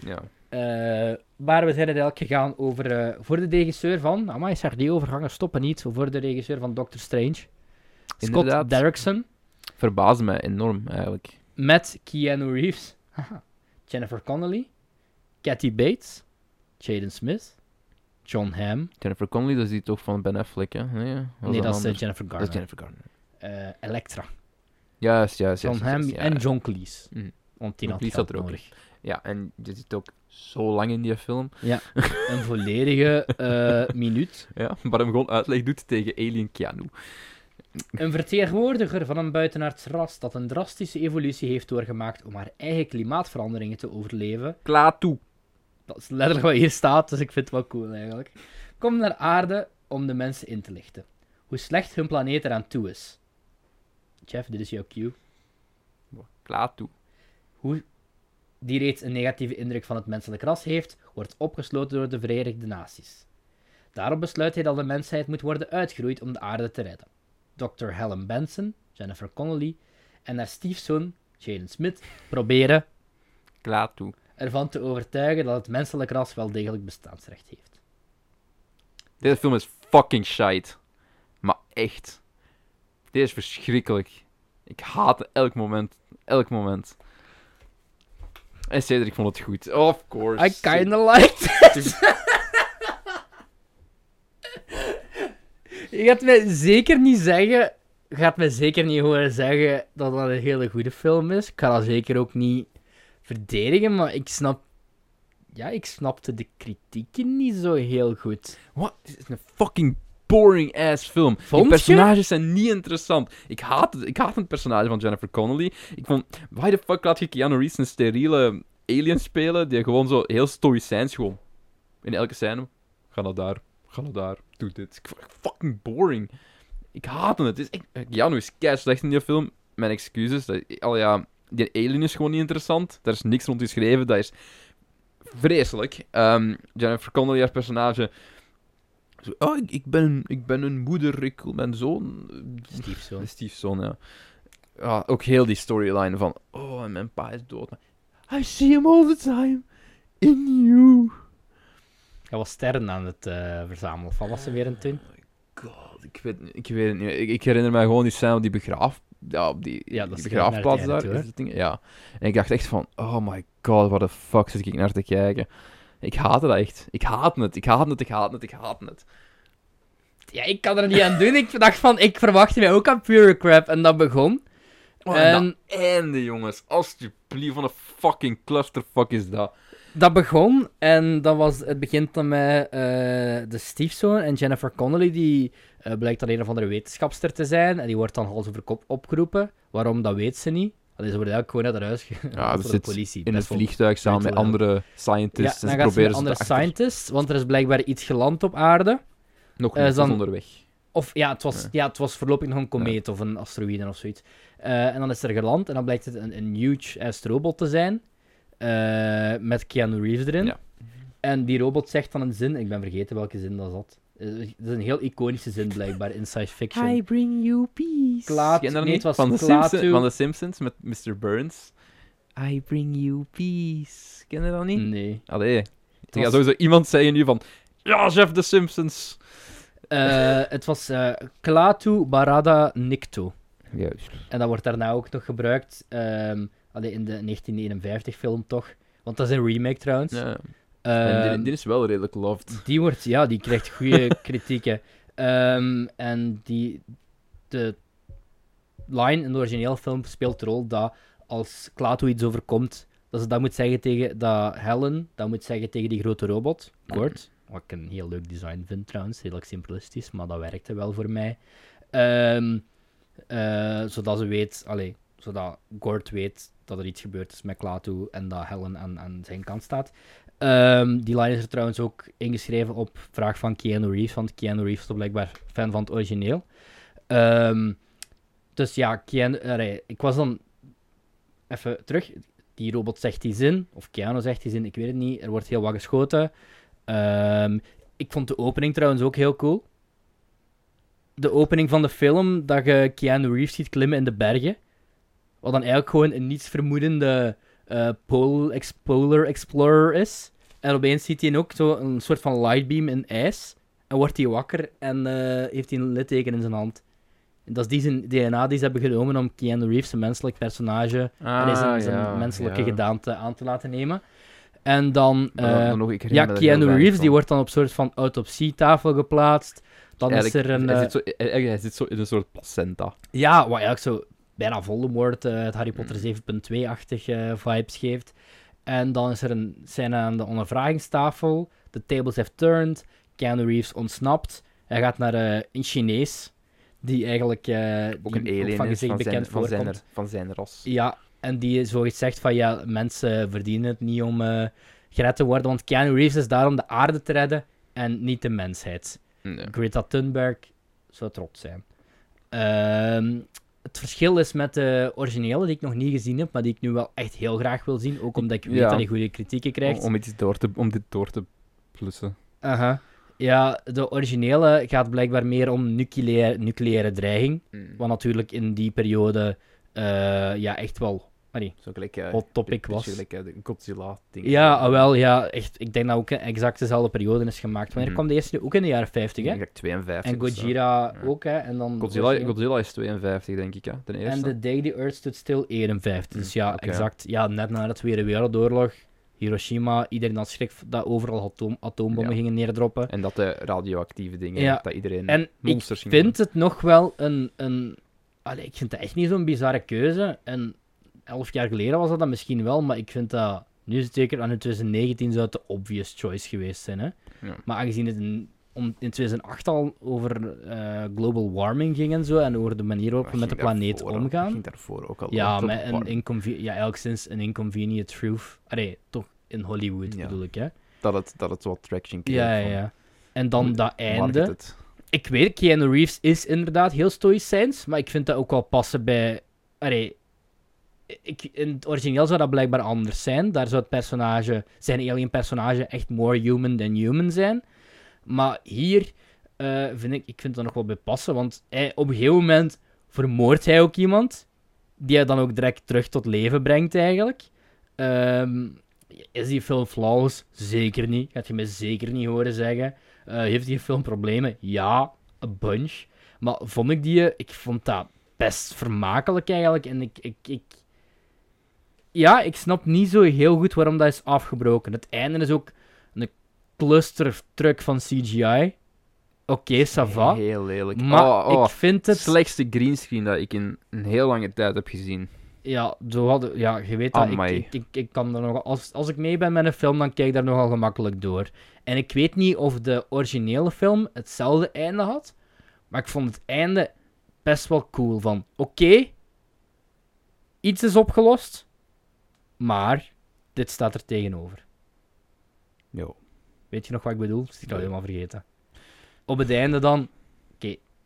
Speaker 1: Ja.
Speaker 2: Eh, maar we zijn uiteindelijk gegaan over. eh, voor de regisseur van. Amai, zeg die overgangen stoppen niet. Voor de regisseur van Doctor Strange. Scott
Speaker 1: Inderdaad.
Speaker 2: Derrickson.
Speaker 1: Verbaasde mij enorm eigenlijk.
Speaker 2: Met Keanu Reeves. Haha. Jennifer Connelly. Kathy Bates. Jaden Smith. John Hamm.
Speaker 1: Jennifer Connelly, dat is die toch van Ben Affleck, hè? Nee, was
Speaker 2: nee, dat is eh,
Speaker 1: anders?
Speaker 2: Jennifer
Speaker 1: Dat
Speaker 2: Garner.
Speaker 1: is Jennifer Garner.
Speaker 2: Eh, Elektra.
Speaker 1: Juist, juist,
Speaker 2: John
Speaker 1: juist.
Speaker 2: Hamm
Speaker 1: juist, ja.
Speaker 2: en John Cleese.
Speaker 1: Mhm.
Speaker 2: Want die
Speaker 1: John
Speaker 2: had
Speaker 1: Cleese
Speaker 2: geld
Speaker 1: zat er ook
Speaker 2: nodig.
Speaker 1: Ja, en je zit ook zo lang in die film.
Speaker 2: een volledige eh, minuut.
Speaker 1: Ja, maar hem gewoon uitleg doet tegen Alien Keanu.
Speaker 2: Een vertegenwoordiger van een buitenaards ras dat een drastische evolutie heeft doorgemaakt om haar eigen klimaatveranderingen te overleven.
Speaker 1: Klaar toe.
Speaker 2: Dat is letterlijk wat hier staat, dus ik vind het wel cool eigenlijk. Komt naar aarde om de mensen in te lichten. Hoe slecht hun planeet eraan toe is. Jeff, dit is jouw cue.
Speaker 1: Klaar toe.
Speaker 2: die reeds een negatieve indruk van het menselijk ras heeft, wordt opgesloten door de Verenigde Naties. Daarop besluit hij dat de mensheid moet worden uitgeroeid om de aarde te redden. Dr. Helen Benson, Jennifer Connelly en haar stiefzoon, Jaden Smith, proberen
Speaker 1: Klaar toe.
Speaker 2: ervan te overtuigen dat het menselijk ras wel degelijk bestaansrecht heeft.
Speaker 1: Deze film is fucking shite. Maar echt. Dit is verschrikkelijk. Ik haat elk moment. Elk moment. En Cedric vond het goed. Of course.
Speaker 2: I kinda liked it! Je gaat mij zeker niet zeggen... Je gaat mij zeker niet horen zeggen dat dat een hele goede film is. Ik ga dat zeker ook niet verdedigen, maar ik snap... Ja, ik snapte de kritieken niet zo heel goed.
Speaker 1: Wat? Dit is een fucking boring ass film.
Speaker 2: Vond
Speaker 1: die
Speaker 2: je?
Speaker 1: personages zijn niet interessant. Ik haat, het, ik haat het personage van Jennifer Connelly. Ik vond, why the fuck laat je Keanu Reeves een steriele alien spelen die gewoon zo heel stoïcijns gewoon. In elke scène. Ga naar daar, ga naar daar, doe dit. Ik vond het fucking boring. Ik haat het. het is echt, eh, Keanu is kei slecht in die film. Mijn excuses. Dat, al ja, die alien is gewoon niet interessant. Daar is niks rond geschreven. Dat is vreselijk. Ehm, Jennifer Connelly, haar personage. Zo, oh, ik, ik ben, ik ben een moeder, ik wil mijn zoon.
Speaker 2: Stiefzoon.
Speaker 1: De stiefzoon, ja. Ja, ook heel die storyline van... Oh, en mijn pa is dood. maar I see him all the time. In you.
Speaker 2: Hij was sterren aan het eh, verzamelen. Of Wat was ze weer een toen?
Speaker 1: God, ik weet, ik weet het niet. Ik, ik herinner me gewoon die scène op die begraaf... Ja, op die,
Speaker 2: Ja, dat
Speaker 1: die
Speaker 2: is naar
Speaker 1: begraafplaats
Speaker 2: het
Speaker 1: daar.
Speaker 2: einde toe, hè?
Speaker 1: is dat ding? ja. En ik dacht echt van... Oh my god, what the fuck zit ik naar te kijken. Ik haatte dat echt. Ik haat het. Ik haat het, ik haat het, ik haat het.
Speaker 2: Ja, ik kan er niet aan doen. Ik dacht van, ik verwachtte mij ook aan pure crap. En dat begon.
Speaker 1: Oh, en
Speaker 2: En-
Speaker 1: dat einde, jongens. Alsjeblieft, wat een fucking clusterfuck is dat.
Speaker 2: Dat begon en dat was, het begint dan met eh, de stiefzoon en Jennifer Connelly, die eh, blijkt dan een of andere wetenschapster te zijn. En die wordt dan hals over kop opgeroepen. Waarom, dat weet ze niet. Allee, ze wordt eigenlijk gewoon uit haar huis ge- door
Speaker 1: dat
Speaker 2: de
Speaker 1: Ah, zit
Speaker 2: politie.
Speaker 1: in een
Speaker 2: Best wel-
Speaker 1: vliegtuig samen
Speaker 2: Weet
Speaker 1: met
Speaker 2: wel.
Speaker 1: andere
Speaker 2: Ja,
Speaker 1: scientists.
Speaker 2: dan
Speaker 1: en ze
Speaker 2: gaat ze
Speaker 1: proberen
Speaker 2: met
Speaker 1: ze
Speaker 2: andere
Speaker 1: te achter...
Speaker 2: scientists, want er is blijkbaar iets geland op aarde.
Speaker 1: Nog
Speaker 2: eh,
Speaker 1: niet, ze
Speaker 2: dan-
Speaker 1: is onderweg.
Speaker 2: Of ja, het was,
Speaker 1: Ja.
Speaker 2: ja. het was voorlopig nog een komeet of een asteroïde of zoiets. Eh, en dan is er geland en dan blijkt het een, een huge ass robot te zijn. eh, met Keanu Reeves erin.
Speaker 1: Ja.
Speaker 2: En die robot zegt dan een zin, ik ben vergeten welke zin dat zat. Eh, Dat is een heel iconische zin blijkbaar in science fiction.
Speaker 3: I bring you peace.
Speaker 2: Klaat-
Speaker 1: Ken je dat
Speaker 2: nee,
Speaker 1: niet?
Speaker 2: het was
Speaker 1: van, de
Speaker 2: Klaatu.
Speaker 1: Simpsons, van de Simpsons met Mr. Burns. I bring you peace. Ken je dat niet?
Speaker 2: Nee.
Speaker 1: Allee. Ik ga
Speaker 2: was-
Speaker 1: sowieso iemand zeggen nu van... Ja, chef de Simpsons.
Speaker 2: Eh, het was eh Klaatu Barada Nikto.
Speaker 1: Juist.
Speaker 2: En dat wordt daarna ook nog gebruikt. ehm, allee, in de 1951-film toch? Want dat is een remake trouwens.
Speaker 1: Ja.
Speaker 2: Ehm,
Speaker 1: en die, die is wel redelijk loved.
Speaker 2: Die wordt, ja, die krijgt goede kritieken. Ehm, en die, de line in de origineel film speelt de rol dat als Klaatu iets overkomt, dat ze dat moet zeggen tegen dat Helen, dat moet zeggen tegen die grote robot, Gord. Wat ik een heel leuk design vind trouwens, redelijk simplistisch, maar dat werkte wel voor mij. Ehm, eh, zodat ze weet, allee, zodat Gord weet dat er iets gebeurd is met Klaatu en dat Helen aan, aan zijn kant staat. Ehm, die line is er trouwens ook ingeschreven op vraag van Keanu Reeves, want Keanu Reeves is blijkbaar fan van het origineel. Ehm, dus ja, Keanu, allee, ik was dan even terug. Die robot zegt die zin, of Keanu zegt die zin, ik weet het niet. Er wordt heel wat geschoten. Ehm, ik vond de opening trouwens ook heel cool. De opening van de film, dat je Keanu Reeves ziet klimmen in de bergen. Wat dan eigenlijk gewoon een nietsvermoedende eh pol- ex- polar explorer is. En opeens ziet hij ook zo een soort van lightbeam in ijs. En wordt hij wakker en eh, heeft hij een litteken in zijn hand. En dat is die zijn DNA die ze hebben genomen om Keanu Reeves, een menselijk personage, en is een, zijn menselijke gedaante aan te laten nemen. En dan, eh, ja, Keanu Reeves die wordt dan op soort van autopsietafel geplaatst. Dan is er een.
Speaker 1: Hij
Speaker 2: eh,
Speaker 1: zit, zo, hij, hij- hij zit zo in een soort placenta.
Speaker 2: ja, wat eigenlijk zo bijna Voldemort, eh, het Harry
Speaker 1: Mm.
Speaker 2: Potter 7.2-achtig eh vibes geeft. En dan is er een scène aan de ondervragingstafel. The tables have turned. Keanu Reeves ontsnapt. Hij gaat naar eh, een Chinees, die eigenlijk eh,
Speaker 1: Ook
Speaker 2: die
Speaker 1: een alien
Speaker 2: van
Speaker 1: is
Speaker 2: gezicht
Speaker 1: van zijn,
Speaker 2: bekend
Speaker 1: van,
Speaker 2: voorkomt.
Speaker 1: zijn, van zijn ras.
Speaker 2: Ja, en die zoiets zegt van ja, mensen verdienen het niet om eh, gered te worden, want Keanu Reeves is daar om de aarde te redden en niet de mensheid.
Speaker 1: Nee.
Speaker 2: Greta Thunberg zou trots zijn. Ehm, het verschil is met de originele, die ik nog niet gezien heb, maar die ik nu wel echt heel graag wil zien, ook omdat ik weet
Speaker 1: Ja.
Speaker 2: dat hij goede kritieken
Speaker 1: Om,
Speaker 2: krijgt.
Speaker 1: om, iets door te, om dit door te plussen.
Speaker 2: Aha. Ja, de originele gaat blijkbaar meer om nucleaire, nucleaire dreiging,
Speaker 1: Mm.
Speaker 2: wat natuurlijk in die periode eh, ja, echt wel allee,
Speaker 1: Zo gelijk... eh,
Speaker 2: hot topic
Speaker 1: beetje
Speaker 2: was.
Speaker 1: gelijk, eh, de Godzilla-ding.
Speaker 2: Ja, ah, wel, ja, echt. Ik denk dat ook een exact dezelfde periode is gemaakt. Wanneer
Speaker 1: Mhm.
Speaker 2: kwam de eerste? Ook in de jaren 50, hè?
Speaker 1: Ik denk 52
Speaker 2: En
Speaker 1: of zo. Ja.
Speaker 2: Gojira ook, hè? En dan
Speaker 1: Godzilla, Godzilla is 52, denk ik, hè? Ten
Speaker 2: En
Speaker 1: eerste.
Speaker 2: The Day the Earth Stood Still 51. Dus
Speaker 1: Mm,
Speaker 2: ja,
Speaker 1: oké.
Speaker 2: exact. Ja, net na de Tweede Wereldoorlog. Hiroshima, iedereen had schrik dat overal atoom, atoombommen
Speaker 1: Ja.
Speaker 2: gingen neerdroppen.
Speaker 1: En dat de radioactieve dingen,
Speaker 2: Ja.
Speaker 1: dat iedereen
Speaker 2: En ik
Speaker 1: monsters ging
Speaker 2: vind het nog wel een... een... Allee, ik vind het echt niet zo'n bizarre keuze. En elf jaar geleden was dat dan misschien wel, maar ik vind dat... Nu is het zeker aan in 2019 zou het de obvious choice geweest zijn, hè.
Speaker 1: Ja.
Speaker 2: Maar aangezien het in, om, in 2008 al over eh, global warming ging en zo, en over de manier waarop we
Speaker 1: Dat
Speaker 2: met de
Speaker 1: ging
Speaker 2: planeet
Speaker 1: daarvoor al- dat
Speaker 2: omgaan...
Speaker 1: ging daarvoor ook al
Speaker 2: Ja,
Speaker 1: op- op
Speaker 2: met een
Speaker 1: warm.
Speaker 2: inconve- ja, elk sinds een inconvenient truth. Allee, toch in Hollywood
Speaker 1: Ja.
Speaker 2: bedoel ik, hè?
Speaker 1: dat, het, dat het wat traction kreeg.
Speaker 2: Ja, ja,
Speaker 1: van
Speaker 2: ja. En dan
Speaker 1: Goed,
Speaker 2: dat einde.
Speaker 1: marketed.
Speaker 2: Ik weet, Keanu Reeves is inderdaad heel stoïcijns, maar ik vind dat ook wel passen bij... Allee, ik, in het origineel zou dat blijkbaar anders zijn. Daar zou het personage, zijn alien personage echt more human than human zijn. Maar hier eh, vind ik, ik vind dat nog wel bij passen, want hij, op een gegeven moment vermoordt hij ook iemand, die hij dan ook direct terug tot leven brengt eigenlijk. Ehm, is die film flawless? Zeker niet. Gaat je me zeker niet horen zeggen. Eh, heeft die film problemen? Ja, een bunch. Maar vond ik die... eh, Ik vond dat best vermakelijk eigenlijk. En ik, ik, ik... Ja, ik snap niet zo heel goed waarom dat is afgebroken. Het einde is ook een clustertruck van CGI. Oké, Sava.
Speaker 1: Heel lelijk.
Speaker 2: Maar
Speaker 1: oh, oh,
Speaker 2: ik vind
Speaker 1: het
Speaker 2: het...
Speaker 1: slechtste greenscreen dat ik in een heel lange tijd heb gezien.
Speaker 2: Ja, zo hadden, ja, je weet dat. Ik,
Speaker 1: Amai.
Speaker 2: ik, ik, ik kan er nogal, als, als ik mee ben met een film, dan kijk ik daar nogal gemakkelijk door. En ik weet niet of de originele film hetzelfde einde had. Maar ik vond het einde best wel cool. Van oké, iets is opgelost. Maar dit staat er tegenover.
Speaker 1: Jo.
Speaker 2: Weet je nog wat ik bedoel? Dus Ik
Speaker 1: Nee.
Speaker 2: had helemaal vergeten. Op het einde dan.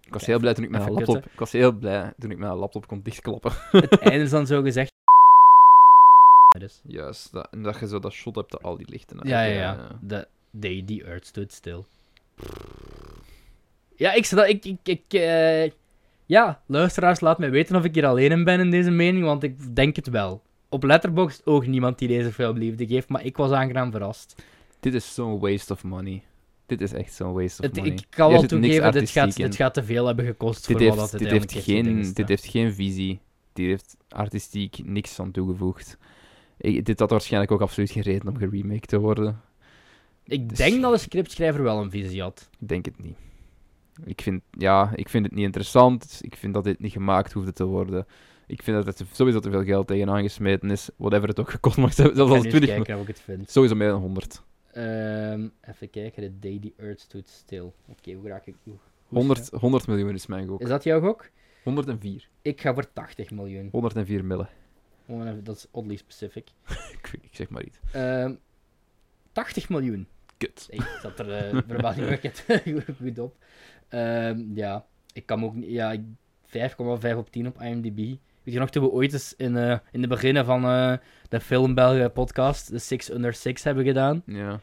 Speaker 1: Ik was
Speaker 2: Kijk,
Speaker 1: heel blij toen ik mijn
Speaker 2: even
Speaker 1: laptop... Ik was heel blij toen ik mijn laptop kon dichtklappen.
Speaker 2: Het einde is dan zo gezegd. is.
Speaker 1: Juist, dat, en dat je zo dat shot hebt dat al die lichten eh,
Speaker 2: Ja, ja,
Speaker 1: hebben,
Speaker 2: ja. The day the earth stood still. Ja, ik, zat- ik, ik, ik eh, ja, luisteraars, laat mij weten of ik hier alleen in ben in deze mening, want ik denk het wel. Op Letterboxd ook niemand die deze film liefde geeft, maar ik was aangenaam verrast.
Speaker 1: Dit is zo'n waste of money. Dit is echt zo'n waste of
Speaker 2: Het-
Speaker 1: money.
Speaker 2: ik kan
Speaker 1: Hier
Speaker 2: wel
Speaker 1: zit niks
Speaker 2: toegeven, dit
Speaker 1: artistiek
Speaker 2: gaat,
Speaker 1: in.
Speaker 2: dit gaat te veel hebben gekost
Speaker 1: Dit
Speaker 2: voor wat
Speaker 1: heeft,
Speaker 2: het
Speaker 1: dit, heeft
Speaker 2: uiteindelijk heeft,
Speaker 1: geen, dit
Speaker 2: gedingest,
Speaker 1: heeft geen visie. Dit heeft artistiek niks aan toegevoegd. Ik- dit had waarschijnlijk ook absoluut geen reden om geremake te worden.
Speaker 2: hè. Ik
Speaker 1: dus-
Speaker 2: denk dat de scriptschrijver wel een visie had.
Speaker 1: Ik denk het niet. Ik vind, ja, ik vind het niet interessant. Ik vind dat dit niet gemaakt hoefde te worden. Ik vind dat er te- sowieso te veel geld tegen aangesmeten is. Whatever het ook gekost mag hebben. Zelfs
Speaker 2: Ik ga
Speaker 1: als
Speaker 2: nu eens
Speaker 1: 20
Speaker 2: kijken of ik het vind.
Speaker 1: Sowieso meer dan 100.
Speaker 2: Ehm, even kijken, The Day the Earth Stood Still. Oké, hoe raak ik... hoe- hoe
Speaker 1: 100, 100 miljoen is mijn gok.
Speaker 2: Is dat jouw gok?
Speaker 1: 104.
Speaker 2: Ik ga voor 80 miljoen.
Speaker 1: 104 millen.
Speaker 2: Gewoon even- Dat is oddly specific.
Speaker 1: Ik, weet- ik zeg maar iets.
Speaker 2: Ehm, 80 miljoen.
Speaker 1: Kut.
Speaker 2: Ik zat er eh verbazingwekkend goed op. Ehm, ja, ik kan me ook niet... Ja, ik- 5,5 op 10 op IMDb. Weet je nog, toen we ooit eens in, eh, in de beginnen van eh, de Film België podcast, de Six Under Six, hebben gedaan.
Speaker 1: Ja.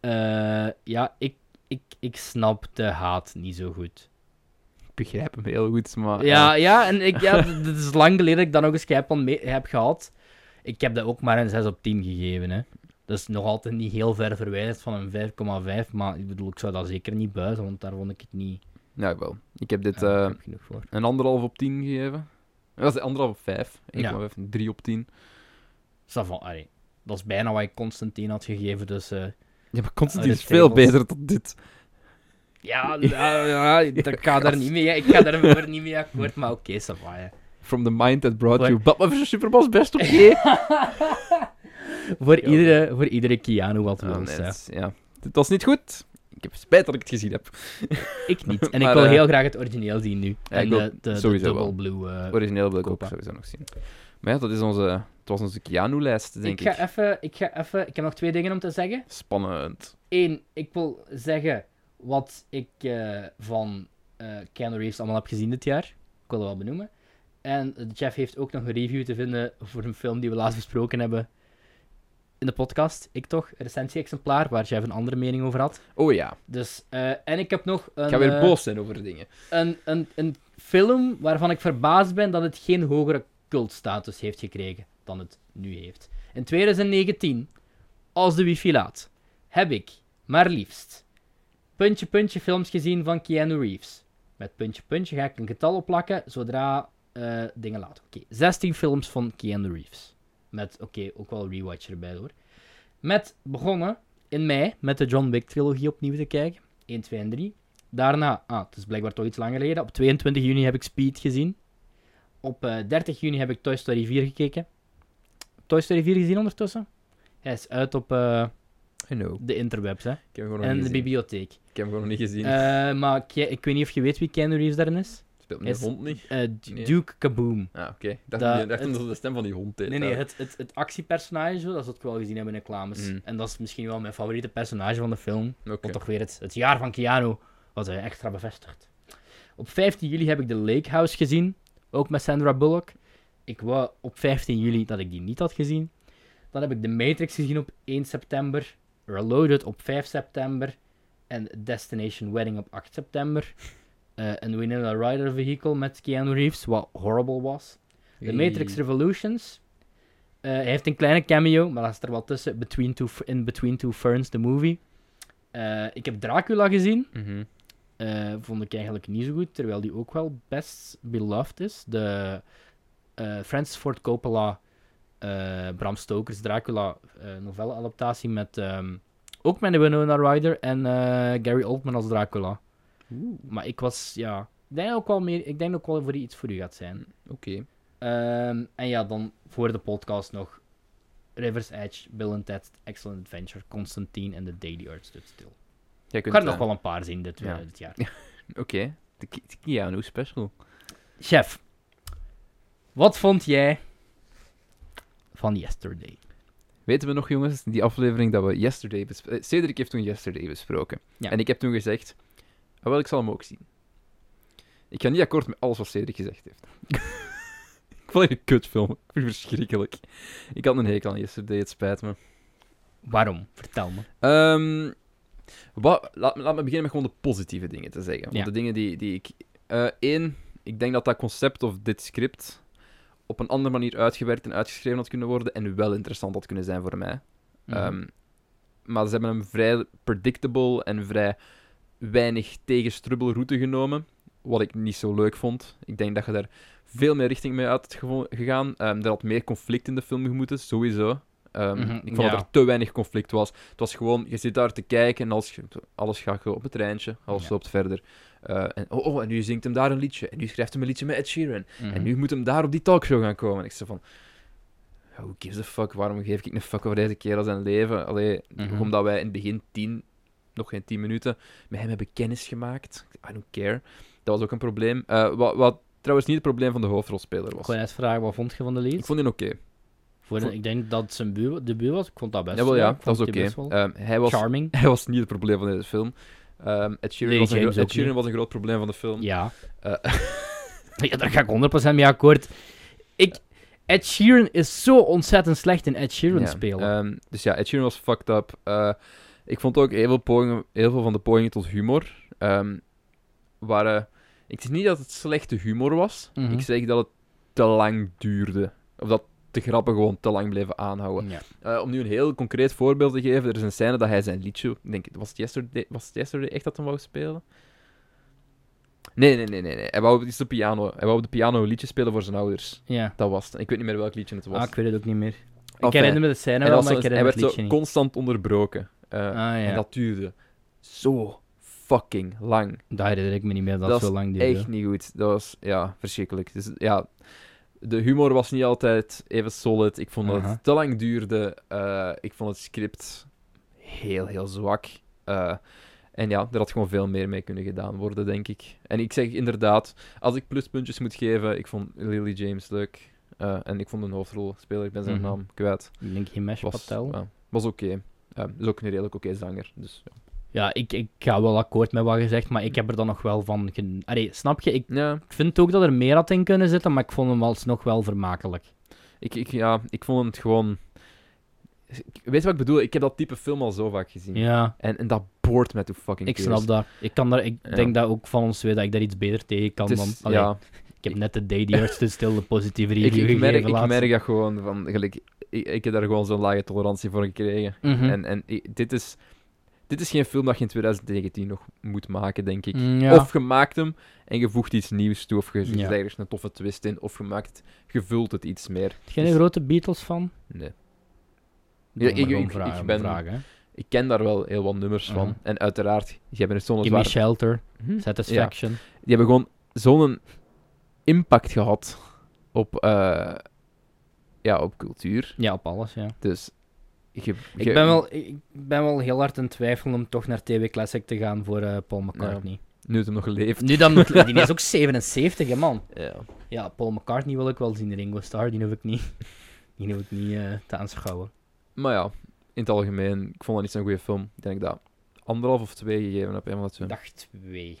Speaker 2: Eh, ja, ik, ik, ik snap de haat niet zo goed.
Speaker 1: Ik begrijp hem heel goed, maar...
Speaker 2: Ja,
Speaker 1: eh,
Speaker 2: ja, en ik, ja, d- dit is lang geleden dat ik dan ook een Skype mee heb gehad. Ik heb dat ook maar een 6 op 10 gegeven. Hè. Dat is nog altijd niet heel ver verwijderd van een 5,5. Maar ik bedoel, ik zou dat zeker niet buizen, want daar vond ik het niet
Speaker 1: nou, wel. Ik heb dit
Speaker 2: eh,
Speaker 1: eh,
Speaker 2: goed genoeg voor.
Speaker 1: een anderhalf op 10 gegeven. Dat is anderhalf op 5. Ik
Speaker 2: Ja.
Speaker 1: kwam even 3 op 10.
Speaker 2: Ça va, allee. Dat is bijna wat ik Constantine had gegeven, dus... eh,
Speaker 1: Ja, maar
Speaker 2: Constantine
Speaker 1: Constantine
Speaker 2: Ah,
Speaker 1: Oh, is
Speaker 2: is de veel
Speaker 1: veel
Speaker 2: tables.
Speaker 1: beter dan dit.
Speaker 2: ja, ja, nou, ja, ik ga daar niet mee, ik ga daar verder niet mee akkoord, maar oké, ça va, hè.
Speaker 1: From the mind that brought
Speaker 2: Wat?
Speaker 1: you. Batman vs. Superman is best oké.
Speaker 2: Voor,
Speaker 1: Ja.
Speaker 2: iedere, voor iedere Keanu wat
Speaker 1: Ah,
Speaker 2: wil,
Speaker 1: nee, het is- ja. Dit was niet goed. Ik heb spijt dat ik het gezien heb.
Speaker 2: Ik niet. En ik
Speaker 1: Maar,
Speaker 2: wil
Speaker 1: eh,
Speaker 2: heel graag het origineel zien nu. en
Speaker 1: ik
Speaker 2: de,
Speaker 1: wil
Speaker 2: de, de
Speaker 1: sowieso
Speaker 2: double
Speaker 1: wel.
Speaker 2: blue. eh,
Speaker 1: Origineel wil ik ook
Speaker 2: Kopa.
Speaker 1: sowieso nog zien. Maar ja, dat is onze, het was onze Keanu-lijst, denk
Speaker 2: ik
Speaker 1: ik.
Speaker 2: ga even, ik ga even, ik heb nog twee dingen om te zeggen.
Speaker 1: Spannend.
Speaker 2: Eén, ik wil zeggen wat ik eh, van eh Keanu Reeves allemaal heb gezien dit jaar. Ik wil dat wel benoemen. En eh, Jeff heeft ook nog een review te vinden voor een film die we laatst besproken hebben in de podcast. Ik toch, een recensie-exemplaar, waar Jeff een andere mening over had.
Speaker 1: Oh ja,
Speaker 2: Dus, eh, en ik heb nog een...
Speaker 1: ik ga weer
Speaker 2: eh,
Speaker 1: boos zijn over dingen.
Speaker 2: een, een, een film waarvan ik verbaasd ben dat het geen hogere cultstatus heeft gekregen dan het nu heeft. In 2019, als de wifi laat, heb ik maar liefst puntje puntje films gezien van Keanu Reeves. Met puntje puntje ga ik een getal opplakken zodra eh, dingen laat. Oké, 16 films van Keanu Reeves. Met, oké, ook wel rewatch erbij hoor. Met begonnen in mei met de John Wick trilogie opnieuw te kijken. 1, 2 en 3. Daarna, ah, het is blijkbaar toch iets langer geleden. Op 22 juni heb ik Speed gezien. Op eh, 30 juni heb ik Toy Story 4 gekeken. Toy Story 4 gezien ondertussen. Hij is uit op eh,
Speaker 1: I know.
Speaker 2: de interwebs hè?
Speaker 1: Ik heb hem gewoon nog
Speaker 2: en
Speaker 1: niet
Speaker 2: de
Speaker 1: gezien.
Speaker 2: bibliotheek.
Speaker 1: Ik heb hem gewoon nog niet gezien.
Speaker 2: Eh, maar ik, ik weet niet of je weet wie Keanu Reeves daarin is.
Speaker 1: Speelt met die
Speaker 2: is-
Speaker 1: hond niet?
Speaker 2: Eh, D-
Speaker 1: Nee.
Speaker 2: Duke Kaboom.
Speaker 1: Ah, oké. Ik dacht
Speaker 2: dat-
Speaker 1: dat dat
Speaker 2: het-
Speaker 1: het... de stem van die hond deed.
Speaker 2: Nee, nee,
Speaker 1: daar.
Speaker 2: het, het, het actiepersonage, zo, dat is wat ik wel gezien heb in reclames.
Speaker 1: Mm.
Speaker 2: En dat is misschien wel mijn favoriete personage van de film.
Speaker 1: Oké.
Speaker 2: Want toch weer het, het jaar van Keanu wat hij extra bevestigt. Op 15 juli heb ik The Lake House gezien. Ook met Sandra Bullock. Ik wou op 15 juli dat ik die niet had gezien. Dan heb ik The Matrix gezien op 1 september. Reloaded op 5 september. En Destination Wedding op 8 september. Eh, een Winona Ryder vehicle met Keanu Reeves, wat horrible was. The Matrix Revolutions. Eh, hij heeft een kleine cameo, maar dat is er wel tussen. Between two, F- in Between Two Ferns, the movie. Eh, ik heb Dracula gezien.
Speaker 1: Mhm.
Speaker 2: Eh, vond ik eigenlijk niet zo goed, terwijl die ook wel best beloved is. De eh, Francis Ford Coppola, eh, Bram Stoker's Dracula eh novelle-adaptatie met ehm, ook met Winona Ryder en eh, Gary Oldman als Dracula.
Speaker 1: Oeh,
Speaker 2: Maar ik was, ja... Ik denk ook wel, meer, ik denk ook wel voor die iets voor u gaat zijn.
Speaker 1: Oké.
Speaker 2: Ehm, en ja, dan voor de podcast nog River's Edge, Bill and Ted, Excellent Adventure, Constantine en The Day the Earth Stood Still.
Speaker 1: Jij
Speaker 2: Ik
Speaker 1: kunt...
Speaker 2: ga er
Speaker 1: eh,
Speaker 2: nog wel een paar zien dit,
Speaker 1: ja.
Speaker 2: eh, dit jaar.
Speaker 1: Oké. De Ki- de Keanu special.
Speaker 2: Chef, wat vond jij van Yesterday?
Speaker 1: Weten we nog, jongens, die aflevering dat we yesterday besproken... Cedric heeft toen yesterday besproken.
Speaker 2: Ja.
Speaker 1: En ik heb toen gezegd, ah, wel, ik zal hem ook zien. Ik ga niet akkoord met alles wat Cedric gezegd heeft. ik vond het een kutfilm. Ik vond het verschrikkelijk. Ik had een hekel aan Yesterday, het spijt me.
Speaker 2: Waarom? Vertel me.
Speaker 1: Ehm, wat, laat, me- laat me beginnen met gewoon de positieve dingen te zeggen. Want
Speaker 2: Ja.
Speaker 1: de dingen die, die ik... eh één, ik denk dat dat concept of dit script op een andere manier uitgewerkt en uitgeschreven had kunnen worden en wel interessant had kunnen zijn voor mij.
Speaker 2: Mhm.
Speaker 1: Ehm, maar ze hebben hem vrij predictable en vrij weinig tegenstrubbelroute genomen. Wat ik niet zo leuk vond. Ik denk dat je daar veel meer richting mee uit had gevo- gegaan. Ehm er had meer conflict in de film gemoeten, sowieso. Ehm,
Speaker 2: Mhm,
Speaker 1: ik vond
Speaker 2: ja.
Speaker 1: dat er te weinig conflict was. Het was gewoon, je zit daar te kijken en alles, alles gaat gewoon op het treintje, alles
Speaker 2: Ja.
Speaker 1: loopt verder. Eh, en, oh, oh, en nu zingt hem daar een liedje. En nu schrijft hem een liedje met Ed Sheeran.
Speaker 2: Mhm.
Speaker 1: En nu moet hem daar op die talkshow gaan komen. En ik zei van... Who gives a fuck? Waarom geef ik een fuck over deze kerel zijn leven? Allee,
Speaker 2: Mhm.
Speaker 1: omdat wij in het begin tien, nog geen tien minuten, met hem hebben kennis gemaakt. I don't care. Dat was ook een probleem. Eh, wat, wat trouwens niet het probleem van de hoofdrolspeler was.
Speaker 2: Gewoon eens vragen, wat vond je van de lied?
Speaker 1: Ik vond hem oké.
Speaker 2: Voor een-
Speaker 1: vond-
Speaker 2: ik denk dat het zijn bu- debuut was. Ik vond dat best
Speaker 1: Jawel,
Speaker 2: wel.
Speaker 1: ja,
Speaker 2: Ik
Speaker 1: dat was
Speaker 2: vond
Speaker 1: oké.
Speaker 2: die best wel
Speaker 1: Ehm, hij, was,
Speaker 2: Charming.
Speaker 1: hij was niet het probleem van deze film. Ehm Ed Sheeran,
Speaker 2: Nee,
Speaker 1: was, een
Speaker 2: James
Speaker 1: gro- Ed
Speaker 2: ook
Speaker 1: Sheeran
Speaker 2: niet.
Speaker 1: was een groot probleem van de film.
Speaker 2: Ja.
Speaker 1: Eh.
Speaker 2: ja, daar ga ik 100% mee akkoord. Ik, Ed Sheeran is zo ontzettend slecht in Ed Sheeran
Speaker 1: Ja,
Speaker 2: spelen.
Speaker 1: ehm, dus ja, Ed Sheeran was fucked up. Eh, ik vond ook heel veel, pogingen, heel veel van de pogingen tot humor ehm, waren... Ik zeg niet dat het slechte humor was.
Speaker 2: Mhm.
Speaker 1: eh, Ik zeg dat het te lang duurde. Of dat de grappen gewoon te lang bleven aanhouden.
Speaker 2: ja.
Speaker 1: Eh, om nu een heel concreet voorbeeld te geven. Er is een scène dat hij zijn liedje... Ik denk, was het Yesterday, was het yesterday echt dat hij wou spelen? Nee, nee, nee, nee. nee. Hij wou het is de piano. Hij wou op de piano een liedje spelen voor zijn ouders.
Speaker 2: ja.
Speaker 1: Dat was het. Ik weet niet meer welk liedje het was.
Speaker 2: Ah, ik weet het ook niet meer. Ik
Speaker 1: Enfin.
Speaker 2: herinner me de scène
Speaker 1: En
Speaker 2: wel,
Speaker 1: dat
Speaker 2: maar ik
Speaker 1: was zo- hij
Speaker 2: herinner
Speaker 1: werd
Speaker 2: het
Speaker 1: zo
Speaker 2: liedje niet.
Speaker 1: constant onderbroken. Eh,
Speaker 2: Ah, ja.
Speaker 1: En
Speaker 2: dat,
Speaker 1: dat duurde zo fucking lang.
Speaker 2: herinner ik me niet meer, dat,
Speaker 1: Dat
Speaker 2: zo
Speaker 1: is
Speaker 2: lang duurde.
Speaker 1: Echt niet goed. Dat was ja, verschrikkelijk. Dus ja, de humor was niet altijd even solid. Ik vond dat
Speaker 2: Aha.
Speaker 1: het te lang duurde. Eh, ik vond het script heel, heel zwak. Eh, en ja, er had gewoon veel meer mee kunnen gedaan worden, denk ik. En ik zeg inderdaad, als ik pluspuntjes moet geven, ik vond Lily James leuk. Eh, en ik vond een hoofdrolspeler, ik ben zijn
Speaker 2: Mhm.
Speaker 1: naam kwijt.
Speaker 2: Ik denk Himesh
Speaker 1: Was,
Speaker 2: Patel.
Speaker 1: ja, was oké. Ehm, is ook een redelijk oké zanger. Dus, ja.
Speaker 2: Ja, ik, ik ga wel akkoord met wat je zegt, maar ik heb er dan nog wel van... Gen... Allee, snap je? Ik
Speaker 1: ja,
Speaker 2: vind ook dat er meer had in kunnen zitten, maar ik vond hem alsnog wel vermakelijk.
Speaker 1: ik, ik, ja, ik vond het gewoon. Ik- Weet je wat ik bedoel? Ik heb dat type film al zo vaak gezien.
Speaker 2: Ja,
Speaker 1: En, en dat boort me toe fucking
Speaker 2: ik
Speaker 1: tears.
Speaker 2: snap dat. Ik, kan daar, ik
Speaker 1: Ja.
Speaker 2: denk dat ook van ons twee dat ik daar iets beter tegen kan
Speaker 1: Het
Speaker 2: dan...
Speaker 1: is,
Speaker 2: Allee,
Speaker 1: ja,
Speaker 2: Ik heb net de Day the Earth to Still een positieve review
Speaker 1: ik, ik,
Speaker 2: gegeven
Speaker 1: merk, ik
Speaker 2: laatst.
Speaker 1: merk dat gewoon van. Gelijk, ik, ik heb daar gewoon zo'n lage tolerantie voor gekregen.
Speaker 2: Mhm.
Speaker 1: En, en i- dit, is, dit is geen film dat je in 2019 nog moet maken, denk ik.
Speaker 2: Mm, ja.
Speaker 1: Of je maakt hem en je voegt iets nieuws toe, of je zet
Speaker 2: Ja.
Speaker 1: ergens een toffe twist in, of je maakt, je vult het iets meer.
Speaker 2: Geen
Speaker 1: dus-
Speaker 2: grote Beatles fan?
Speaker 1: Nee.
Speaker 2: Dan
Speaker 1: ik-
Speaker 2: maar gewoon
Speaker 1: ik- ik
Speaker 2: vragen,
Speaker 1: ben-
Speaker 2: vragen, hè.
Speaker 1: Ik ken daar wel heel wat nummers van.
Speaker 2: Mhm.
Speaker 1: En uiteraard, die hebben zo'n
Speaker 2: Gimme
Speaker 1: zwaar...
Speaker 2: Shelter,
Speaker 1: Hm?
Speaker 2: Satisfaction.
Speaker 1: Die hebben gewoon zo'n impact gehad op, eh, ja, op cultuur.
Speaker 2: Ja, op alles, ja.
Speaker 1: Dus je-
Speaker 2: Ik
Speaker 1: je-
Speaker 2: ben, wel, ik ik ben wel heel hard in twijfel om toch naar TW Classic te gaan voor eh, Paul McCartney.
Speaker 1: Nu het hem nog leeft.
Speaker 2: Nu dan, nog- die is ook 77, hè, man.
Speaker 1: Ja.
Speaker 2: Ja, Paul McCartney wil ik wel zien, Ringo Starr, die hoef ik niet, die hoef ik niet eh, te aanschouwen.
Speaker 1: Maar ja, in het algemeen, ik vond dat niet zo'n goede film. Ik denk dat anderhalf of twee gegeven heb. Een van de twee.
Speaker 2: Dag 2.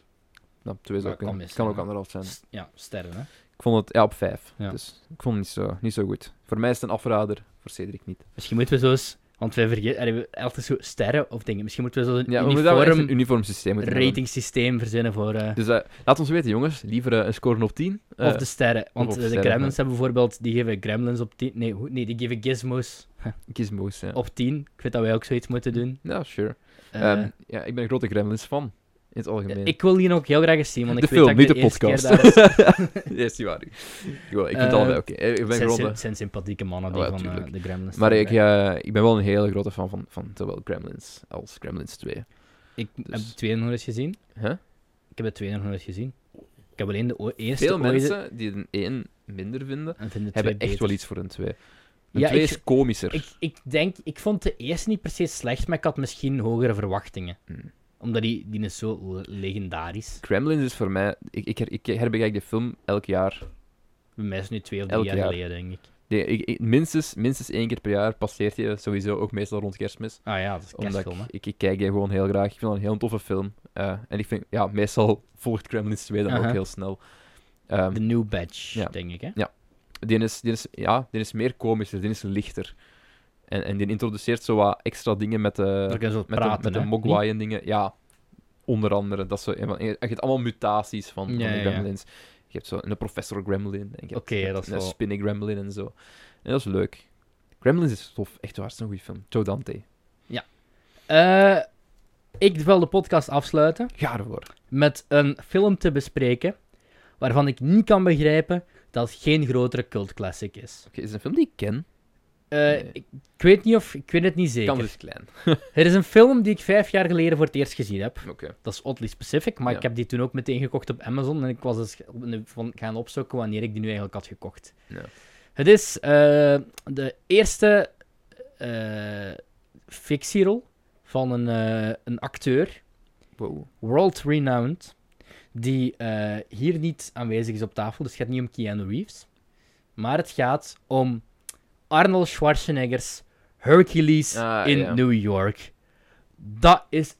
Speaker 1: Nou, twee is
Speaker 2: dat
Speaker 1: ook
Speaker 2: kan
Speaker 1: een-
Speaker 2: mis
Speaker 1: kan
Speaker 2: zijn,
Speaker 1: ook
Speaker 2: hè.
Speaker 1: anderhalf zijn.
Speaker 2: Ja, sterren, hè.
Speaker 1: Ik vond het ja, op vijf.
Speaker 2: Ja.
Speaker 1: Dus ik vond het niet zo, niet zo goed. Voor mij is het een afrader, voor Cedric niet.
Speaker 2: Misschien moeten we zo eens, want wij vergeten, er hebben altijd zo sterren of dingen. Misschien moeten we zo een
Speaker 1: Ja, we moeten daar wel echt
Speaker 2: uniform
Speaker 1: een uniform systeem moeten hebben.
Speaker 2: rating systeem verzinnen voor... eh,
Speaker 1: Dus eh, laat ons weten, jongens. Liever eh, een score op 10. eh,
Speaker 2: Of de sterren. Want
Speaker 1: of
Speaker 2: eh, de
Speaker 1: sterren, ja.
Speaker 2: Gremlins hebben bijvoorbeeld, die geven Gremlins op 10. Nee, hoe- nee die geven Gizmos
Speaker 1: Gizmos, ja.
Speaker 2: op 10. Ik vind dat wij ook zoiets moeten doen.
Speaker 1: Ja, sure.
Speaker 2: Eh,
Speaker 1: Ehm, ja, ik ben een grote Gremlins fan. In het algemeen.
Speaker 2: ik wil die ook heel graag eens zien, want ik
Speaker 1: de
Speaker 2: weet
Speaker 1: film,
Speaker 2: dat ik
Speaker 1: niet de,
Speaker 2: eerste keer
Speaker 1: podcast.
Speaker 2: daar was.
Speaker 1: Ja, is niet waar. Ik, ik wel, ik vind
Speaker 2: Eh,
Speaker 1: het allebei oké. Eh, Ik ben
Speaker 2: zijn,
Speaker 1: gewoon
Speaker 2: sym-
Speaker 1: de-
Speaker 2: zijn sympathieke mannen die
Speaker 1: Oh, ja,
Speaker 2: van eh,
Speaker 1: tuurlijk.
Speaker 2: de Gremlins
Speaker 1: Maar
Speaker 2: zijn,
Speaker 1: ik,
Speaker 2: hè.
Speaker 1: eh, ik ben wel een hele grote fan van, van zowel Gremlins als Gremlins 2.
Speaker 2: Ik heb
Speaker 1: dus-
Speaker 2: de tweede nog eens gezien.
Speaker 1: Huh?
Speaker 2: Ik heb de tweede nog nooit gezien. Ik heb alleen de o- eerste
Speaker 1: Veel
Speaker 2: ooit-
Speaker 1: mensen die een 1 minder vinden,
Speaker 2: en vind de
Speaker 1: hebben echt
Speaker 2: twee
Speaker 1: wel
Speaker 2: beter.
Speaker 1: iets voor een 2. Een
Speaker 2: Ja,
Speaker 1: 2
Speaker 2: ik-
Speaker 1: is komischer.
Speaker 2: Ik, ik denk, ik vond de eerste niet per se slecht, maar ik had misschien hogere verwachtingen.
Speaker 1: Hmm.
Speaker 2: Omdat die, die is zo le- legendarisch.
Speaker 1: Gremlins is voor mij... Ik, ik, her- ik herbekijk die film elk jaar.
Speaker 2: Bij mij is het nu twee of
Speaker 1: Elk
Speaker 2: drie jaar
Speaker 1: jaar.
Speaker 2: geleden, denk ik.
Speaker 1: Die- ik- ik- minstens, minstens één keer per jaar passeert die sowieso, ook meestal rond kerstmis.
Speaker 2: Ah ja, dat is
Speaker 1: Omdat ik,
Speaker 2: kerstfilm, hè.
Speaker 1: ik, ik kijk die gewoon heel graag. Ik vind dat een heel toffe film. Eh, en ik vind, ja, meestal volgt Gremlins 2 dan
Speaker 2: Aha.
Speaker 1: ook heel snel. Ehm,
Speaker 2: De New Batch,
Speaker 1: Ja. Eh,
Speaker 2: denk ik, hè?
Speaker 1: Ja. die is, die is, ja, die is meer komischer, die is lichter. En, en die introduceert zo wat extra dingen met eh, de,
Speaker 2: Dan kunnen ze wat
Speaker 1: met
Speaker 2: praten,
Speaker 1: de, met de
Speaker 2: hè?
Speaker 1: Mogwai en dingen. Ja, onder andere. Dat is zo, een van- je hebt allemaal mutaties van, van
Speaker 2: Ja,
Speaker 1: de
Speaker 2: ja, ja.
Speaker 1: gremlins. Je hebt zo een professor gremlin. En je hebt,
Speaker 2: Oké,
Speaker 1: je hebt
Speaker 2: dat is
Speaker 1: een
Speaker 2: wel-
Speaker 1: spinning gremlin en zo. En dat is leuk. Gremlins is tof. Echt waar, het is een goede film. Joe Dante.
Speaker 2: Eh, ik wil de podcast afsluiten
Speaker 1: Ga ervoor.
Speaker 2: met een film te bespreken waarvan ik niet kan begrijpen dat het geen grotere cultclassic is.
Speaker 1: Oké, is het een film die ik ken?
Speaker 2: Eh,
Speaker 1: Nee.
Speaker 2: ik, ik weet niet of... Ik weet het niet zeker.
Speaker 1: Kan dus klein.
Speaker 2: Er is een film die ik vijf jaar geleden voor het eerst gezien heb.
Speaker 1: Oké.
Speaker 2: Dat is oddly specific, maar
Speaker 1: Ja.
Speaker 2: ik heb die toen ook meteen gekocht op Amazon. En ik was dus van gaan opzoeken wanneer ik die nu eigenlijk had gekocht.
Speaker 1: Ja.
Speaker 2: Het is eh, de eerste eh fictierol van een, eh, een acteur, Hm.
Speaker 1: Wow.
Speaker 2: world renowned, die eh, hier niet aanwezig is op tafel. Dus het gaat niet om Keanu Reeves. Maar het gaat om Arnold Schwarzenegger's Hercules
Speaker 1: Ah,
Speaker 2: in
Speaker 1: ja.
Speaker 2: New York. Dat is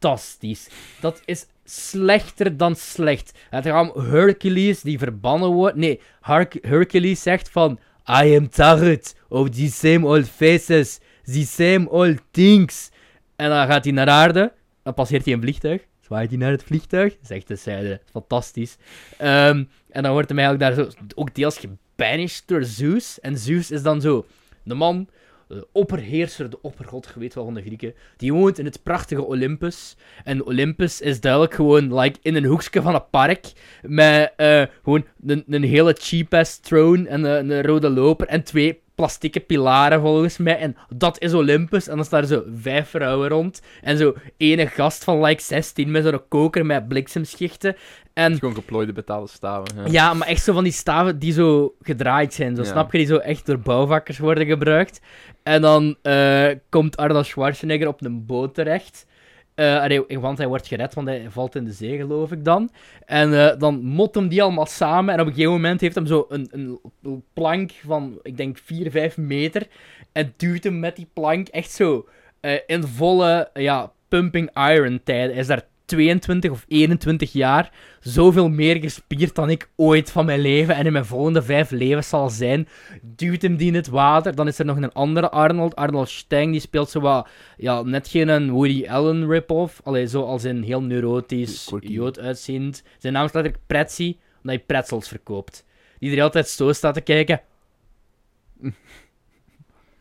Speaker 2: fantastisch. Dat is slechter dan slecht. Het gaat om Hercules die verbannen wordt. Nee, Hark- Hercules zegt van... I am tired of the same old faces, the same old things. En dan gaat hij naar aarde. Dan passeert hij een vliegtuig. Zwaait hij naar het vliegtuig. Zegt de zijde. Fantastisch. Ehm, en dan wordt hem eigenlijk daar zo ook deels gebanished door Zeus. En Zeus is dan zo de man, de opperheerser, de oppergod, je weet wel van de Grieken. Die woont in het prachtige Olympus. En Olympus is duidelijk gewoon like, in een hoekje van een park. Met eh, gewoon een, een hele cheap-ass throne en een, een rode loper. En twee plastieke pilaren volgens mij. En dat is Olympus. En dan staan er zo vijf vrouwen rond. En zo ene gast van like 16 met zo'n koker met bliksemschichten. En
Speaker 1: Het is gewoon geplooide betalen staven. Ja.
Speaker 2: ja, maar echt zo van die staven die zo gedraaid zijn. Zo,
Speaker 1: Ja.
Speaker 2: Snap je? Die zo echt door bouwvakkers worden gebruikt. En dan eh, komt Arnold Schwarzenegger op een boot terecht. Eh, allee, want hij wordt gered, want hij valt in de zee, geloof ik dan. En eh, dan mot hem die allemaal samen. En op een gegeven moment heeft hem zo een, een plank van, ik denk, 4, 5 meter. En duwt hem met die plank echt zo eh, in volle ja, pumping iron tijd. Hij is daar 22 of 21 jaar zoveel meer gespierd dan ik ooit van mijn leven en in mijn volgende vijf levens zal zijn. Duwt hem die in het water. Dan is er nog een andere Arnold, Arnold Steng, die speelt zo wat, ja, net geen een Woody Allen rip-off. Allee, zo als in heel neurotisch,
Speaker 1: Quirky.
Speaker 2: jood uitziend. Zijn naam is letterlijk Pretzi, omdat hij pretzels verkoopt. Die er altijd zo staat te kijken.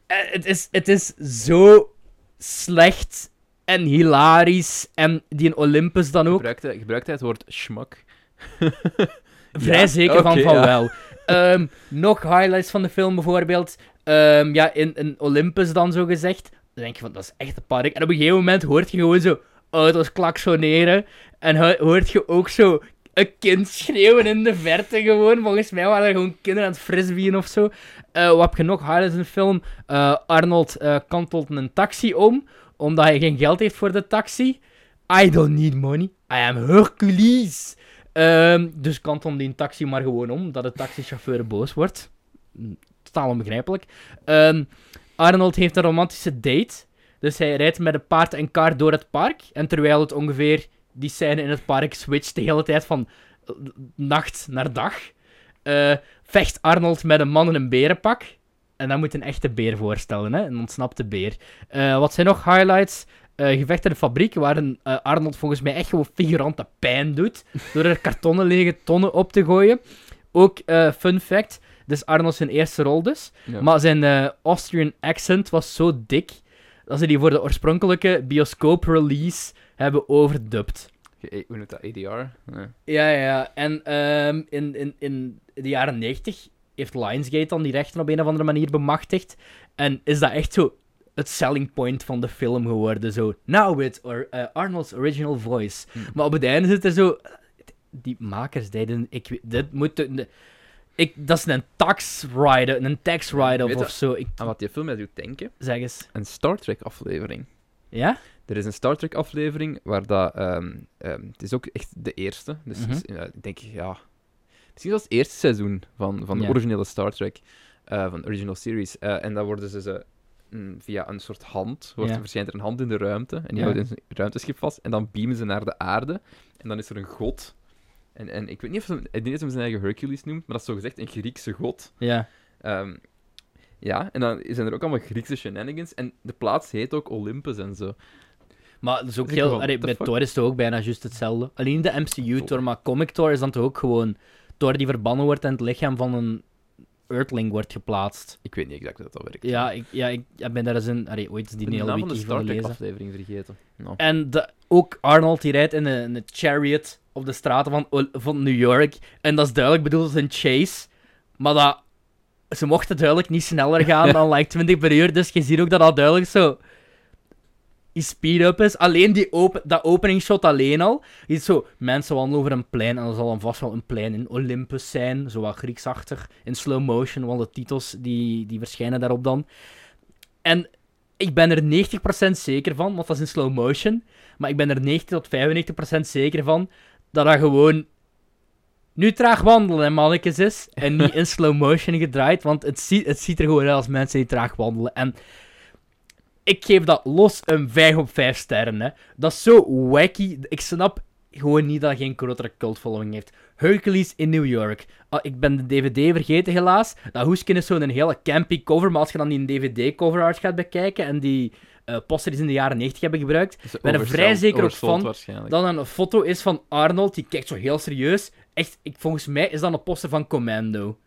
Speaker 2: Eh, Het is, het is zo slecht en hilarisch. En die in Olympus dan ook.
Speaker 1: Gebruikt, hij, gebruikt hij het woord schmak?
Speaker 2: Vrij
Speaker 1: Ja,
Speaker 2: zeker van
Speaker 1: oké,
Speaker 2: van
Speaker 1: ja.
Speaker 2: wel. Ehm, nog highlights van de film bijvoorbeeld. Ehm, ja, in, in Olympus dan zo gezegd. Dan denk je van, dat is echt een park. En op een gegeven moment hoort je gewoon zo auto's klaksoneren. En hu- hoort je ook zo een kind schreeuwen in de verte gewoon. Volgens mij waren er gewoon kinderen aan het frisbeeën of zo. Eh, wat heb je nog highlights in de film? Eh, Arnold eh, kantelt een taxi om, omdat hij geen geld heeft voor de taxi. I don't need money. I am Hercules. Ehm, dus kantel die taxi maar gewoon om, dat de taxichauffeur boos wordt. Mm, Totaal onbegrijpelijk. Ehm, Arnold heeft een romantische date. Dus hij rijdt met een paard en kar door het park. En terwijl het ongeveer die scène in het park switcht de hele tijd van eh, nacht naar dag, eh, vecht Arnold met een man in een berenpak. En dat moet een echte beer voorstellen, hè? een ontsnapte beer. Eh, wat zijn nog highlights? Eh, gevecht in de fabriek, waar een, eh, Arnold volgens mij echt gewoon figurante pijn doet. Door er kartonnen lege tonnen op te gooien. Ook, eh, fun fact, dit is Arnold zijn eerste rol dus.
Speaker 1: Ja.
Speaker 2: Maar zijn eh, Austrian accent was zo dik dat ze die voor de oorspronkelijke bioscoop-release hebben overdubbed.
Speaker 1: Ge- Hoe noemt dat? ADR? Nee.
Speaker 2: Ja, ja, ja. En ehm, in, in, in de jaren 90 heeft Lionsgate dan die rechten op een of andere manier bemachtigd. En is dat echt zo het selling point van de film geworden. Zo, now with or- eh, Arnold's original voice.
Speaker 1: Hm.
Speaker 2: Maar op het einde zit er zo... Die makers deden... Ik, weet- dit moet... de- Ik, dat is een tax rider, een tax
Speaker 1: Weet
Speaker 2: write-off
Speaker 1: je-
Speaker 2: of zo. Ik,
Speaker 1: Aan wat die film mij doet denken?
Speaker 2: zeg eens.
Speaker 1: Een Star Trek aflevering.
Speaker 2: Ja?
Speaker 1: Er is een Star Trek aflevering waar dat... ehm, ehm, het is ook echt de eerste. Dus
Speaker 2: Mhm.
Speaker 1: het is, eh, ik denk, ja... Misschien was het eerste seizoen van, van de
Speaker 2: Ja.
Speaker 1: originele Star Trek. eh, van de original series. Eh, en daar worden ze... ze mm, via een soort hand. Wordt,
Speaker 2: Ja.
Speaker 1: Verschijnt er een hand in de ruimte. En die
Speaker 2: Ja.
Speaker 1: houdt een ruimteschip vast. En dan beamen ze naar de aarde. En dan is er een god... En, en ik weet niet of hem, ik denk dat hem zijn eigen Hercules noemt, maar dat is zo gezegd een Griekse god.
Speaker 2: Ja.
Speaker 1: Ehm, ja, en dan zijn er ook allemaal Griekse shenanigans. En de plaats heet ook Olympus en zo.
Speaker 2: Maar dat is ook
Speaker 1: Dus ik
Speaker 2: heel...
Speaker 1: wel,
Speaker 2: allee,
Speaker 1: what the
Speaker 2: bij
Speaker 1: fuck?
Speaker 2: Thor is het ook bijna juist hetzelfde. Alleen de MCU-Thor, maar Comic Thor is dan toch ook gewoon... Thor die verbannen wordt en het lichaam van een Earthling wordt geplaatst.
Speaker 1: Ik weet niet exact hoe dat, dat werkt.
Speaker 2: Ja, ik, ja, ik, ik ben daar eens in... Allee, ooit eens
Speaker 1: ik
Speaker 2: die
Speaker 1: ben de
Speaker 2: hele
Speaker 1: naam van de
Speaker 2: wiki
Speaker 1: Star
Speaker 2: van
Speaker 1: Trek
Speaker 2: lezen.
Speaker 1: aflevering vergeten. Nou.
Speaker 2: En de- ook Arnold die rijdt in een, in een chariot op de straten van, Ol- van New York. En dat is duidelijk bedoeld als een chase. Maar dat, ze mochten duidelijk niet sneller gaan dan like 20 per uur. Dus je ziet ook dat dat duidelijk zo die speed-up is. Alleen die open, dat openingsshot alleen al. Je ziet zo mensen wandelen over een plein. En dat zal dan vast wel een plein in Olympus zijn. Zo wat Grieksachtig. In slow motion, want de titels die, die verschijnen daarop dan. En ik ben er 90% zeker van, want dat is in slow motion. Maar ik ben er 90 tot 95% zeker van dat dat gewoon nu traag wandelen, hè, mannetjes is. En niet in slow motion gedraaid, want het, zie- het ziet er gewoon uit als mensen die traag wandelen. En ik geef dat los een 5 op 5 sterren. Hè. Dat is zo wacky. Ik snap gewoon niet dat het geen grotere cultfollowing heeft. Hercules in New York. Ah, ik ben de DVD vergeten, helaas. Dat hoesken is zo'n hele campy cover, maar als je dan die DVD-cover art gaat bekijken en die eh poster die ze in de jaren 90 hebben gebruikt,
Speaker 1: Dus
Speaker 2: ben er
Speaker 1: oversold-
Speaker 2: vrij zeker ook
Speaker 1: oversold
Speaker 2: van
Speaker 1: waarschijnlijk.
Speaker 2: dan een foto is van Arnold, die kijkt zo heel serieus. Echt, ik, volgens mij is dat een poster van Commando.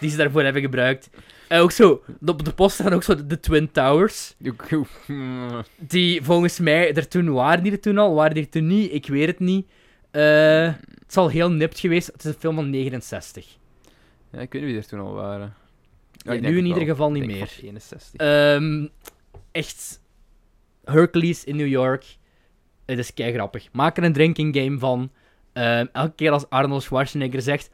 Speaker 2: Die ze daarvoor hebben gebruikt. En ook zo, op de poster staan ook zo de, de Twin Towers.
Speaker 1: Oeh, oeh, hmm.
Speaker 2: Die volgens mij er toen waren, die er toen al, waren die er toen niet, ik weet het niet. Eh, het zal heel nipt geweest, het is een film van 69.
Speaker 1: Ja, ik weet niet wie er toen al waren.
Speaker 2: Ja, nu in ieder geval niet meer.
Speaker 1: Van 61.
Speaker 2: Ehm, echt, Hercules in New York. Het is kei grappig. Maak er een drinking game van. Ehm, elke keer als Arnold Schwarzenegger zegt: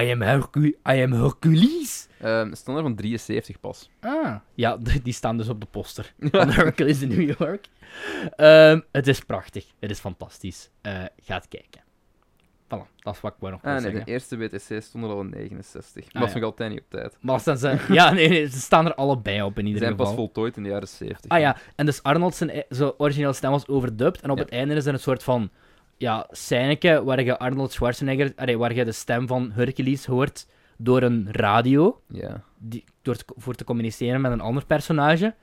Speaker 2: I am, Hercu I am Hercules.
Speaker 1: Ehm, standaard van 73 pas.
Speaker 2: Ah. Ja, d- die staan dus op de poster van Hercules in New York. Ehm, het is prachtig. Het is fantastisch. Eh, ga het kijken. Voilà, dat is wat ik wou nog wil
Speaker 1: Ah, nee,
Speaker 2: zeggen.
Speaker 1: de eerste WTC stond er al in 69.
Speaker 2: Ah,
Speaker 1: Maar was
Speaker 2: ja.
Speaker 1: nog altijd niet op tijd.
Speaker 2: Maar staan ze... Ja, nee, nee, ze staan er allebei op in
Speaker 1: Die
Speaker 2: ieder
Speaker 1: zijn
Speaker 2: geval.
Speaker 1: pas voltooid in de jaren 70.
Speaker 2: Ah ja, en dus Arnold zijn e- zo originele stem was overdubbed. En op
Speaker 1: Ja.
Speaker 2: het einde is er een soort van ja, scèneke waar je Arnold Schwarzenegger, allee, waar je de stem van Hercules hoort door een radio.
Speaker 1: Ja.
Speaker 2: Die, door te co- voor te communiceren met een ander personage.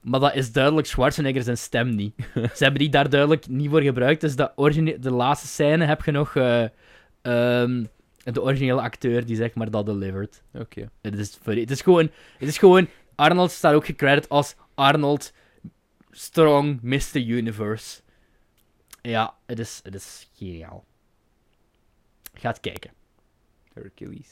Speaker 2: Maar dat is duidelijk Schwarzenegger zijn stem niet. Ze hebben die daar duidelijk niet voor gebruikt. Dus de, origine- de laatste scène heb je nog eh, ehm, de originele acteur die zeg maar dat delivered.
Speaker 1: Oké.
Speaker 2: Het is, ver- het is, gewoon, het is gewoon. Arnold staat ook gecredit als Arnold Strong Mr. Universe. Ja, het is, het is geniaal. Gaat kijken.
Speaker 1: Hercules.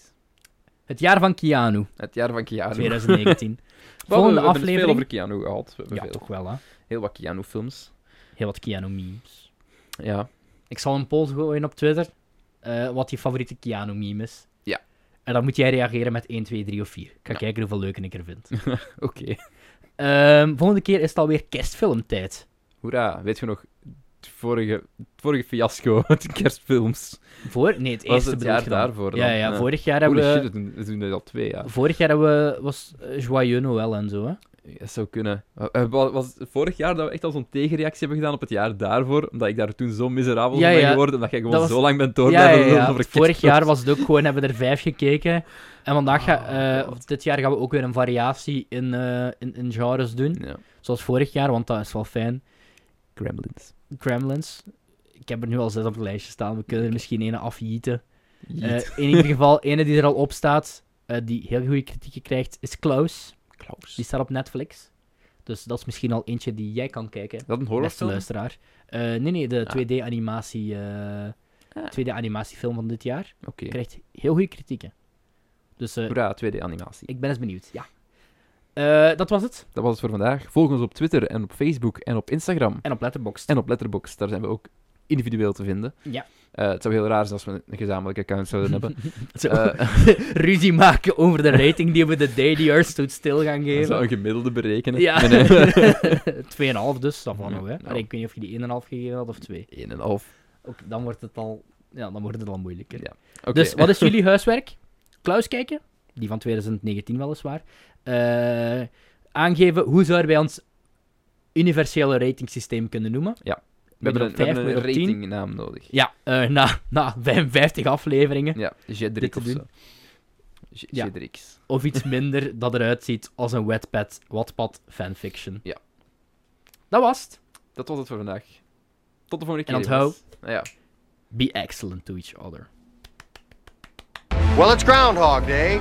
Speaker 2: Het jaar van Keanu,
Speaker 1: Het jaar van Keanu.
Speaker 2: 2019.
Speaker 1: Wel, we-
Speaker 2: Volgende
Speaker 1: we hebben het veel over
Speaker 2: aflevering.
Speaker 1: Keanu gehad. We hebben
Speaker 2: Ja,
Speaker 1: veel.
Speaker 2: toch wel, hè?
Speaker 1: Heel wat Keanu-films.
Speaker 2: Heel wat Keanu memes.
Speaker 1: Ja.
Speaker 2: Ik zal een poll gooien op Twitter. eh, wat je favoriete Keanu meme is.
Speaker 1: Ja.
Speaker 2: En dan moet jij reageren met 1, 2, 3 of 4. Ik ga
Speaker 1: Ja.
Speaker 2: kijken hoeveel leuke ik er vind.
Speaker 1: Oké.
Speaker 2: Ehm, volgende keer is het alweer kerstfilmtijd.
Speaker 1: Hoera. Weet je nog... Het vorige, het vorige fiasco met de kerstfilms.
Speaker 2: Voor? Nee, het eerste
Speaker 1: Was het
Speaker 2: bedoel
Speaker 1: jaar
Speaker 2: je dan.
Speaker 1: daarvoor dan?
Speaker 2: Ja, ja,
Speaker 1: Ja.
Speaker 2: vorig jaar
Speaker 1: Holy
Speaker 2: hebben we...
Speaker 1: shit, we doen, we doen dat al twee jaar.
Speaker 2: Vorig jaar hebben we... was eh, Joyeux Noël en zo, hè?
Speaker 1: Dat zou kunnen. Eh, eh, wa- Was het vorig jaar dat we echt al zo'n tegenreactie hebben gedaan op het jaar daarvoor? Omdat ik daar toen zo miserabel
Speaker 2: Ja,
Speaker 1: van ben
Speaker 2: ja.
Speaker 1: geworden. Omdat jij gewoon
Speaker 2: Dat was-
Speaker 1: zo lang bent door
Speaker 2: ja,
Speaker 1: blijven
Speaker 2: ja, ja.
Speaker 1: lullen over
Speaker 2: Vorig
Speaker 1: kerstfilms.
Speaker 2: jaar was het ook gewoon... Hebben we er vijf gekeken. En vandaag ga,
Speaker 1: Oh,
Speaker 2: eh,
Speaker 1: God.
Speaker 2: of dit jaar gaan we ook weer een variatie in, eh, in, in genres doen.
Speaker 1: Ja.
Speaker 2: Zoals vorig jaar, want dat is wel fijn.
Speaker 1: Gremlins.
Speaker 2: Gremlins. Ik heb er nu al zes op het lijstje staan. We kunnen er misschien ene afjieten. Eh,
Speaker 1: Jeet.
Speaker 2: in ieder geval, ene die er al op staat, eh, die heel goede kritieken krijgt, is Klaus.
Speaker 1: Klaus.
Speaker 2: Die staat op Netflix. Dus dat is misschien al eentje die jij kan kijken.
Speaker 1: Is dat een
Speaker 2: Beste
Speaker 1: horrorfilm?
Speaker 2: luisteraar. Eh, nee, nee, de
Speaker 1: Ah.
Speaker 2: 2D-animatie. eh
Speaker 1: Ah.
Speaker 2: 2D-animatiefilm van dit jaar.
Speaker 1: Oké.
Speaker 2: Krijgt heel goede kritieken. Dus eh,
Speaker 1: Hoera, 2D-animatie.
Speaker 2: ik ben eens benieuwd. Ja. Eh, dat was het.
Speaker 1: Dat was het voor vandaag. Volg ons op Twitter en op Facebook en op Instagram.
Speaker 2: En op Letterboxd.
Speaker 1: En op Letterboxd, daar zijn we ook individueel te vinden.
Speaker 2: Ja.
Speaker 1: Eh, het zou heel raar zijn als we een gezamenlijke account zouden hebben.
Speaker 2: Zo,
Speaker 1: Eh,
Speaker 2: ruzie maken over de rating die we de DDR stoot stil gaan
Speaker 1: we
Speaker 2: geven.
Speaker 1: zouden een gemiddelde berekenen.
Speaker 2: Ja.
Speaker 1: Nee, nee.
Speaker 2: 2,5 dus, dat van
Speaker 1: Ja,
Speaker 2: nou, hè.
Speaker 1: nou.
Speaker 2: Allee, ik weet niet of je die 1,5 gegeven had of 2.
Speaker 1: Eén en een half.
Speaker 2: Ook, dan wordt het al... Ja, dan wordt het al moeilijker.
Speaker 1: Ja. Oké.
Speaker 2: Dus wat is jullie huiswerk? Klaus kijken, die van 2019 weliswaar. Eh, aangeven hoe zouden wij ons universele ratingsysteem kunnen noemen.
Speaker 1: Ja. hebben een,
Speaker 2: op
Speaker 1: we
Speaker 2: 5,
Speaker 1: hebben
Speaker 2: meer
Speaker 1: een
Speaker 2: op 10.
Speaker 1: ratingnaam nodig.
Speaker 2: Ja, eh, na, na 55 afleveringen.
Speaker 1: Ja,
Speaker 2: Dit
Speaker 1: Jedrik
Speaker 2: te
Speaker 1: of
Speaker 2: doen.
Speaker 1: zo. J-
Speaker 2: Ja.
Speaker 1: Jedrix.
Speaker 2: Of iets minder dat eruit ziet als een Wattpad, Wattpad fanfiction.
Speaker 1: Ja.
Speaker 2: Dat was het.
Speaker 1: Dat was het voor vandaag. Tot de volgende keer.
Speaker 2: En onthoud-
Speaker 1: jongens. Ja.
Speaker 2: Be excellent to each other.
Speaker 3: Well, it's Groundhog Day.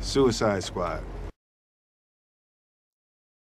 Speaker 4: suicide squad?